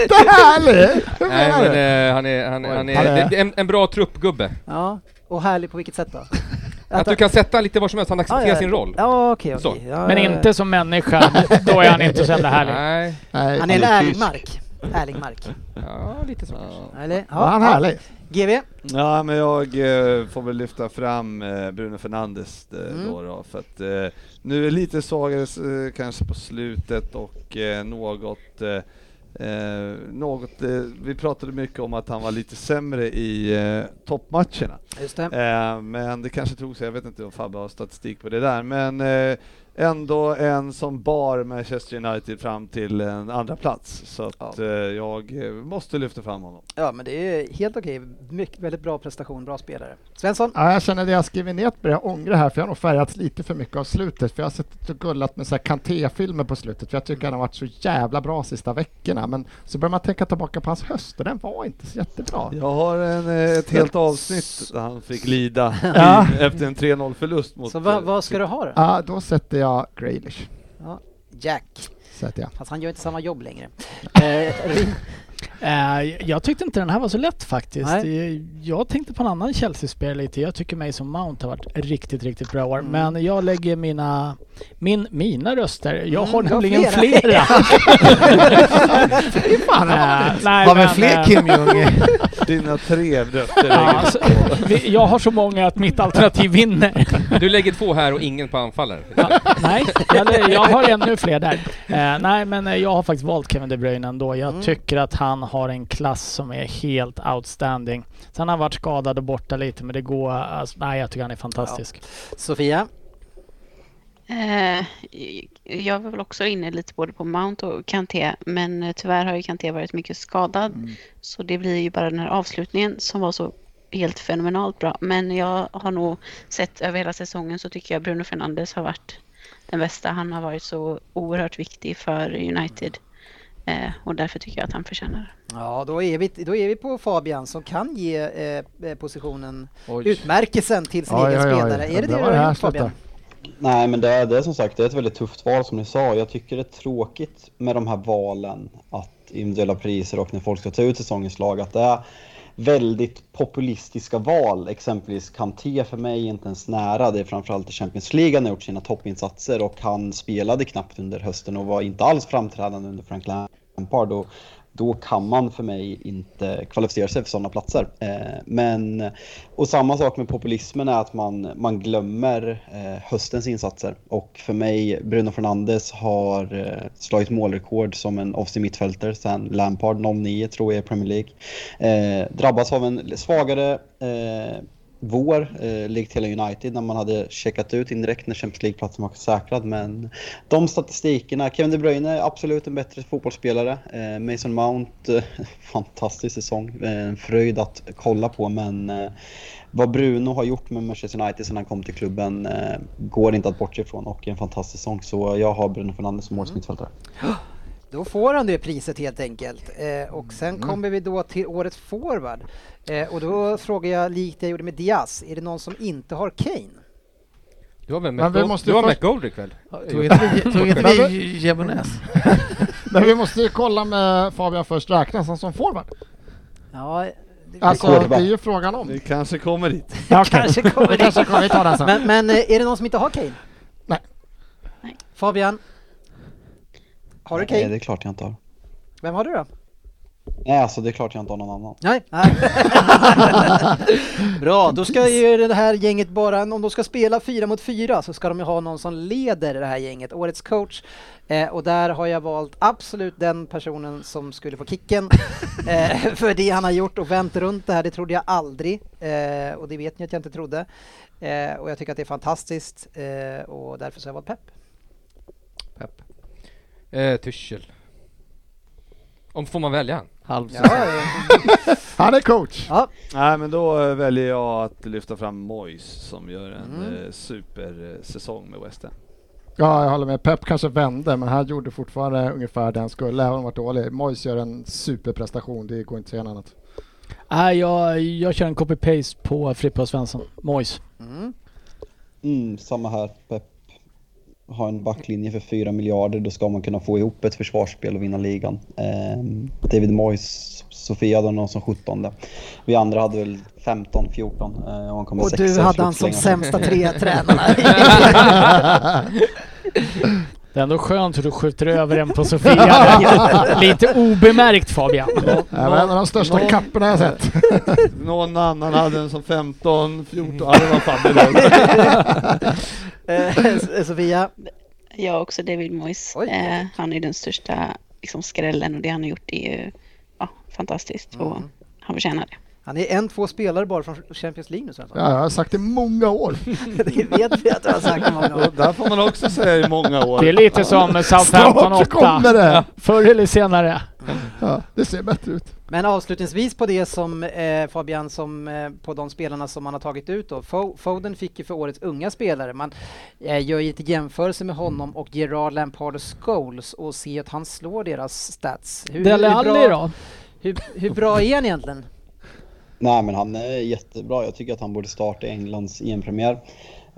S2: Inte härlig? Hur
S4: Nej
S2: menar du?
S4: men eh, han är, han, han
S2: Han
S4: är,
S2: är-
S4: det- en, en bra truppgubbe.
S2: Ja, och härlig på vilket sätt då?
S4: Att du kan sätta lite var som helst, han accepterar sin roll.
S2: Ja, okej.
S4: Så.
S2: okej. Ja,
S3: Men
S2: ja, ja.
S3: inte som människa, då är han inte så jävla härlig.
S4: Nej.
S2: Han är en ärlig mark. Ärlig mark.
S4: Ja, lite så
S2: Eller?
S6: Var han härlig?
S2: GV?
S6: Ja, men jag eh, får väl lyfta fram eh, Bruno Fernandes eh,
S2: Mm.
S6: då, då för att eh, nu är lite svagare eh, kanske på slutet och eh, något eh, eh, något, eh, vi pratade mycket om att han var lite sämre i eh, toppmatcherna.
S2: Just det.
S6: Eh, men det kanske tog sig, jag vet inte om Fabbe har statistik på det där, men eh, ändå en som bar Manchester United fram till en andra plats Så att eh, jag eh, måste lyfta fram honom.
S2: Ja, men det är helt okej. Mycket, väldigt bra prestation, bra spelare. Svensson?
S5: Ja, jag känner det jag skrivit ner börjar ångra här, för jag har nog färgats lite för mycket av slutet. För jag har suttit och gullat med så här Kanté-filmer på slutet, för jag tycker han har varit så jävla bra sista veckorna. Men så börjar man tänka tillbaka på hans höst, och den var inte så jättebra.
S6: Jag har en, eh, ett helt avsnitt där han fick lida
S5: Ja.
S6: i, efter en 3-0-förlust mot... eh,
S2: Så vad- vad ska du ha då?
S5: Ja, då sätter jag Grealish.
S2: Ja, Jack.
S5: Sätter jag.
S2: Fast han gör inte samma jobb längre. Eh, Rim-
S3: Eh, jag tyckte inte den här var så lätt faktiskt.
S2: Nej.
S3: Eh, Jag tänkte på en annan Chelsea-spelare lite. Jag tycker Mason Mount har varit riktigt, riktigt bra
S2: Mm.
S3: år. Men jag lägger mina, min, mina röster. Jag har
S2: Mm, du har
S3: nämligen
S2: flera.
S3: flera.
S2: Fy fan, vad
S3: Eh,
S2: roligt.
S3: nej,
S2: Har vi
S3: men,
S2: fler
S3: eh,
S2: Kim Jong?
S6: Dina tre röster.
S3: Ja, alltså, vi- jag har så många att mitt alternativ vinner.
S4: Du lägger två här och ingen på anfallare.
S3: Nej, eh, jag, jag har ännu fler där. Eh, nej, men eh, jag har faktiskt valt Kevin De Bruyne ändå.
S5: Mm.
S3: Jag tycker att han har en klass som är helt outstanding. Sen har han varit skadad och borta lite, men det går... Alltså, nej, jag tycker han är fantastisk.
S2: Sofia?
S9: Eh, jag var väl också inne lite både på Mount och Kanté, men eh, tyvärr har ju Kanté varit mycket skadad.
S3: Mm.
S9: Så det blir ju bara den här avslutningen som var så helt fenomenalt bra. Men jag har nog sett över hela säsongen så tycker jag Bruno Fernandes har varit den bästa. Han har varit så oerhört viktig för United. Eh, och därför tycker jag att han förtjänar det.
S2: Ja, då är, vi, då är vi på Fabian som kan ge eh, eh, positionen,
S8: Oj.
S2: utmärkelsen till sin
S8: Oj,
S2: egen
S8: oj, oj.
S2: spelare. Är det det
S8: Där
S2: du
S8: var det
S2: har
S8: här
S2: gjort Fabian?
S8: slutar. Nej, men det är, det är som sagt det är ett väldigt tufft val som ni sa. Jag tycker det är tråkigt med de här valen att individuella priser och när folk ska ta ut säsongens lag att det är väldigt populistiska val. Exempelvis Kanté för mig är inte ens nära. Det är framförallt i Champions League han har gjort sina toppinsatser och han spelade knappt under hösten och var inte alls framträdande under Frank Lampard. Och då kan man för mig inte kvalificera sig för sådana platser. Eh, men, och samma sak med populismen är att man, man glömmer eh, höstens insatser. Och för mig, Bruno Fernandes har eh, slagit målrekord som en offensiv mittfältare sedan Lampard 09 tror jag i Premier League. Eh, drabbas av en svagare eh, vår, eh, likt hela United, när man hade checkat ut indirekt när Champions League-platsen var säkrad. Men de statistikerna, Kevin De Bruyne är absolut en bättre fotbollsspelare. Eh, Mason Mount, eh, fantastisk säsong, eh, en fröjd att kolla på men eh, vad Bruno har gjort med Manchester United sedan han kom till klubben eh, går inte att bortse ifrån och en fantastisk säsong. Så jag har Bruno Fernandes som årets mittfältare.
S2: Då får han det priset helt enkelt. Eh, och sen kommer vi då till årets forward. Eh, och då frågar jag likt jag gjorde med Diaz, är det någon som inte har Kane?
S10: Du har väl
S5: Men vi
S10: Mac-
S5: måste
S10: du har
S5: först-
S10: McGoldrick väl?
S5: Tog inte vi- tog inte vi
S7: Jebunes?
S5: Men vi måste ju kolla med Fabian först, räknas han som forward?
S2: Ja,
S5: Alltså, det är ju frågan om.
S6: Vi kanske kommer dit.
S2: Kanske kommer det.
S5: Kanske kommer, vi tar den sen.
S2: Men, men eh, är det någon som inte har Kane?
S5: Nej.
S2: Fabian? Har du
S8: Nej, Eh, det
S2: Kane?
S8: är klart jag inte har.
S2: Vem har du då?
S8: Nej, alltså det är klart jag inte har någon annan.
S2: Nej. Nej. Bra, då ska ju det här gänget bara, om de ska spela fyra mot fyra så ska de ju ha någon som leder det här gänget, årets coach. Eh, och där har jag valt absolut den personen som skulle få kicken eh, för det han har gjort och vänt runt det här, det trodde jag aldrig. Eh, och det vet ni att jag inte trodde. Eh, och jag tycker att det är fantastiskt eh, och därför så har jag valt Pep.
S10: Eh, Tuchel. Om får man välja han?
S7: Halv
S5: Han är coach.
S6: Nej, men då eh, väljer jag att lyfta fram Moyes som gör en
S2: Mm.
S6: eh, supersäsong med West Ham.
S5: Ja, jag håller med. Pep kanske vände, men han gjorde fortfarande ungefär det han skulle, även om han varit dålig. Moyes gör en superprestation, det går inte att säga något annat.
S20: Nej, jag, jag kör en copy-paste på Frippe och Svensson. Mojs.
S8: Mm, samma här. Pep har en backlinje för 4 miljarder, då ska man kunna få ihop ett försvarsspel och vinna ligan. Ehm, David Moyes, Sofia hade honom som 17. Vi andra hade väl 15, 14 eh, och han kom
S2: Och
S8: sexa i
S2: du hade han som
S8: slutslängen.
S2: sämsta trea tränare.
S20: Det är ändå skönt hur du skjuter över den på Sofia. Lite obemärkt Fabian.
S5: Det var en av de största
S6: någon-
S5: kapporna jag sett.
S6: Någon annan hade en som 15, 14, ja det var fan det
S2: där. Eh, Sofia?
S9: Jag också David Moyes. Eh, han är den största liksom, skrällen och det han har gjort är ju ja, fantastiskt. Och han förtjänar det.
S2: Mm. Han är en, två spelare bara från Champions League nu Svensson.
S5: Ja, jag har sagt det i många år.
S2: det vet vi att du har sagt i många år.
S6: Där får man också säga i många år.
S20: Det är lite som Southampton 8.
S5: Snart kommer det.
S20: Förr eller senare.
S5: Ja, det ser bättre ut.
S2: Men avslutningsvis på det som eh, Fabian, som, eh, på de spelarna som man har tagit ut då. Fo- Foden fick ju för årets unga spelare. Man eh, gör ju lite jämförelse med honom och Gerard Lampard och Scholes och ser att han slår deras stats.
S20: Dele Alli
S2: bra,
S20: då?
S2: hur, hur bra är han egentligen?
S8: Nej, men han är jättebra. Jag tycker att han borde starta i Englands EM-premiär.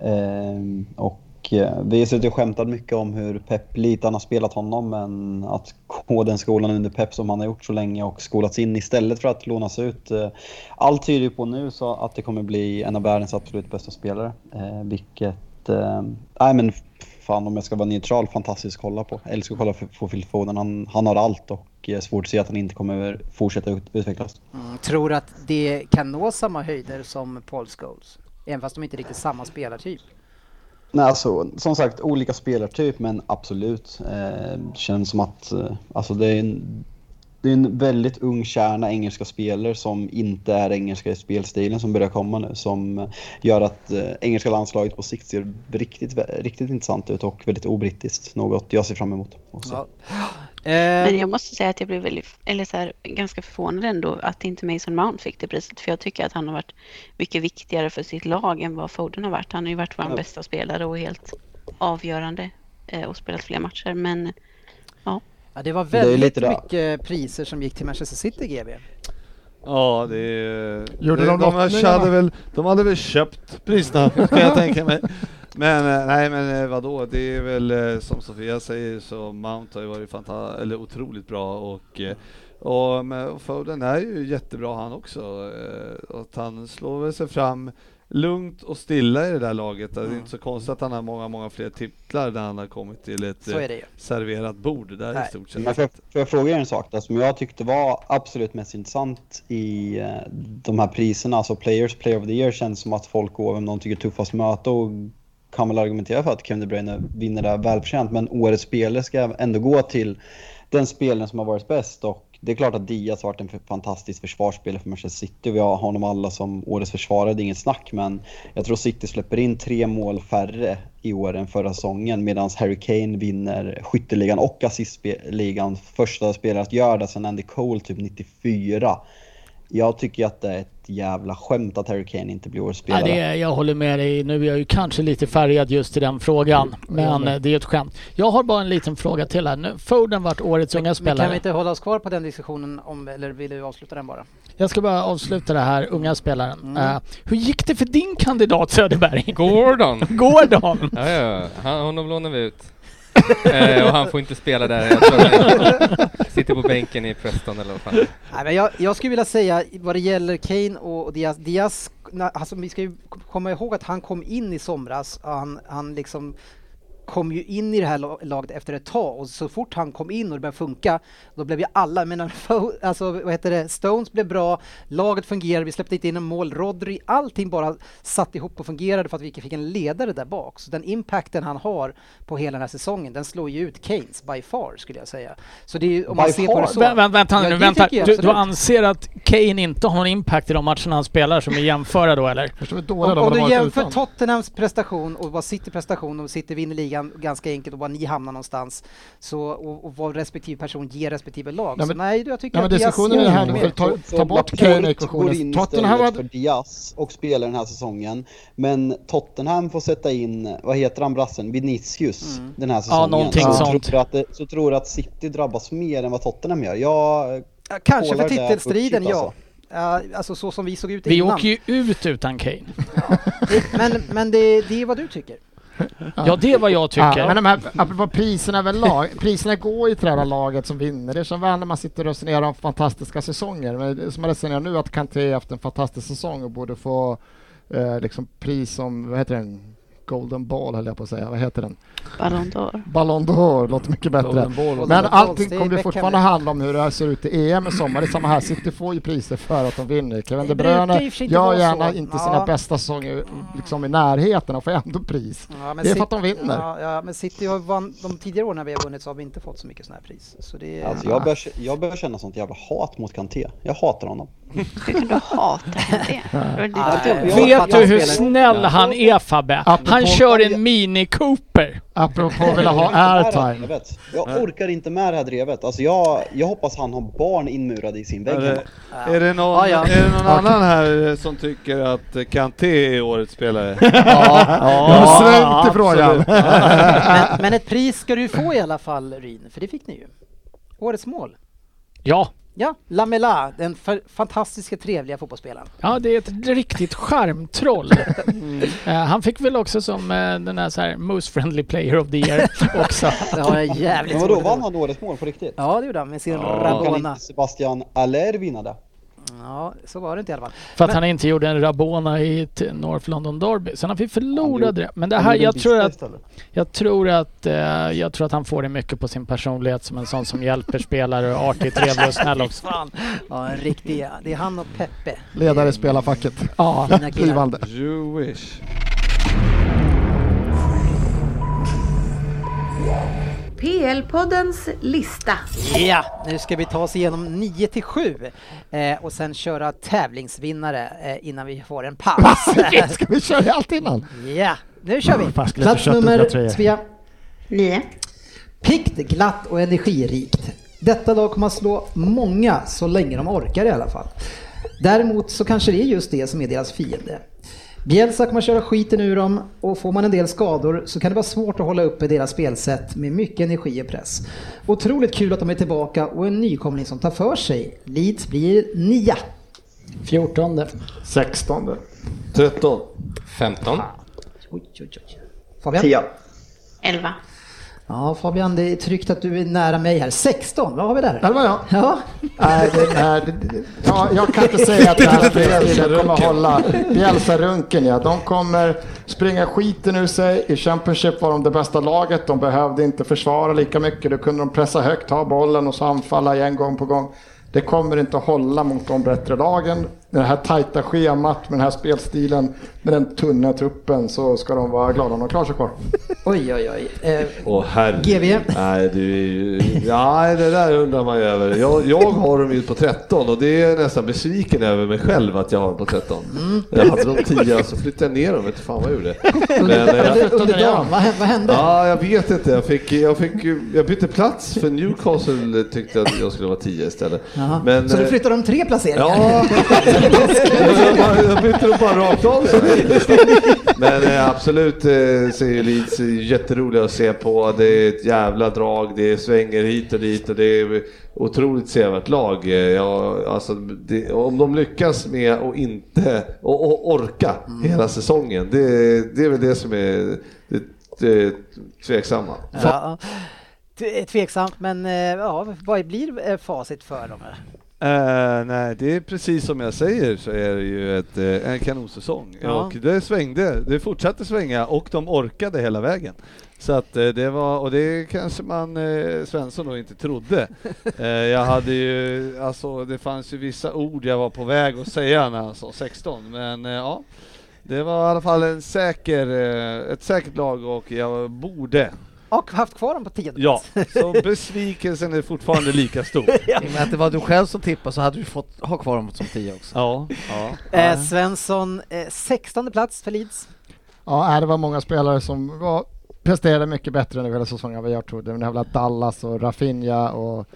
S8: Ehm, och eh, vi har suttit och skämtat mycket om hur Pep lite han har spelat honom, men att gå den skolan under Pep som han har gjort så länge och skolats in istället för att lånas ut. eh, Allt tyder ju på nu så att det kommer bli en av världens absolut bästa spelare, eh, vilket... eh, Nej, men fan om jag ska vara neutral, fantastiskt att kolla på. Jag älskar att kolla på- på Phil Foden. Han, han har allt och eh, svårt att se att han inte kommer fortsätta ut- utvecklas.
S2: Mm, tror att det kan nå samma höjder som Paul Scholes? Även fast de inte är riktigt samma spelartyp.
S8: Nej, alltså, som sagt, olika spelartyp, men absolut. Eh, känns som att eh, alltså, det, är en, det är en väldigt ung kärna engelska spelare som inte är engelska i spelstilen som börjar komma nu. Som gör att eh, engelska landslaget på sikt ser riktigt, riktigt intressant ut och väldigt obrittiskt. Något jag ser fram emot. Också.
S2: Eh.
S9: Men jag måste säga att jag blev väldigt, eller så här, ganska förvånad ändå att inte Mason Mount fick det priset. För jag tycker att han har varit mycket viktigare för sitt lag än vad Foden har varit. Han har ju varit vår
S8: Ja.
S9: bästa spelare och helt avgörande eh, och spelat fler matcher. Men ja.
S2: Ja, det var
S8: Det är ju
S2: väldigt
S8: lite det.
S2: mycket priser som gick till Manchester City GB.
S6: Ja, det är...
S2: Gjorde
S6: det,
S2: de lottningarna?
S6: hade väl, de hade väl köpt priserna, kan jag tänka mig. Men eh, nej, men eh, vadå, det är väl eh, som Sofia säger så Mount har ju varit fanta- eller otroligt bra och, eh, och, men- och Foden är ju jättebra han också. eh, och Att han slår väl sig fram lugnt och stilla i det där laget. Det
S8: Mm.
S6: är inte så konstigt att han har många, många fler titlar när han har kommit till ett
S8: Så är
S6: eh,
S8: det ju.
S6: serverat bord där i stort sett.
S8: Men får, jag, får jag fråga er en sak då, som jag tyckte var absolut mest intressant i eh, de här priserna, alltså Players Player of the Year känns som att folk går vem de tycker är tuffast möte och kan väl argumentera för att Kevin De Bruyne vinner det här välförtjänt, men årets spelare ska ändå gå till den spelaren som har varit bäst och det är klart att Diaz har varit en fantastisk försvarsspelare för Manchester City. Vi har honom alla som årets försvarare, det är inget snack. Men jag tror City släpper in tre mål färre i år än förra säsongen medan Harry Kane vinner skytteligan och assistligan. Första spelare att göra det sen Andy Cole typ 94. Jag tycker att det är ett jävla skämt att Harry Kane inte blir årets
S3: Ja,
S8: spelare.
S3: det är, jag håller med dig. Nu är jag ju kanske lite färgad just i den frågan.
S5: Mm,
S3: Men eh, det är ett skämt. Jag har bara en liten fråga till här. Nu, Foden vart årets unga
S2: Men kan vi
S3: spelare.
S2: inte hålla oss kvar på den diskussionen om, eller vill du avsluta den bara?
S3: Jag ska bara avsluta det här, unga spelaren. Eh, hur gick det för din kandidat Söderberg?
S4: Gordon!
S3: Gordon!
S4: Ja, ja, ja. Han, honom lånar vi ut. eh, och han får inte spela där. Jag tror han sitter på bänken i Preston eller vad fan.
S2: Nej, men jag, jag skulle vilja säga vad det gäller Kane och Diaz. Diaz na- alltså, vi ska ju komma ihåg att han kom in i somras. och Han, han liksom kom ju in i det här la- laget efter ett tag och så fort han kom in och det började funka då blev ju alla, men alltså vad heter det, Stones blev bra, laget fungerade, vi släppte inte in en mål, Rodri, allting bara satt ihop och fungerade för att vi fick en ledare där bak. Så den impacten han har på hela den här säsongen, den slår ju ut Keynes by far skulle jag säga. Så det är ju, om man
S3: By
S2: ser på det
S3: far.
S2: så.
S3: Vä- vä- vänta
S2: Ja,
S3: nu,
S2: det
S3: vänta.
S2: tycker jag
S3: Du, du
S2: absolut.
S3: anser att Kane inte har någon impact i de matcherna han spelar som vi jämföra då eller?
S2: Om, om du jämför Tottenhams prestation och vad City prestation och City vinner ligan ganska enkelt och var ni hamnar någonstans så, och, och vad respektive person ger respektive lag.
S5: Nej,
S2: så
S5: men-
S2: nej, jag tycker
S5: nej, men
S2: att Diaz
S5: diskussionen
S2: gör
S5: är här
S2: mer.
S5: nu, för ta-
S8: Så
S5: ta bort
S8: Laporte
S5: Kane i
S8: går
S5: ekvationen.
S8: in
S5: Tottenham
S8: istället
S5: hade-
S8: för Diaz och spelar den här säsongen. Men Tottenham får sätta in, vad heter han brassen, Vinicius
S2: Mm.
S8: den här säsongen.
S3: någonting
S8: så
S3: sånt.
S8: Tror att det, så tror att City drabbas mer än vad Tottenham gör. Jag
S2: Kanske för
S8: kollar det här på
S2: titelstriden,
S8: Chip,
S2: ja. Ja, alltså så som vi såg ut
S3: Vi
S2: innan.
S3: åker ju ut utan Kane.
S2: Men, men det, det är vad du tycker.
S3: Ja, det är vad jag tycker.
S5: men de här, apropå priserna överlag, priserna går ju till det här laget som vinner. Det är som väl när man sitter och resonerar om fantastiska säsonger. Men det som man resonerar nu att Kanté har haft en fantastisk säsong och borde få eh, liksom pris som, vad heter den? Golden Ball höll jag på att säga, vad heter den?
S9: Ballon d'Or.
S5: Ballon d'Or låter mycket bättre.
S9: Golden Ball låter
S5: Men
S9: bättre.
S5: allting
S9: Stay
S5: kommer ju
S9: back,
S5: fortfarande
S9: Henrik.
S5: handla om hur det här ser ut i EM i sommar. Det är samma här, City får ju priser för att de vinner. Kevin
S2: Det
S5: De
S2: brukar i
S5: Bruyne
S2: och för sig inte
S5: gör
S2: vara
S5: gärna
S2: så.
S5: inte
S2: Ja.
S5: sina bästa säsonger liksom i närheten och får ändå pris.
S2: Ja, men
S5: det är för
S2: City-
S5: att de vinner.
S2: Ja, ja, men City har vann, de tidigare åren när vi har vunnit så har vi inte fått så mycket sådana här pris. Så det,
S8: Alltså jag, börjar, jag börjar känna sånt jävla hat mot Kanté. Jag hatar honom.
S9: Hur kan du hata Kanté?
S3: Vet du hur snäll han är Fabbe? Han
S8: Apropå-
S3: kör en Mini Cooper.
S5: Apropå
S8: Jag, vet. jag orkar inte med det här drevet. Alltså jag, jag hoppas han har barn inmurade i sin vägg.
S6: Är det,
S8: hemma.
S6: är det någon,
S2: Ah,
S8: Ja, ja.
S6: Är det någon
S8: Ja.
S6: annan här eh, som tycker att eh, Kanté är årets spelare? ja,
S2: Jag har svängt i
S5: frågan.
S6: absolut. Ja.
S2: Men, men ett pris ska du ju få i alla fall Ryn, för det fick ni ju. Årets mål.
S3: Ja.
S2: Ja, Lamela, den fa- fantastiska trevliga fotbollsspelaren.
S3: Ja, det är ett riktigt charmtroll. Eh, han fick väl också som eh, den här, så här Most Friendly Player of the Year också.
S2: Det har jag jävligt
S8: Men vadå,
S2: svårt att
S8: vann han årets mål på riktigt?
S2: Ja, det gjorde han med sin
S8: Kan
S2: Rabona.
S8: inte Sebastian Aller vinna det?
S2: Ja, så var det inte i alla fall.
S3: För att
S2: Men-
S3: han inte gjorde en Rabona i ett North London Derby. Sen han fick förlora
S2: gjorde-
S3: det. Men det
S2: han
S3: här,
S2: gjorde en
S3: jag tror
S2: bista
S3: att...
S2: istället.
S3: Jag tror att, eh, jag tror att han får det mycket på sin personlighet som en sån som hjälper spelare och är artig, trevlig och snäll också.
S2: Fan. Ja, en riktig... Det är han och Peppe.
S5: Ledare i spelarfacket.
S3: Ja.
S2: Fina killar.
S5: Blivande.
S6: You wish.
S30: PL-poddens lista.
S2: Ja, nu ska vi ta oss igenom 9 till 7 eh, och sen köra tävlingsvinnare eh, innan vi får en paus.
S5: Ska vi köra allt innan?
S2: Ja, nu kör vi.
S5: Fan, skulle jag
S2: Plats
S5: inte köpt mina
S2: nummer
S5: tröjor.
S2: Svea.
S9: Nio.
S2: Piggt, glatt och energirikt. Detta lag kommer att slå många så länge de orkar i alla fall. Däremot så kanske det är just det som är deras fiende. Bielsa kommer att köra skiten ur dem och får man en del skador så kan det vara svårt att hålla uppe deras spelsätt med mycket energi och press. Otroligt kul att de är tillbaka och en nykomling som tar för sig. Leeds blir nia.
S20: 14.
S5: 16.
S13: 13.
S4: 15.
S2: Fabian?
S21: Tia.
S9: 11.
S2: Ja Fabian, det är tryggt att du är nära mig här. 16, vad har vi där?
S5: Där var jag.
S2: Ja.
S5: Nej, det, nej, det, det, ja, jag kan inte säga att det här spelet kommer hålla. Bjälsa-runken ja. De kommer springa skiten ur sig. I Championship var de det bästa laget. De behövde inte försvara lika mycket. Då kunde de pressa högt, ta bollen och så anfalla igen gång på gång. Det kommer inte att hålla mot de bättre lagen. Eh,
S31: med det här tajta schemat, med den här spelstilen, med den tunna truppen så ska de vara glada om de klarar sig kvar.
S2: Oj, oj, oj. Eh,
S6: Åh herre.
S2: GV.
S6: Nej, du är ju... Nej, det där undrar man ju över. Jag, jag har dem ju på 13 och det är jag nästan besviken över mig själv att jag har dem på 13.
S2: Mm.
S6: Jag hade dem 10 och så flyttade jag ner dem, vet fan vad jag gjorde. Men, eh,
S2: under, under dagen, vad, hä- vad hände?
S6: Ja, jag vet inte. Jag, fick, jag, fick, jag bytte plats för Newcastle tyckte att jag skulle vara 10 istället.
S2: Jaha.
S6: Men,
S2: så du
S6: eh,
S2: flyttar om tre placeringar?
S6: Ja. jag, bara- jag bytte dem bara rakt av. så här. Men eh, absolut eh, så är ju Leeds jätteroliga att se på. Det är ett jävla drag, det svänger hit och dit och det är otroligt sevärt lag. Eh, Jag, alltså, det, om de lyckas med att inte och, och orka
S2: Mm.
S6: hela säsongen, det, det är väl det som är det, det tveksamma.
S10: Ja. Det är Tveksamt, men eh, ja, vad blir eh, facit för dem?
S32: Eh, nej, det är precis som jag säger så är det ju ett, eh, en kanonsäsong.
S10: Ja.
S32: Och det svängde, det fortsatte svänga och de orkade hela vägen. Så att eh, det var, och det kanske man, eh, Svensson då inte trodde. Eh, jag hade ju, alltså det fanns ju vissa ord jag var på väg att säga när han sa 16, men eh, ja. Det var i alla fall en säker, eh, ett säkert lag och jag borde
S10: Och haft kvar dem på tionde
S32: Ja,
S10: plats.
S32: så besvikelsen är fortfarande lika stor.
S7: I och med att det var du själv som tippade så hade du fått ha kvar dem som 10 också.
S32: Ja, ja.
S10: Eh, Svensson, eh, 16 plats för Leeds.
S5: Ja, nej, det var många spelare som var, presterade mycket bättre under hela säsongen än vad jag trodde. Men det var väl Dallas och Rafinha och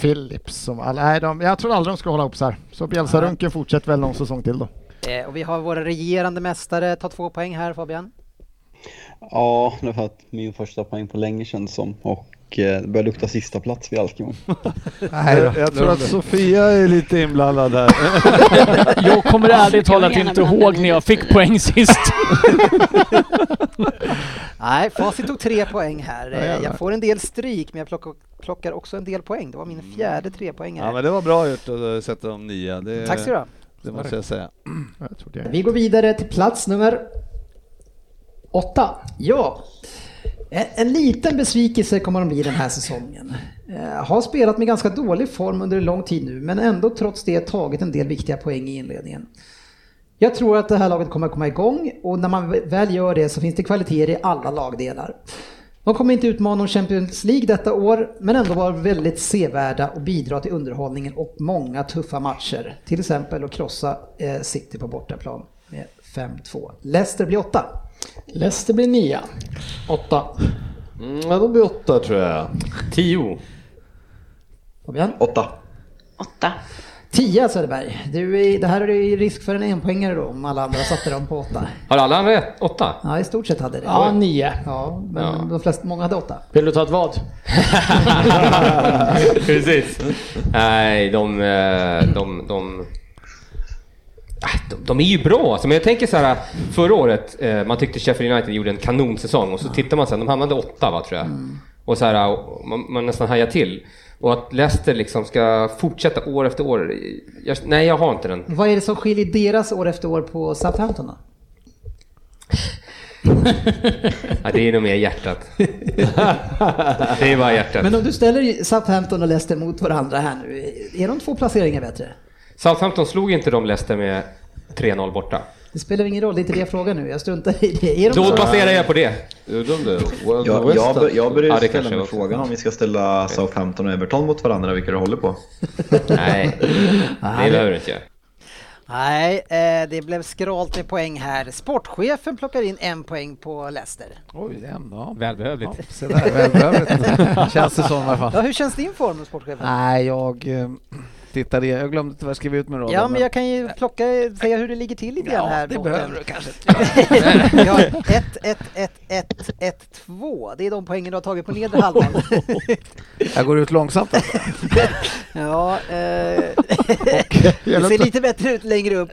S5: Phillips som alla, nej, de, jag tror aldrig de ska hålla ihop så här. Så Bielsa-runken fortsätter väl någon säsong till då.
S10: Eh, och vi har våra regerande mästare, ta två poäng här Fabian.
S8: Ja, det var min första poäng på länge känns som. Och eh, det börjar lukta sista plats vid Alkemo.
S32: jag, jag tror att Sofia är lite inblandad här.
S3: Jag kommer ärligt talat inte ihåg när jag fick poäng sist.
S10: Nej, Facit tog tre poäng här.
S32: Ja,
S10: Eh,
S32: jävlar.
S10: jag får en del stryk, men jag plockar, plockar också en del poäng. Det var min fjärde
S32: Mm.
S10: trepoängare.
S32: Ja men det var bra gjort att sätta dem nia. Det,
S10: Tack ska du ha.
S32: Det måste jag säga.
S2: Vi går vidare till plats nummer åtta. Ja. En, en liten besvikelse kommer de bli den här säsongen. Eh, har spelat med ganska dålig form under en lång tid nu, men ändå trots det tagit en del viktiga poäng i inledningen. Jag tror att det här laget kommer att komma igång och när man väl gör det så finns det kvaliteter i alla lagdelar. De kommer inte utmana om Champions League detta år, men ändå vara väldigt sevärda och bidra till underhållningen och många tuffa matcher. Till exempel att krossa eh, City på bortaplan med 5-2. Leicester blir åtta.
S33: Leicester blir nia. Åtta.
S6: Mm, ja, de blir åtta tror jag.
S4: Tio.
S2: Fabian?
S8: Åtta.
S2: Åtta. Tia Söderberg, du är, det här är ju risk för en enpoängare då om alla andra satte dem på åtta.
S4: Har alla andra ett? Åtta?
S2: Ja, i stort sett hade det.
S4: Ja,
S33: nio.
S2: Ja, men
S4: Ja.
S2: de flesta, många hade åtta.
S33: Vill du ta ett vad?
S4: Precis. Nej, de, eh, de, de, Ah, de, de är ju bra. Alltså, men jag tänker så här, förra året, eh, man tyckte Sheffield United gjorde en kanonsäsong och så tittar man sen, de hamnade åtta va, tror jag. Och så här, och man, man nästan hajar till. Och att Leicester liksom ska fortsätta år efter år. Jag, nej, jag har inte den.
S2: Vad är det som skiljer deras år efter år på Southampton då?
S4: Ja, det är nog mer hjärtat. det är bara hjärtat.
S2: Men om du ställer Southampton och Leicester mot varandra här nu, är de två placeringar bättre?
S4: Southampton slog inte de Leicester med 3-0 borta.
S2: Det spelar ingen roll, det är inte det jag frågar nu. Jag struntar i det. Är de
S4: Då
S2: två-
S4: baserar jag på det.
S6: Well,
S34: Jag, jag, bör- jag börjar
S4: Ja, det
S34: ställa
S4: kanske
S34: mig
S4: var-
S34: frågan om vi ska ställa Southampton och Everton mot varandra, vilka du håller på.
S4: Nej, det behöver du inte göra.
S10: Nej, eh, det blev skralt med poäng här. Sportchefen plockar in en poäng på Leicester.
S7: Oj, en då.
S4: Välbehövligt.
S7: Ja, så där, välbehövligt. Känns det som i alla fall.
S10: Ja, hur känns din form då, sportchefen?
S7: Nej, jag eh, tittade, jag glömde tyvärr skriva ut min roll.
S10: Ja, men jag kan ju plocka, säga hur det ligger till lite grann
S7: Ja,
S10: här.
S7: det
S10: borta.
S7: behöver du kanske
S10: Vi har 1, 1, 1, 1, 1, 2. Det är de poängen du har tagit på nedre halvan.
S7: jag går ut långsamt. alltså.
S10: ja, eh, det ser lite bättre ut längre upp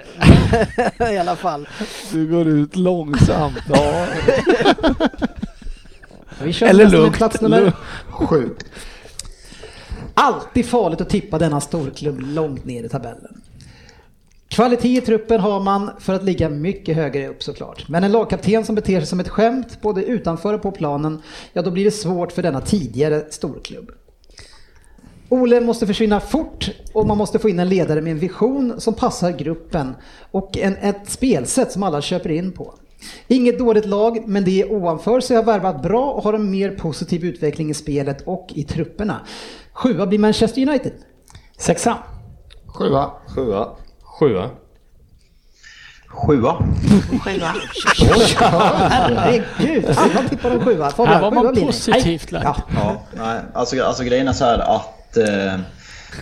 S10: i alla fall.
S32: Du går ut långsamt. Ja.
S2: Vi kör
S5: Eller
S2: nästa med
S5: lugnt.
S2: Plats nummer
S5: Lugnt.
S2: sju. Alltid farligt att tippa denna storklubb långt ner i tabellen. Kvalitet i truppen har man för att ligga mycket högre upp såklart. Men en lagkapten som beter sig som ett skämt både utanför och på planen, ja då blir det svårt för denna tidigare storklubb.
S19: Ole måste försvinna fort och man måste få in en ledare med en vision som passar gruppen och en, ett spelsätt som alla köper in på. Inget dåligt lag, men det är ovanför så jag har värvat bra och har en mer positiv utveckling i spelet och i trupperna. Sjua blir Manchester United.
S20: Sexa.
S5: Sjua.
S21: Sjua.
S4: Sjua.
S8: Sjua.
S9: Sjua.
S19: Herregud, alla tippar om sjua. Fabian,
S20: Här var man
S19: sjua blir det.
S20: positivt lagd.
S21: Ja, nej. Alltså, alltså grejen är så här att eh,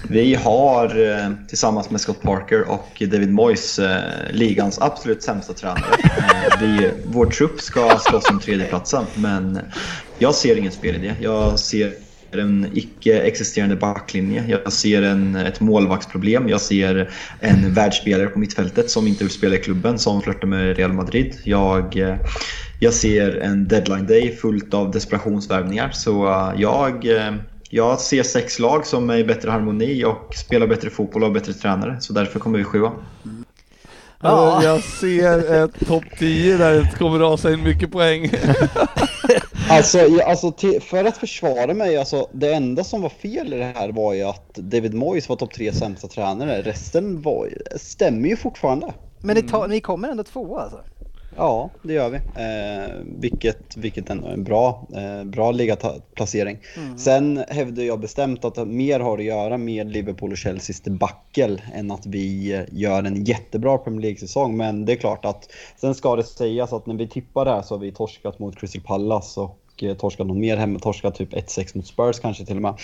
S21: vi har eh, tillsammans med Scott Parker och David Moyes eh, ligans absolut sämsta tränare. Eh, vi, vår trupp ska slåss om tredjeplatsen men jag ser ingen spelidé. Jag ser en icke-existerande backlinje. Jag ser en, ett målvaktsproblem. Jag ser en världsspelare på mittfältet som inte vill spela i klubben, som flörtar med Real Madrid. Jag, eh, jag ser en deadline day fullt av desperationsvärvningar. Så eh, jag, eh, jag ser sex lag som är i bättre harmoni och spelar bättre fotboll och har bättre tränare. Så därför kommer vi sjua.
S6: Alltså, jag ser ett topp 10 där det kommer rasa in mycket poäng.
S8: Alltså, jag, alltså till, för att försvara mig, alltså, det enda som var fel i det här var ju att David Moyes var topp tre sämsta tränare. Resten var, ju- stämmer ju fortfarande.
S2: Men ni, tar, ni kommer ändå tvåa alltså?
S8: Ja, det gör vi. Eh, vilket, vilket ändå är en bra, eh, bra ligaplacering. Sen hävdar jag bestämt att det mer har att göra med Liverpool och Chelseas debacle än att vi eh, gör en jättebra Premier League-säsong. Men det är klart att sen ska det sägas att när vi tippar det här så har vi torskat mot Crystal Palace och eh, torskat något mer hemma, torskat typ 1-6 mot Spurs kanske till och med.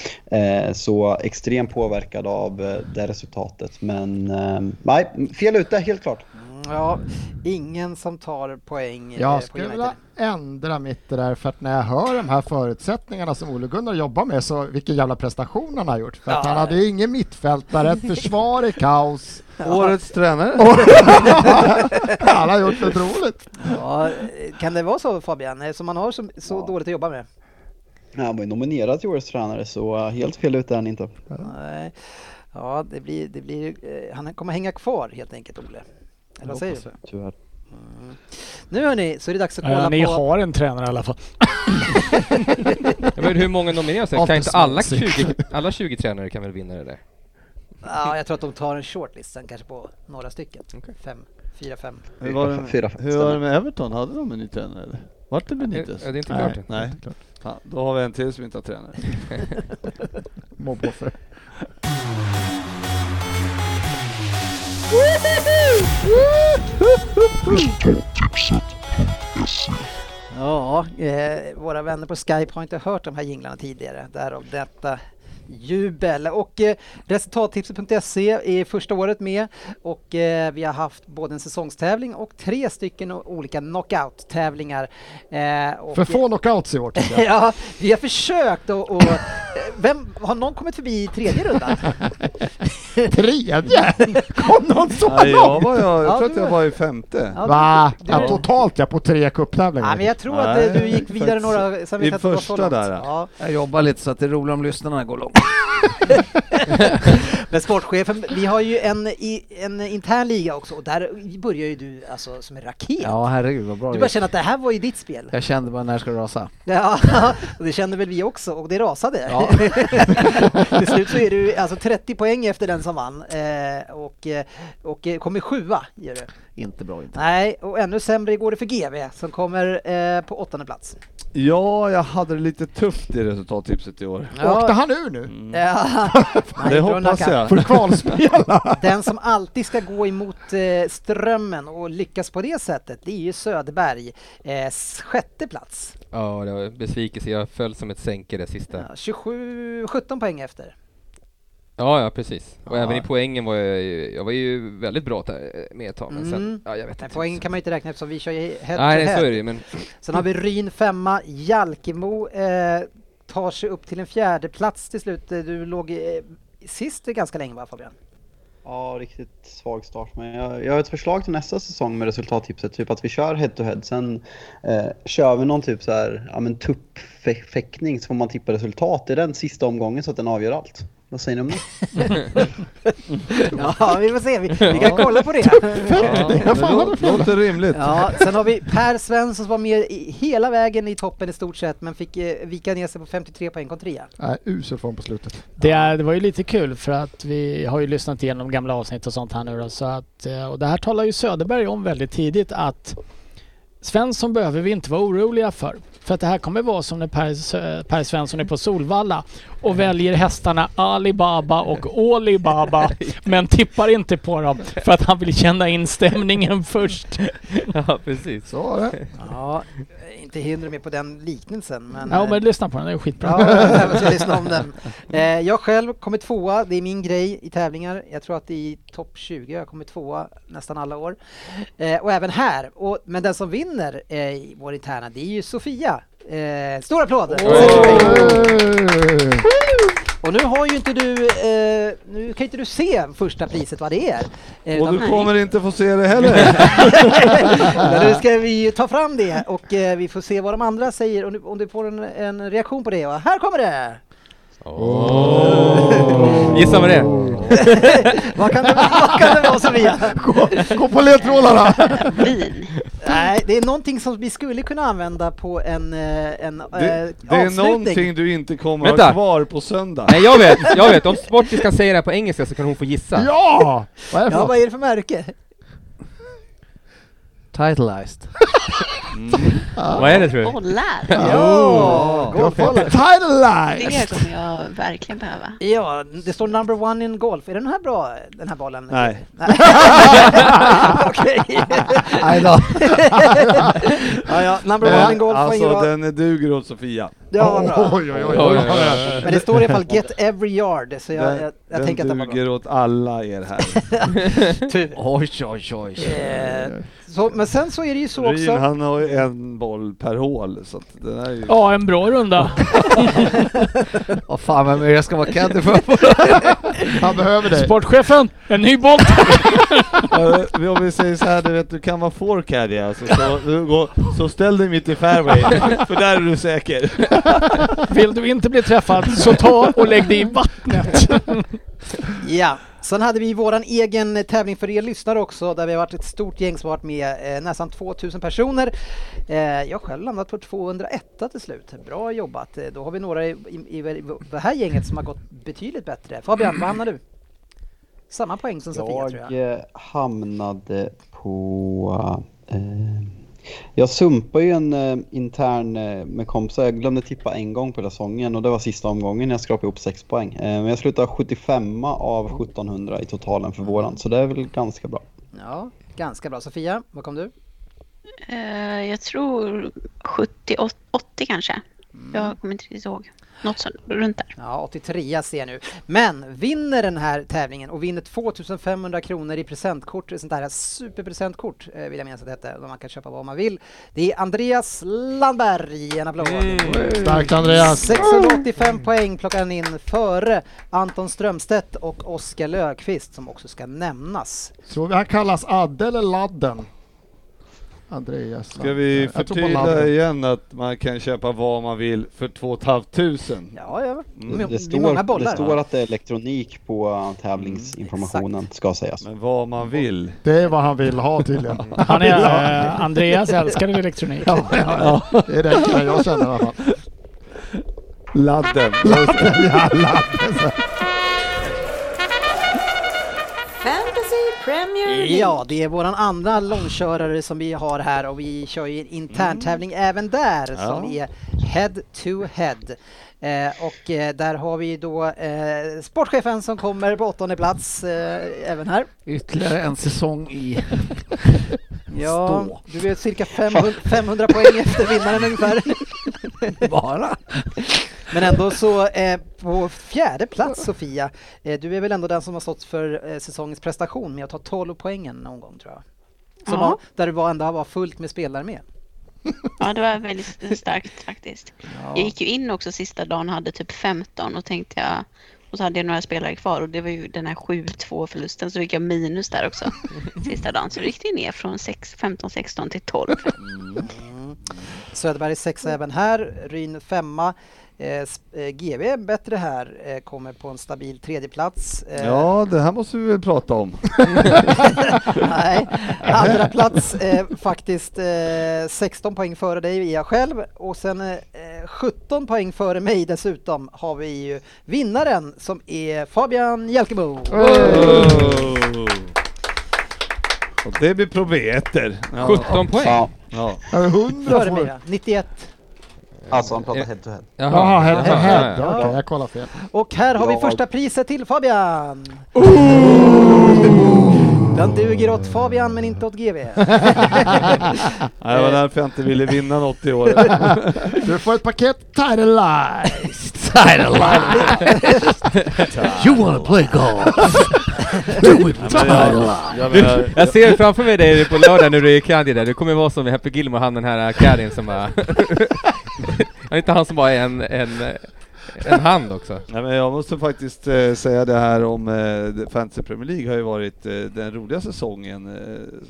S8: Eh, så extremt påverkad av eh, det resultatet. Men eh, nej, fel ute helt klart.
S2: Ja, ingen som tar poäng eh,
S5: Jag
S2: på
S5: skulle
S2: United.
S5: vilja ändra mitt det där för att när jag hör de här förutsättningarna som Ole Gunnar jobbar med så vilken jävla prestation han har gjort. För att
S6: Ja.
S5: han hade ju ingen mittfältare, ett försvar i kaos.
S6: Årets tränare.
S5: han har gjort otroligt.
S2: Ja, kan det vara så Fabian, eh, som man har så, så dåligt att jobba med?
S8: Nej, han var ju nominerad till årets tränare så eh, helt fel ute är han inte.
S2: Nej. Ja, det blir, det blir, eh, han kommer hänga kvar helt enkelt, Ole. Eller vad säger du?
S8: Tyvärr.
S2: Mm. Nu hörni, så är det dags att kolla
S3: Ja, ni
S2: på...
S3: har en tränare i alla fall.
S10: Men hur många nomineras? det? Kan
S3: After
S10: inte alla
S3: Swansea.
S10: 20, alla 20 tränare kan väl vinna det där?
S2: Ja, jag tror att de tar en shortlist sen kanske på några stycken. Fem, fyra, fem.
S6: Hur var det, hur var det med Everton? Hade de en ny tränare eller? Vart det Benitez?
S10: Ja, det är inte klart än.
S6: Nej. Nej. Fan, då har vi en till som inte har tränare.
S5: Mobboffer.
S2: Ja, eh, våra vänner på Skype har inte hört de här jinglarna tidigare, därav detta jubel. Och eh, resultattipset.se är första året med och eh, vi har haft både en säsongstävling och tre stycken o- olika knockout-tävlingar. Eh, och-
S5: För få knockouts i år tycker jag.
S2: Ja, vi har försökt och, och eh, vem, har någon kommit förbi tredje rundan?
S5: Tredje? Kom någon så
S6: Nej, jag,
S5: långt?
S6: var, jag, jag
S2: Ja,
S6: tror
S2: du
S6: att jag
S2: var-
S6: var i femte.
S2: Ja,
S5: Va?
S2: du-
S5: Ja, totalt ja, på tre cuptävlingar.
S2: Ja, men jag tror att eh, du gick vidare några... sen vet jag inte om det var så långt. Ja.
S7: Jag jobbar lite så att det är roligt om lyssnarna går långt.
S2: Men sportchefen, vi har ju en, i, en intern liga också och där börjar ju du alltså som en raket.
S7: Ja, herregud vad bra
S2: du
S7: det
S2: bara
S7: gick.
S2: känner att det här var ju ditt spel.
S7: Jag kände bara när ska det rasa?
S2: Ja, och det kände väl vi också och det rasade.
S7: Ja.
S2: Till slut så är du alltså 30 poäng efter den som vann eh, och, eh, och eh, kommer sjua. Gör du.
S7: Inte bra inte.
S2: Nej, och ännu sämre går det för GV som kommer eh, på åttonde plats.
S6: Ja, jag hade det lite tufft i resultattipset i år. Mm.
S2: Ja.
S5: Åkte han ur nu?
S2: Mm. Ja. Nej,
S6: Det
S2: bra
S6: hoppas
S2: nackat.
S6: jag. För kvalspelare.
S2: Den som alltid ska gå emot eh, strömmen och lyckas på det sättet, det är ju Söderberg. Eh, sjätte plats.
S10: Ja, det var en besvikelse. Jag föll som ett sänke det sista. Ja,
S2: 27, 17 poäng efter.
S10: ja, precis. Och även i poängen var jag ju, jag var ju väldigt bra där med ett tag, men
S34: Mm.
S10: sen, ja, jag vet
S2: Men
S10: inte.
S2: poängen Mm. kan man ju inte räkna eftersom vi kör ju
S10: Nej,
S2: head to
S10: nej,
S2: head.
S10: så är det ju, men-
S2: Sen har vi Ryn femma, Jalkemo eh, tar sig upp till en fjärde plats till slut. Eh, Du låg eh, sist ganska länge va Fabian?
S8: Ja, riktigt svag start. Men jag, jag har ett förslag till nästa säsong med resultattipset. Typ att vi kör head to head. Sen eh, kör vi någon typ så här, ja men tuppfäktning så får man tippa resultat i den sista omgången så att den avgör allt. Vad säger ni om det?
S2: Ja, vi får se. Vi, vi kan kolla på det.
S6: Ja, fan, vad det låter rimligt.
S2: Ja, sen har vi Per Svensson som var med i, hela vägen i toppen i stort sett men fick eh, vika ner sig på 53 poäng kom trea.
S5: Nej, usel form på slutet.
S3: Det, är, det var ju lite kul för att vi har ju lyssnat igenom gamla avsnitt och sånt här nu då, så att, eh, och det här talar ju Söderberg om väldigt tidigt att Svensson behöver vi inte vara oroliga för. För att det här kommer vara som när Per, Sö- per Svensson är på Solvalla och väljer hästarna Alibaba och Olibaba men tippar inte på dem för att han vill känna in stämningen först.
S4: Ja, precis. Så var det.
S2: Ja, inte hindra mig på den liknelsen men... eh,
S3: Ja, men lyssna på den, den är skitbra.
S2: Ja, jag ska lyssna om den. Eh, jag själv kommer tvåa, det är min grej i tävlingar. Jag tror att i topp 20 jag kommer tvåa nästan alla år. Eh, och även här. Och, men den som vinner eh, i vår interna, det är ju Sofia. Eh, stor applåd! Och nu har ju inte du, eh, nu kan inte du se första priset vad det är. Eh,
S6: Och
S2: utan-
S6: du kommer inte få se det heller.
S2: Men nu ska vi ju ta fram det och eh, vi får se vad de andra säger om du, om du får en, en reaktion på det. Och här kommer det!
S4: Gissa vad det är.
S2: vad, kan det, vad kan det vara Sofia?
S5: Gå, gå på ledtrådarna!
S2: Nej, det är någonting som vi skulle kunna använda på en, eh, en
S6: Det, det är någonting du inte kommer
S4: Vänta.
S6: ha kvar på söndag.
S4: Nej, jag vet, jag vet. Om Sportis kan säga det här på engelska så kan hon få gissa.
S5: Ja! Vad är det för
S2: Ja,
S5: något?
S2: vad är det för märke?
S7: Titleized.
S4: Mm. Vad är det tror du?
S9: Bollar!
S7: Oh.
S2: Ja, golfbollar.
S9: Det kommer jag verkligen behöva.
S2: Ja, det står number one in golf. Är den här bra, den här bollen?
S6: Nej.
S2: Nej. Okej.
S6: Aj då.
S2: ja, ja, number one in golf var ingen
S6: Alltså
S2: bra.
S6: den duger åt Sofia.
S2: Ja, vad bra.
S6: Oj, oj, oj, oj, oj.
S2: Men det står i alla fall get every yard, så jag,
S6: Den,
S2: jag, jag
S6: den
S2: tänker att den var bra.
S6: duger åt alla er här.
S2: Tur.
S7: Oj, oj, oj.
S2: Eh, så, men sen så är det ju så
S6: Ryn
S2: också...
S6: han har ju en boll per hål så att den är ju...
S3: Ja, en bra runda.
S7: Vad fan, vem är det jag ska vara caddy för?
S5: Han behöver dig.
S3: Sportchefen, en ny boll!
S6: Ja, det- Om vi säger så här, du vet du kan vara forecaddy alltså, så, du går, så ställ dig mitt i fairway, för där är du säker.
S3: Vill du inte bli träffad så ta och lägg dig i vattnet.
S2: Ja, sen hade vi våran egen tävling för er lyssnare också där vi har varit ett stort gäng som har varit med eh, nästan 2000 personer. Eh, jag har själv landat på 201 till slut. Bra jobbat! Eh, Då har vi några i, i, i det här gänget som har gått betydligt bättre. Fabian, vad hamnar du? Samma poäng som Sofia tror jag.
S8: Jag eh, hamnade på... Eh, jag sumpade ju en eh, intern eh, med kompisar. Jag glömde tippa en gång på hela säsongen och det var sista omgången. Jag skrapade ihop 6 poäng. Eh, men jag slutade 75 av 1700 i totalen för våran, så det är väl ganska bra.
S2: Ja, ganska bra. Sofia, vad kom du?
S9: Eh, jag tror 70, åt- 80 kanske. Jag kommer inte riktigt ihåg. Något sånt, runt där.
S2: Ja, 83 ser jag nu. Men vinner den här tävlingen och vinner 2500 kronor i presentkort, ett sånt där superpresentkort eh, vill jag minnas att det hette, där man kan köpa vad man vill. Det är Andreas Landberg, en applåd!
S5: Starkt, Andreas.
S2: 685 poäng plockar han in före Anton Strömstedt och Oskar Löfqvist som också ska nämnas.
S5: Tror vi han kallas Adde eller Ladden? Andreas.
S6: Ska vi
S5: Jag tror på Ladden.
S6: förtydliga igen att man kan köpa vad man vill för 2 500?
S2: Ja, ja.
S6: Mm.
S8: Det står, det står att det är elektronik på eh,
S2: Mm,
S8: tävlingsinformationen, ska sägas.
S6: Men vad man vill.
S5: Det är vad han vill ha tydligen.
S3: Han är, eh, Andreas älskar elektronik.
S5: Ja, ja, ja. Det är det enda jag känner i alla fall.
S6: Ladden.
S5: Ja, Ladden.
S1: Fantasy Premier League.
S2: Ja, det är våran andra långkörare som vi har här och vi kör ju en interntävling även där som
S6: Ja.
S2: är head to head. Eh, och eh, där har vi då eh, sportchefen som kommer på åttonde plats eh, även här.
S7: Ytterligare en säsong i...
S2: Ja,
S7: Stå.
S2: du är cirka 500, 500 poäng efter vinnaren ungefär.
S7: Bara?
S2: Men ändå så eh, på fjärde plats Sofia, eh, du är väl ändå den som har stått för eh, säsongens prestation med att ta 12 poängen någon gång tror jag. Som
S9: Ja.
S2: var, där du var, ändå var fullt med spelare med.
S9: Ja, det var väldigt starkt faktiskt. Jag gick ju in också sista dagen och hade typ 15 och tänkte jag och så hade jag några spelare kvar och det var ju den här 7-2 förlusten så fick jag minus där också sista dagen. Så det gick det ju ner från 15-16 till 12.
S2: Söderberg sexa även här, Ryn femma. Eh, sp- eh, GB är bättre här, eh, kommer på en stabil tredjeplats. Eh,
S13: Ja, det här måste vi väl prata om.
S2: Nej, andra plats eh, faktiskt eh, 16 poäng före dig är jag själv och sen eh, eh, 17 poäng före mig dessutom har vi ju vinnaren som är Fabian Hjälkemo.
S6: Oh. Och det blir probeter.
S10: 17 poäng.
S6: Ja.
S2: Före mig, ja. 91.
S8: Alltså han
S6: Eh.
S8: pratar head to head.
S6: Jaha. Jaha, head to head.
S2: Ja. Okej, jag
S5: kollar fel.
S2: Och här har vi
S8: Ja.
S2: första priset till Fabian. Den duger åt Fabian men inte åt GV.
S6: Nej, det var därför jag inte ville vinna något i år.
S5: Du får ett paket Titleized.
S7: You wanna play golf? Do it with
S10: Ja, men jag- Du, jag ser framför mig dig på lördag när du är i Caddy där, du kommer vara som i Happy Gilmore, han den här caddien som bara... Han är inte han som bara är en, en, en hand också.
S6: Nej, men jag måste faktiskt eh, säga det här om eh, Fantasy Premier League har ju varit eh, den roligaste säsongen eh,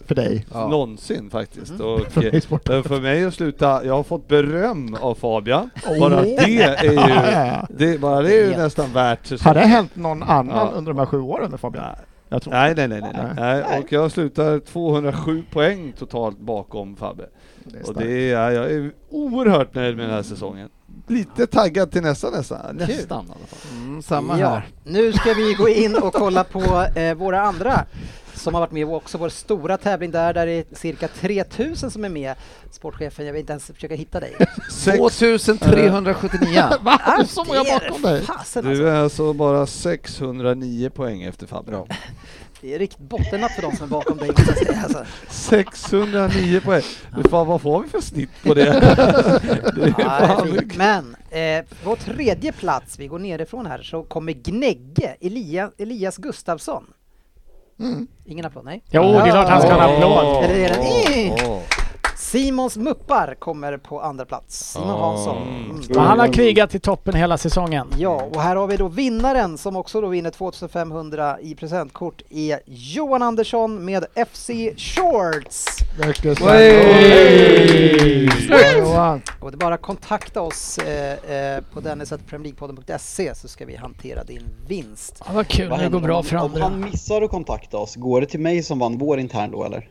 S5: För dig. Ja.
S6: någonsin faktiskt.
S5: Mm.
S6: Och,
S5: För mig sport.
S6: eh, för mig att sluta, jag har fått beröm av Fabian.
S5: Oh.
S6: Bara det är ju, det, bara det är ju
S5: Vet.
S6: nästan värt
S5: Har
S6: säsongen.
S5: det hänt någon annan
S6: Ja.
S5: under de här sju åren med Fabian? Jag tror
S6: Nej, nej, nej, nej, nej.
S5: Nej.
S6: nej. Och jag slutar 207 poäng totalt bakom Fabbe.
S5: Det är
S6: och
S5: starkt.
S6: det är, jag är oerhört nöjd med den här säsongen. Lite taggad till nästa nästa.
S5: Nästan,
S6: i alla fall.
S5: Mm,
S2: ja. Nu ska vi gå in och kolla på eh, våra andra som har varit med och också vår stora tävling där, där det är cirka 3000 som är med. Sportchefen, jag vill inte ens försöka hitta dig.
S7: 2379.
S5: Va?
S2: Ah,
S5: Det är så många
S2: det är
S5: bakom dig.
S2: Fasen alltså.
S6: Du är alltså bara 609 poäng efter Fabbe.
S2: Det är riktigt bottennapp för de som är bakom dig. måste jag säga, Alltså.
S6: 609 poäng. Du, fan, vad får vi för snitt på det? det
S2: Ja, det är
S6: fan
S2: fint. Men eh, på tredje plats, vi går nerifrån här, så kommer Gnägge, Elia, Elias Gustafsson. Ingen applåd, nej?
S20: Jo, det är klart han ska ha en applåd.
S2: Eller är den?
S20: Åh,
S6: åh.
S2: Simons Muppar kommer på andra plats. Simon Hansson. Mm.
S20: Och han har krigat i toppen hela säsongen.
S2: Ja, och här har vi då vinnaren som också då vinner 2500 i presentkort är Johan Andersson med FC Shorts.
S5: Mycket
S2: Oj!
S5: starkt.
S2: Snyggt!
S5: Johan.
S2: Och det är bara att kontakta oss eh, eh, på dennis.premierligpodden.se så ska vi hantera din vinst.
S20: Ja, vad kul
S8: Vad händer om- Om han missar att kontakta oss, går det till mig som vann vår intern då eller?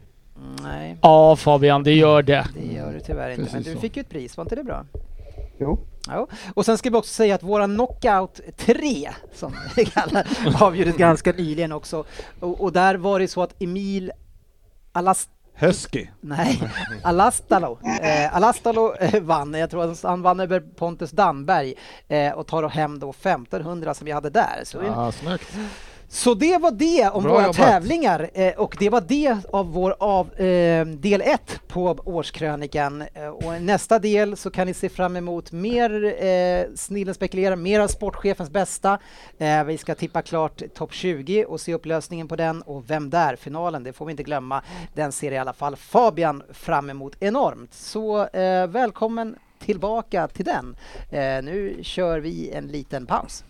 S2: Nej,
S20: Ja Fabian, det gör det.
S2: det gör du tyvärr inte. Men
S20: Precis
S2: du
S20: så.
S2: fick ju ett pris, var inte det bra?
S8: Jo.
S2: Ja. Och sen ska vi också säga att våra Knockout 3, som vi kallar avgjordes ganska nyligen också. Och, och där var det så att Emil Alast
S6: Husky.
S2: Nej, Alastalo. Eh, Alastalo eh, vann. Jag tror att han vann över Pontus Damberg eh, och tar hem då 1500 som vi hade där. Så,
S20: Ah,
S5: Ja, snyggt.
S2: så det var det om
S5: Bra
S2: våra
S5: jobbat.
S2: tävlingar eh, och det var det av vår av, eh, del 1 på årskrönikan. Eh, och i nästa del så kan ni se fram emot mer eh, Snillen spekulerar, mer av sportchefens bästa. Eh, vi ska tippa klart topp 20 och se upplösningen på den och Vem där-finalen, det får vi inte glömma. Den ser i alla fall Fabian fram emot enormt. Så eh, välkommen tillbaka till den. Eh, nu kör vi en liten paus.